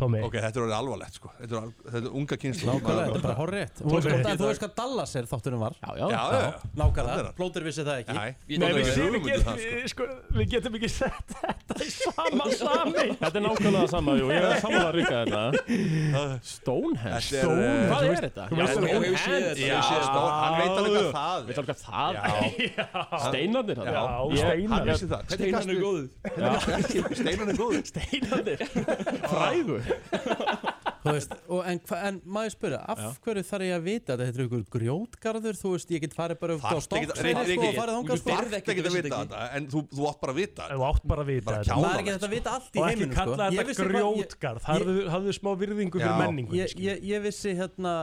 Speaker 2: Tommy
Speaker 3: Ok, þetta er orðið alvarlegt sko Þetta er, al- þetta er unga kynslu
Speaker 1: Nákvæmlega, þetta er bara horrið Þú veist hvað- þú veist hvað Dallas er þátturinn var Já,
Speaker 3: já. Já, já. Þetta er
Speaker 1: Nákvæmlega,
Speaker 3: það.
Speaker 1: plóter vissi það ekki
Speaker 3: Nei,
Speaker 1: Ég-
Speaker 2: Nei, við,
Speaker 1: Plóter vissi
Speaker 2: við,
Speaker 1: hugmynd um
Speaker 2: getum,
Speaker 1: það, sko.
Speaker 2: við, sko, við getum ekki sett þetta í sama sami
Speaker 11: Þetta er nákvæmlega sama, jú, ég er sammála ríka þetta Stonehenge
Speaker 3: Þetta er, eh,
Speaker 11: Hvað
Speaker 3: þú
Speaker 11: er
Speaker 3: veist-
Speaker 11: þetta?
Speaker 3: þú veist- Þú hefur séð þetta, þú hefur séð Stone- hann veit alveg hvað það er.
Speaker 11: Veit alveg hvað
Speaker 3: Já.
Speaker 11: það er Steinarnir þarna.
Speaker 3: Já,
Speaker 11: Ég-
Speaker 3: steinar Hann
Speaker 11: ég-
Speaker 3: vissi það Hvernig gastu- Steinarnir er góður
Speaker 11: Steinarnir Frægur
Speaker 1: Þú veist, og, en, hva- en maður spyrja, af hverju þarf ég að vita að þetta er ykkur grjótgarður, þú veist, ég get farið bara upp á
Speaker 3: Þarft ekki
Speaker 1: stokksæri sko, og farið þangað sko
Speaker 3: að vita þetta En þú, þú átt bara að vita
Speaker 2: Þú átt bara að vita
Speaker 1: þetta. Maður er ekki hægt
Speaker 2: sko.
Speaker 1: að vita allt í heiminum, sko.
Speaker 2: Og ekki
Speaker 1: Ég
Speaker 2: kalla
Speaker 1: vissi hvað-
Speaker 2: þetta
Speaker 1: ég-
Speaker 2: grjótgarð Hafðu, hafðu smá virðingu fyrir menningu
Speaker 1: ég, ég, ég vissi hérna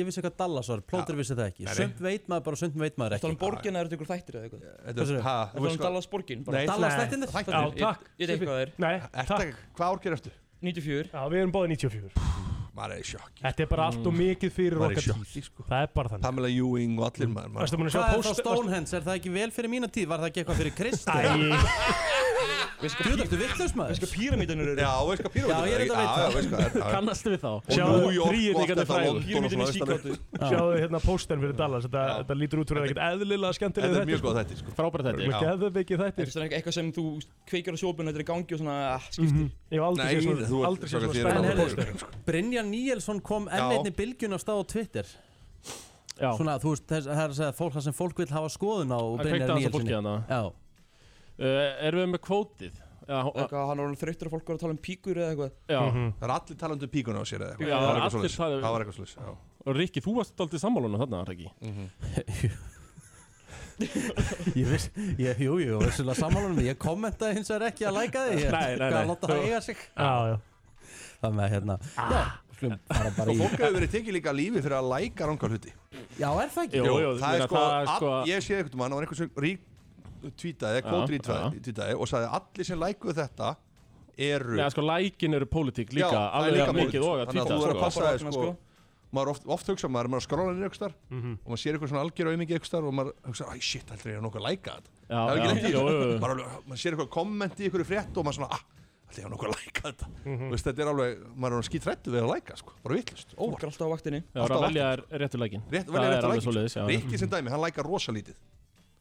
Speaker 1: ég vissi hvað Dallas var, plóter vissi það ekki
Speaker 2: Nei, nei.
Speaker 1: sumt veit maður bara, sumt veit
Speaker 12: Það
Speaker 1: maður ekki
Speaker 12: er um borgina, er þetta ykkur þættir eða eitthvað?
Speaker 3: Þetta er- ha,
Speaker 12: Það
Speaker 3: þú
Speaker 12: er
Speaker 3: veist
Speaker 12: um
Speaker 3: hvað-
Speaker 12: Dallas borgin
Speaker 3: Nei,
Speaker 1: Dallas þættirnir?
Speaker 12: Já, takk Ég veit hvað það er
Speaker 2: Nei,
Speaker 3: takk Hvað árger eftir?
Speaker 12: 94
Speaker 2: Já, við erum báðið 94
Speaker 3: Maður er í sjokki
Speaker 2: Þetta er bara allt og mikið fyrir
Speaker 3: Maður er í
Speaker 2: okkar
Speaker 3: sjokki, sko.
Speaker 2: tíð sko. Það er bara þannig
Speaker 3: Pamela Ewing og allir maður maður-
Speaker 2: Varstu búin að sjá
Speaker 1: Hvað er þá
Speaker 2: post-
Speaker 1: Stonehenge, er það ekki vel fyrir mína tíð? Var það ekki eitthvað fyrir Kristi?
Speaker 2: sko
Speaker 1: Þú ertu vittlust maður Veistu
Speaker 12: hvað píramídanur
Speaker 3: Já, veistu hvað píramídanur
Speaker 1: Já, ég er þetta
Speaker 3: Já, já,
Speaker 1: að
Speaker 3: veistu
Speaker 1: veit
Speaker 3: hvað er- já, já.
Speaker 11: Kannastu við þá?
Speaker 3: Og New York og allt þetta London og svona austan við.
Speaker 2: Sjáðu hérna pósten fyrir Dallas Þetta, þetta lítur út fyrir ekkert eðlilega skemmtilega
Speaker 3: Þetta er mjög góð þætti sko.
Speaker 11: Frábæra
Speaker 2: Þetta er geðveikið
Speaker 12: Þetta
Speaker 2: hérna, þættir
Speaker 12: er svona eitthvað sem þú kveikir á sjópun Þetta er í gangi og svona ah, skiptir
Speaker 2: Ég hef aldrei séð svona- aldrei séð svona spennandi póster.
Speaker 3: sko.
Speaker 1: Brynjar Níelsson kom enn
Speaker 12: Já.
Speaker 1: einni bylgjun á stað á Twitter
Speaker 11: Já.
Speaker 1: Svona, þú veist, þess- það er að segja fólk það sem fólk vil hafa skoðun á
Speaker 11: Það kveikti
Speaker 1: Brynjar
Speaker 11: hans að fólki
Speaker 1: Níelssoni
Speaker 11: hana
Speaker 1: Já
Speaker 11: Erum við með kvótið? Já, hó-
Speaker 12: Eitthvað, hann var alveg þreyttur að fólk var að tala um píkur eða eitthvað
Speaker 11: Já. Mhm.
Speaker 3: Það er allir talandi um píkuna á sér eða eitthvað.
Speaker 11: Já,
Speaker 3: Það var eitthvað
Speaker 11: allir
Speaker 3: svoleiðis.
Speaker 11: sagði-
Speaker 3: Það var eitthvað sluss
Speaker 11: Og Rikki, þú varst alltaf í sammálunum þarna, Rikki
Speaker 1: Ég veist, ég, jú, jú, vissulega sammálanum Ég kommentaði hins vegar ekki að læka því Ég-
Speaker 11: Nei, nei,
Speaker 1: Hvað
Speaker 11: nei.
Speaker 1: að láta það eiga sig
Speaker 2: Já, já
Speaker 1: Það með hérna Já, slum fara bara
Speaker 3: Og
Speaker 1: í
Speaker 3: fólk hefur verið tekið líka lífi fyrir að læka rangar hluti
Speaker 1: Já, er það ekki?
Speaker 3: það er sko,
Speaker 11: það er
Speaker 3: all,
Speaker 11: sko-
Speaker 3: ég sé eitthvað mann, það var einhvern sem rík tweetaði, kvót ríktaði og sagði allir sem lækuðu þetta eru
Speaker 11: Nei, sko, lækin eru pólitík líka
Speaker 3: það er
Speaker 11: Alveg
Speaker 3: líka
Speaker 11: jafn mikið
Speaker 3: pólitík.
Speaker 11: og að
Speaker 3: Þannig
Speaker 11: tvíta
Speaker 3: þú verður að passa
Speaker 11: sko.
Speaker 3: þig sko, maður oft, oft hugsa maður, maður er að skróla niður ykkur
Speaker 11: Mhm.
Speaker 3: og maður sér eitthvað svona algjör auðmingi ykkur og maður hugsa, æ shit, heldur ég að nokkuð læka þetta
Speaker 11: Já,
Speaker 3: það er
Speaker 11: já.
Speaker 3: ekki lengt í
Speaker 11: Jú, jú, jú.
Speaker 3: maður, alveg- maður sér eitthvað komment í ykkur frétt og maður svona, ah, heldur ég að nokkuð læka þetta mm
Speaker 11: Mhm.
Speaker 3: Vist, þetta er alveg, maður er skítrættu við að læka sko, bara vittlust,
Speaker 12: Fólk er alltaf á vaktinni
Speaker 11: Já, það velja er réttu lækin
Speaker 3: Rétt,
Speaker 11: Það
Speaker 3: velja
Speaker 11: er
Speaker 3: rétt að
Speaker 11: alveg svoleiðis, já.
Speaker 3: lækja Rikki sko. sem dæmi, hann lækar rosa lítið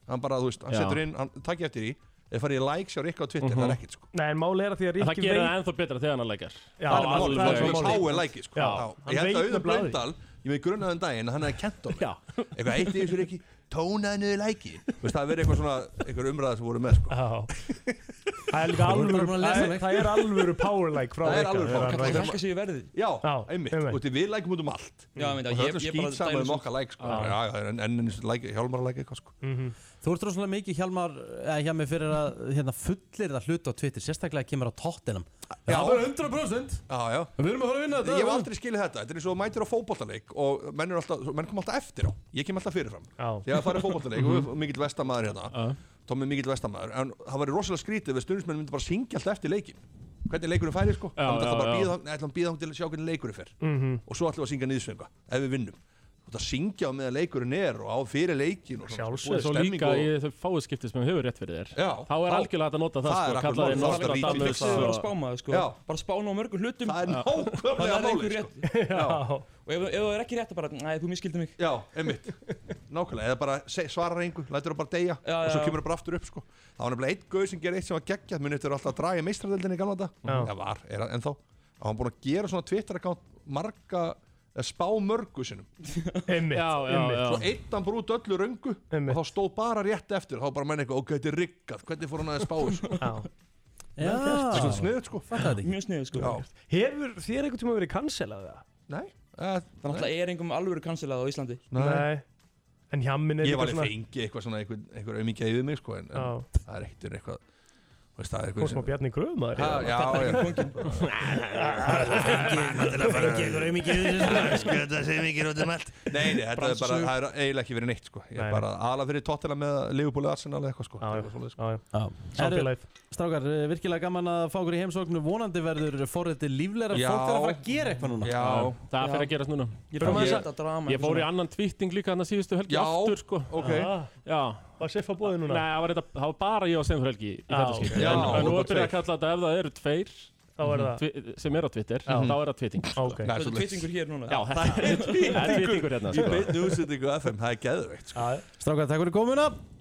Speaker 3: Hann bara, þú veist, hann
Speaker 11: Já.
Speaker 3: setur inn, hann takk ég eftir í Ef farið í likes hjá Rikki á Twitter, það er ekkert sko
Speaker 2: Mhm. Nei, en máli er að því að
Speaker 11: En
Speaker 2: Rikki
Speaker 11: það gerir það
Speaker 2: veit-
Speaker 11: ennþá betra þegar hann lækar
Speaker 2: Já,
Speaker 3: Það er málið,
Speaker 11: Alveg.
Speaker 3: það er svona háið læki sko
Speaker 11: Já,
Speaker 3: Já,
Speaker 11: hann
Speaker 3: Ég held
Speaker 11: veit
Speaker 3: að auðvitað
Speaker 11: nefnilega því.
Speaker 3: blöndal, ég með grunaðan daginn að Hann hefði kent á mig Eitthvað eitt í þessu Rikki, tónaði niður læki Þú veist, það er verið eitthvað svona, eitthvað umræða sem voru með sko
Speaker 2: Það er líka
Speaker 3: Þú voru bara
Speaker 2: alvöru
Speaker 3: búin að lesa
Speaker 2: það er-
Speaker 3: mig.
Speaker 2: Það er alvöru power like frá
Speaker 3: Það er
Speaker 2: Rikka,
Speaker 3: alveg
Speaker 2: þegar hann
Speaker 3: fólk
Speaker 2: lækar.
Speaker 12: sig í verði
Speaker 3: Já, einmitt, þú veist, við lækum út um allt
Speaker 12: Já, ég meina,
Speaker 3: Og
Speaker 12: ég-
Speaker 3: höfum
Speaker 12: ég bara
Speaker 3: skýt saman
Speaker 12: dæmi
Speaker 3: um
Speaker 12: svo.
Speaker 3: okkar læk sko
Speaker 12: Já.
Speaker 3: Já, já, en enn hjálmar að læka eitthvað sko
Speaker 1: Þú ert rosalega mikið hjálmar eða hjá mig fyrir að hérna, fullir það hluti á Twitter sérstaklega kemur á tóttinum Já, það er 100%
Speaker 3: Já, já
Speaker 1: Við erum að fara að vinna þetta
Speaker 3: Ég hef aldrei skilið þetta Þetta er eins og þú mætir á fótballtaleik og menn, eru alltaf, menn kom alltaf eftir á Ég kem alltaf fyrirfram
Speaker 2: Já.
Speaker 3: Þegar það farið fótballtaleik
Speaker 11: Mhm.
Speaker 3: og mikill vestamæður hérna Tommi er mikill vestamæður En það var rosalega skrítið við stundismenn myndi bara syngja alltaf eftir leikin Hvernig leikurinn færi sko
Speaker 11: Já,
Speaker 3: Þannig að
Speaker 11: já,
Speaker 3: það bara
Speaker 11: já.
Speaker 3: býða Nei, ætlum býða hún til að sjá hvernig leikurinn fer
Speaker 2: Mhm.
Speaker 3: Og svo ætlum við að syngja niðursvenga Ef við vinnum Þú ætlum að syngja á meðan leikurinn er og á fyrir leikin og svona, búið
Speaker 11: Svo
Speaker 3: stemning
Speaker 11: sko, líka
Speaker 3: og-
Speaker 11: í þau fáið skipti sem hefur rétt fyrir þér
Speaker 3: Já,
Speaker 11: Þá er
Speaker 3: þá-
Speaker 11: algjörlega hægt að nota það
Speaker 3: það er
Speaker 11: sko
Speaker 3: akkurat
Speaker 11: Kalla þér
Speaker 3: málið, það er
Speaker 11: nokkra
Speaker 3: víti.
Speaker 11: dæmi
Speaker 12: Það
Speaker 3: Fixið
Speaker 12: er að
Speaker 11: og-
Speaker 12: spáma það sko
Speaker 3: Já.
Speaker 12: Bara spána á mörgum hlutum
Speaker 3: Það er
Speaker 12: Þannig
Speaker 3: nákvæmlega
Speaker 12: að það er
Speaker 3: málið,
Speaker 12: einhver
Speaker 3: sko.
Speaker 12: rétt Og ef ef það er ekki rétt að bara Næ, þú miskildi mig
Speaker 3: Já, einmitt Nákvæmlega, eða bara se- svarar engu, lætur það bara deyja
Speaker 12: Já,
Speaker 3: og svo
Speaker 12: já.
Speaker 3: kemur það bara aftur upp sko. Það var nefnilega eitt gauð sem gerði eitt sem var geggjað muni þetta er alltaf að draga meistradeldinni í gamla þetta
Speaker 2: Já.
Speaker 3: Það var, er það ennþá Það var búin að gera svona Twitter-account marga eða spá mörgu sinum
Speaker 2: Einmitt, Já, já, einmitt. já.
Speaker 3: Svo eitt hann brúti öllu röngu og þá stóð bara rétt eftir þá var bara menn eitthvað, ok, þetta er riggað hvernig fór hann að spá þessu
Speaker 2: Já.
Speaker 3: Það er svona sniðut sko
Speaker 1: Fattaði þetta ekki.
Speaker 12: Mjög sniðu sko
Speaker 3: Já.
Speaker 2: Hefur þér einhvern tíma verið cancelað það?
Speaker 3: Nei
Speaker 12: Það náttúrulega er einhverjum alvöru kansilað á Íslandi
Speaker 2: Nei En hjammin er
Speaker 3: Ég
Speaker 2: líka
Speaker 3: var alveg fengið eitthvað svona einhver, einhver auðmikið yfir mig sko en,
Speaker 2: Já.
Speaker 3: en það er ekkert eitthvað þú veist, það er
Speaker 2: Fórst
Speaker 3: sem-
Speaker 2: maður Bjarni Gröfmaður
Speaker 3: Ha, Já, já Skjöta sem ekki út um allt Nei, nei, þetta er bara,
Speaker 2: Brandsögur.
Speaker 3: það er eiginlega ekki verið neitt sko Ég
Speaker 2: Nei,
Speaker 3: er bara ala fyrir tóttina með Leopold Arsenal eða eitthvað sko Já,
Speaker 2: já,
Speaker 1: já Strákar, eh, virkilega gaman að fá okkur í heimsóknu vonandi verður forriti líflegra
Speaker 11: Já.
Speaker 1: fólk er að fara að gera eitthvað núna
Speaker 11: Já. Það fer að gerast núna
Speaker 1: Ég bara maður að
Speaker 11: Ég-
Speaker 1: setja drama,
Speaker 11: Ég fór í
Speaker 1: svona.
Speaker 11: annan tvíting líka hann að síðustu helgi
Speaker 1: Já,
Speaker 11: aftur sko
Speaker 3: ok.
Speaker 11: Já
Speaker 2: Var Siffa bóðið núna?
Speaker 11: Nei, það var, þetta, það var bara ég og Sefur helgi í
Speaker 2: Já,
Speaker 11: þetta
Speaker 2: ok.
Speaker 11: skipti
Speaker 2: Já,
Speaker 11: En, en
Speaker 2: þú
Speaker 11: nú
Speaker 2: bara
Speaker 11: er byrjað
Speaker 2: tveir.
Speaker 11: að kalla þetta ef það eru tveir
Speaker 2: þá er það-
Speaker 11: Tvi- sem er á Twitter,
Speaker 2: Já.
Speaker 11: þá er það Twitting sko.
Speaker 2: Nei, Þetta er svoleiðis. Twittingur hér núna.
Speaker 11: Já, þetta er Twittingur
Speaker 3: Í
Speaker 11: hérna sko.
Speaker 3: beinni útsendingu FM, það er geðveikt
Speaker 2: sko.
Speaker 1: Strákar, takk fyrir komuna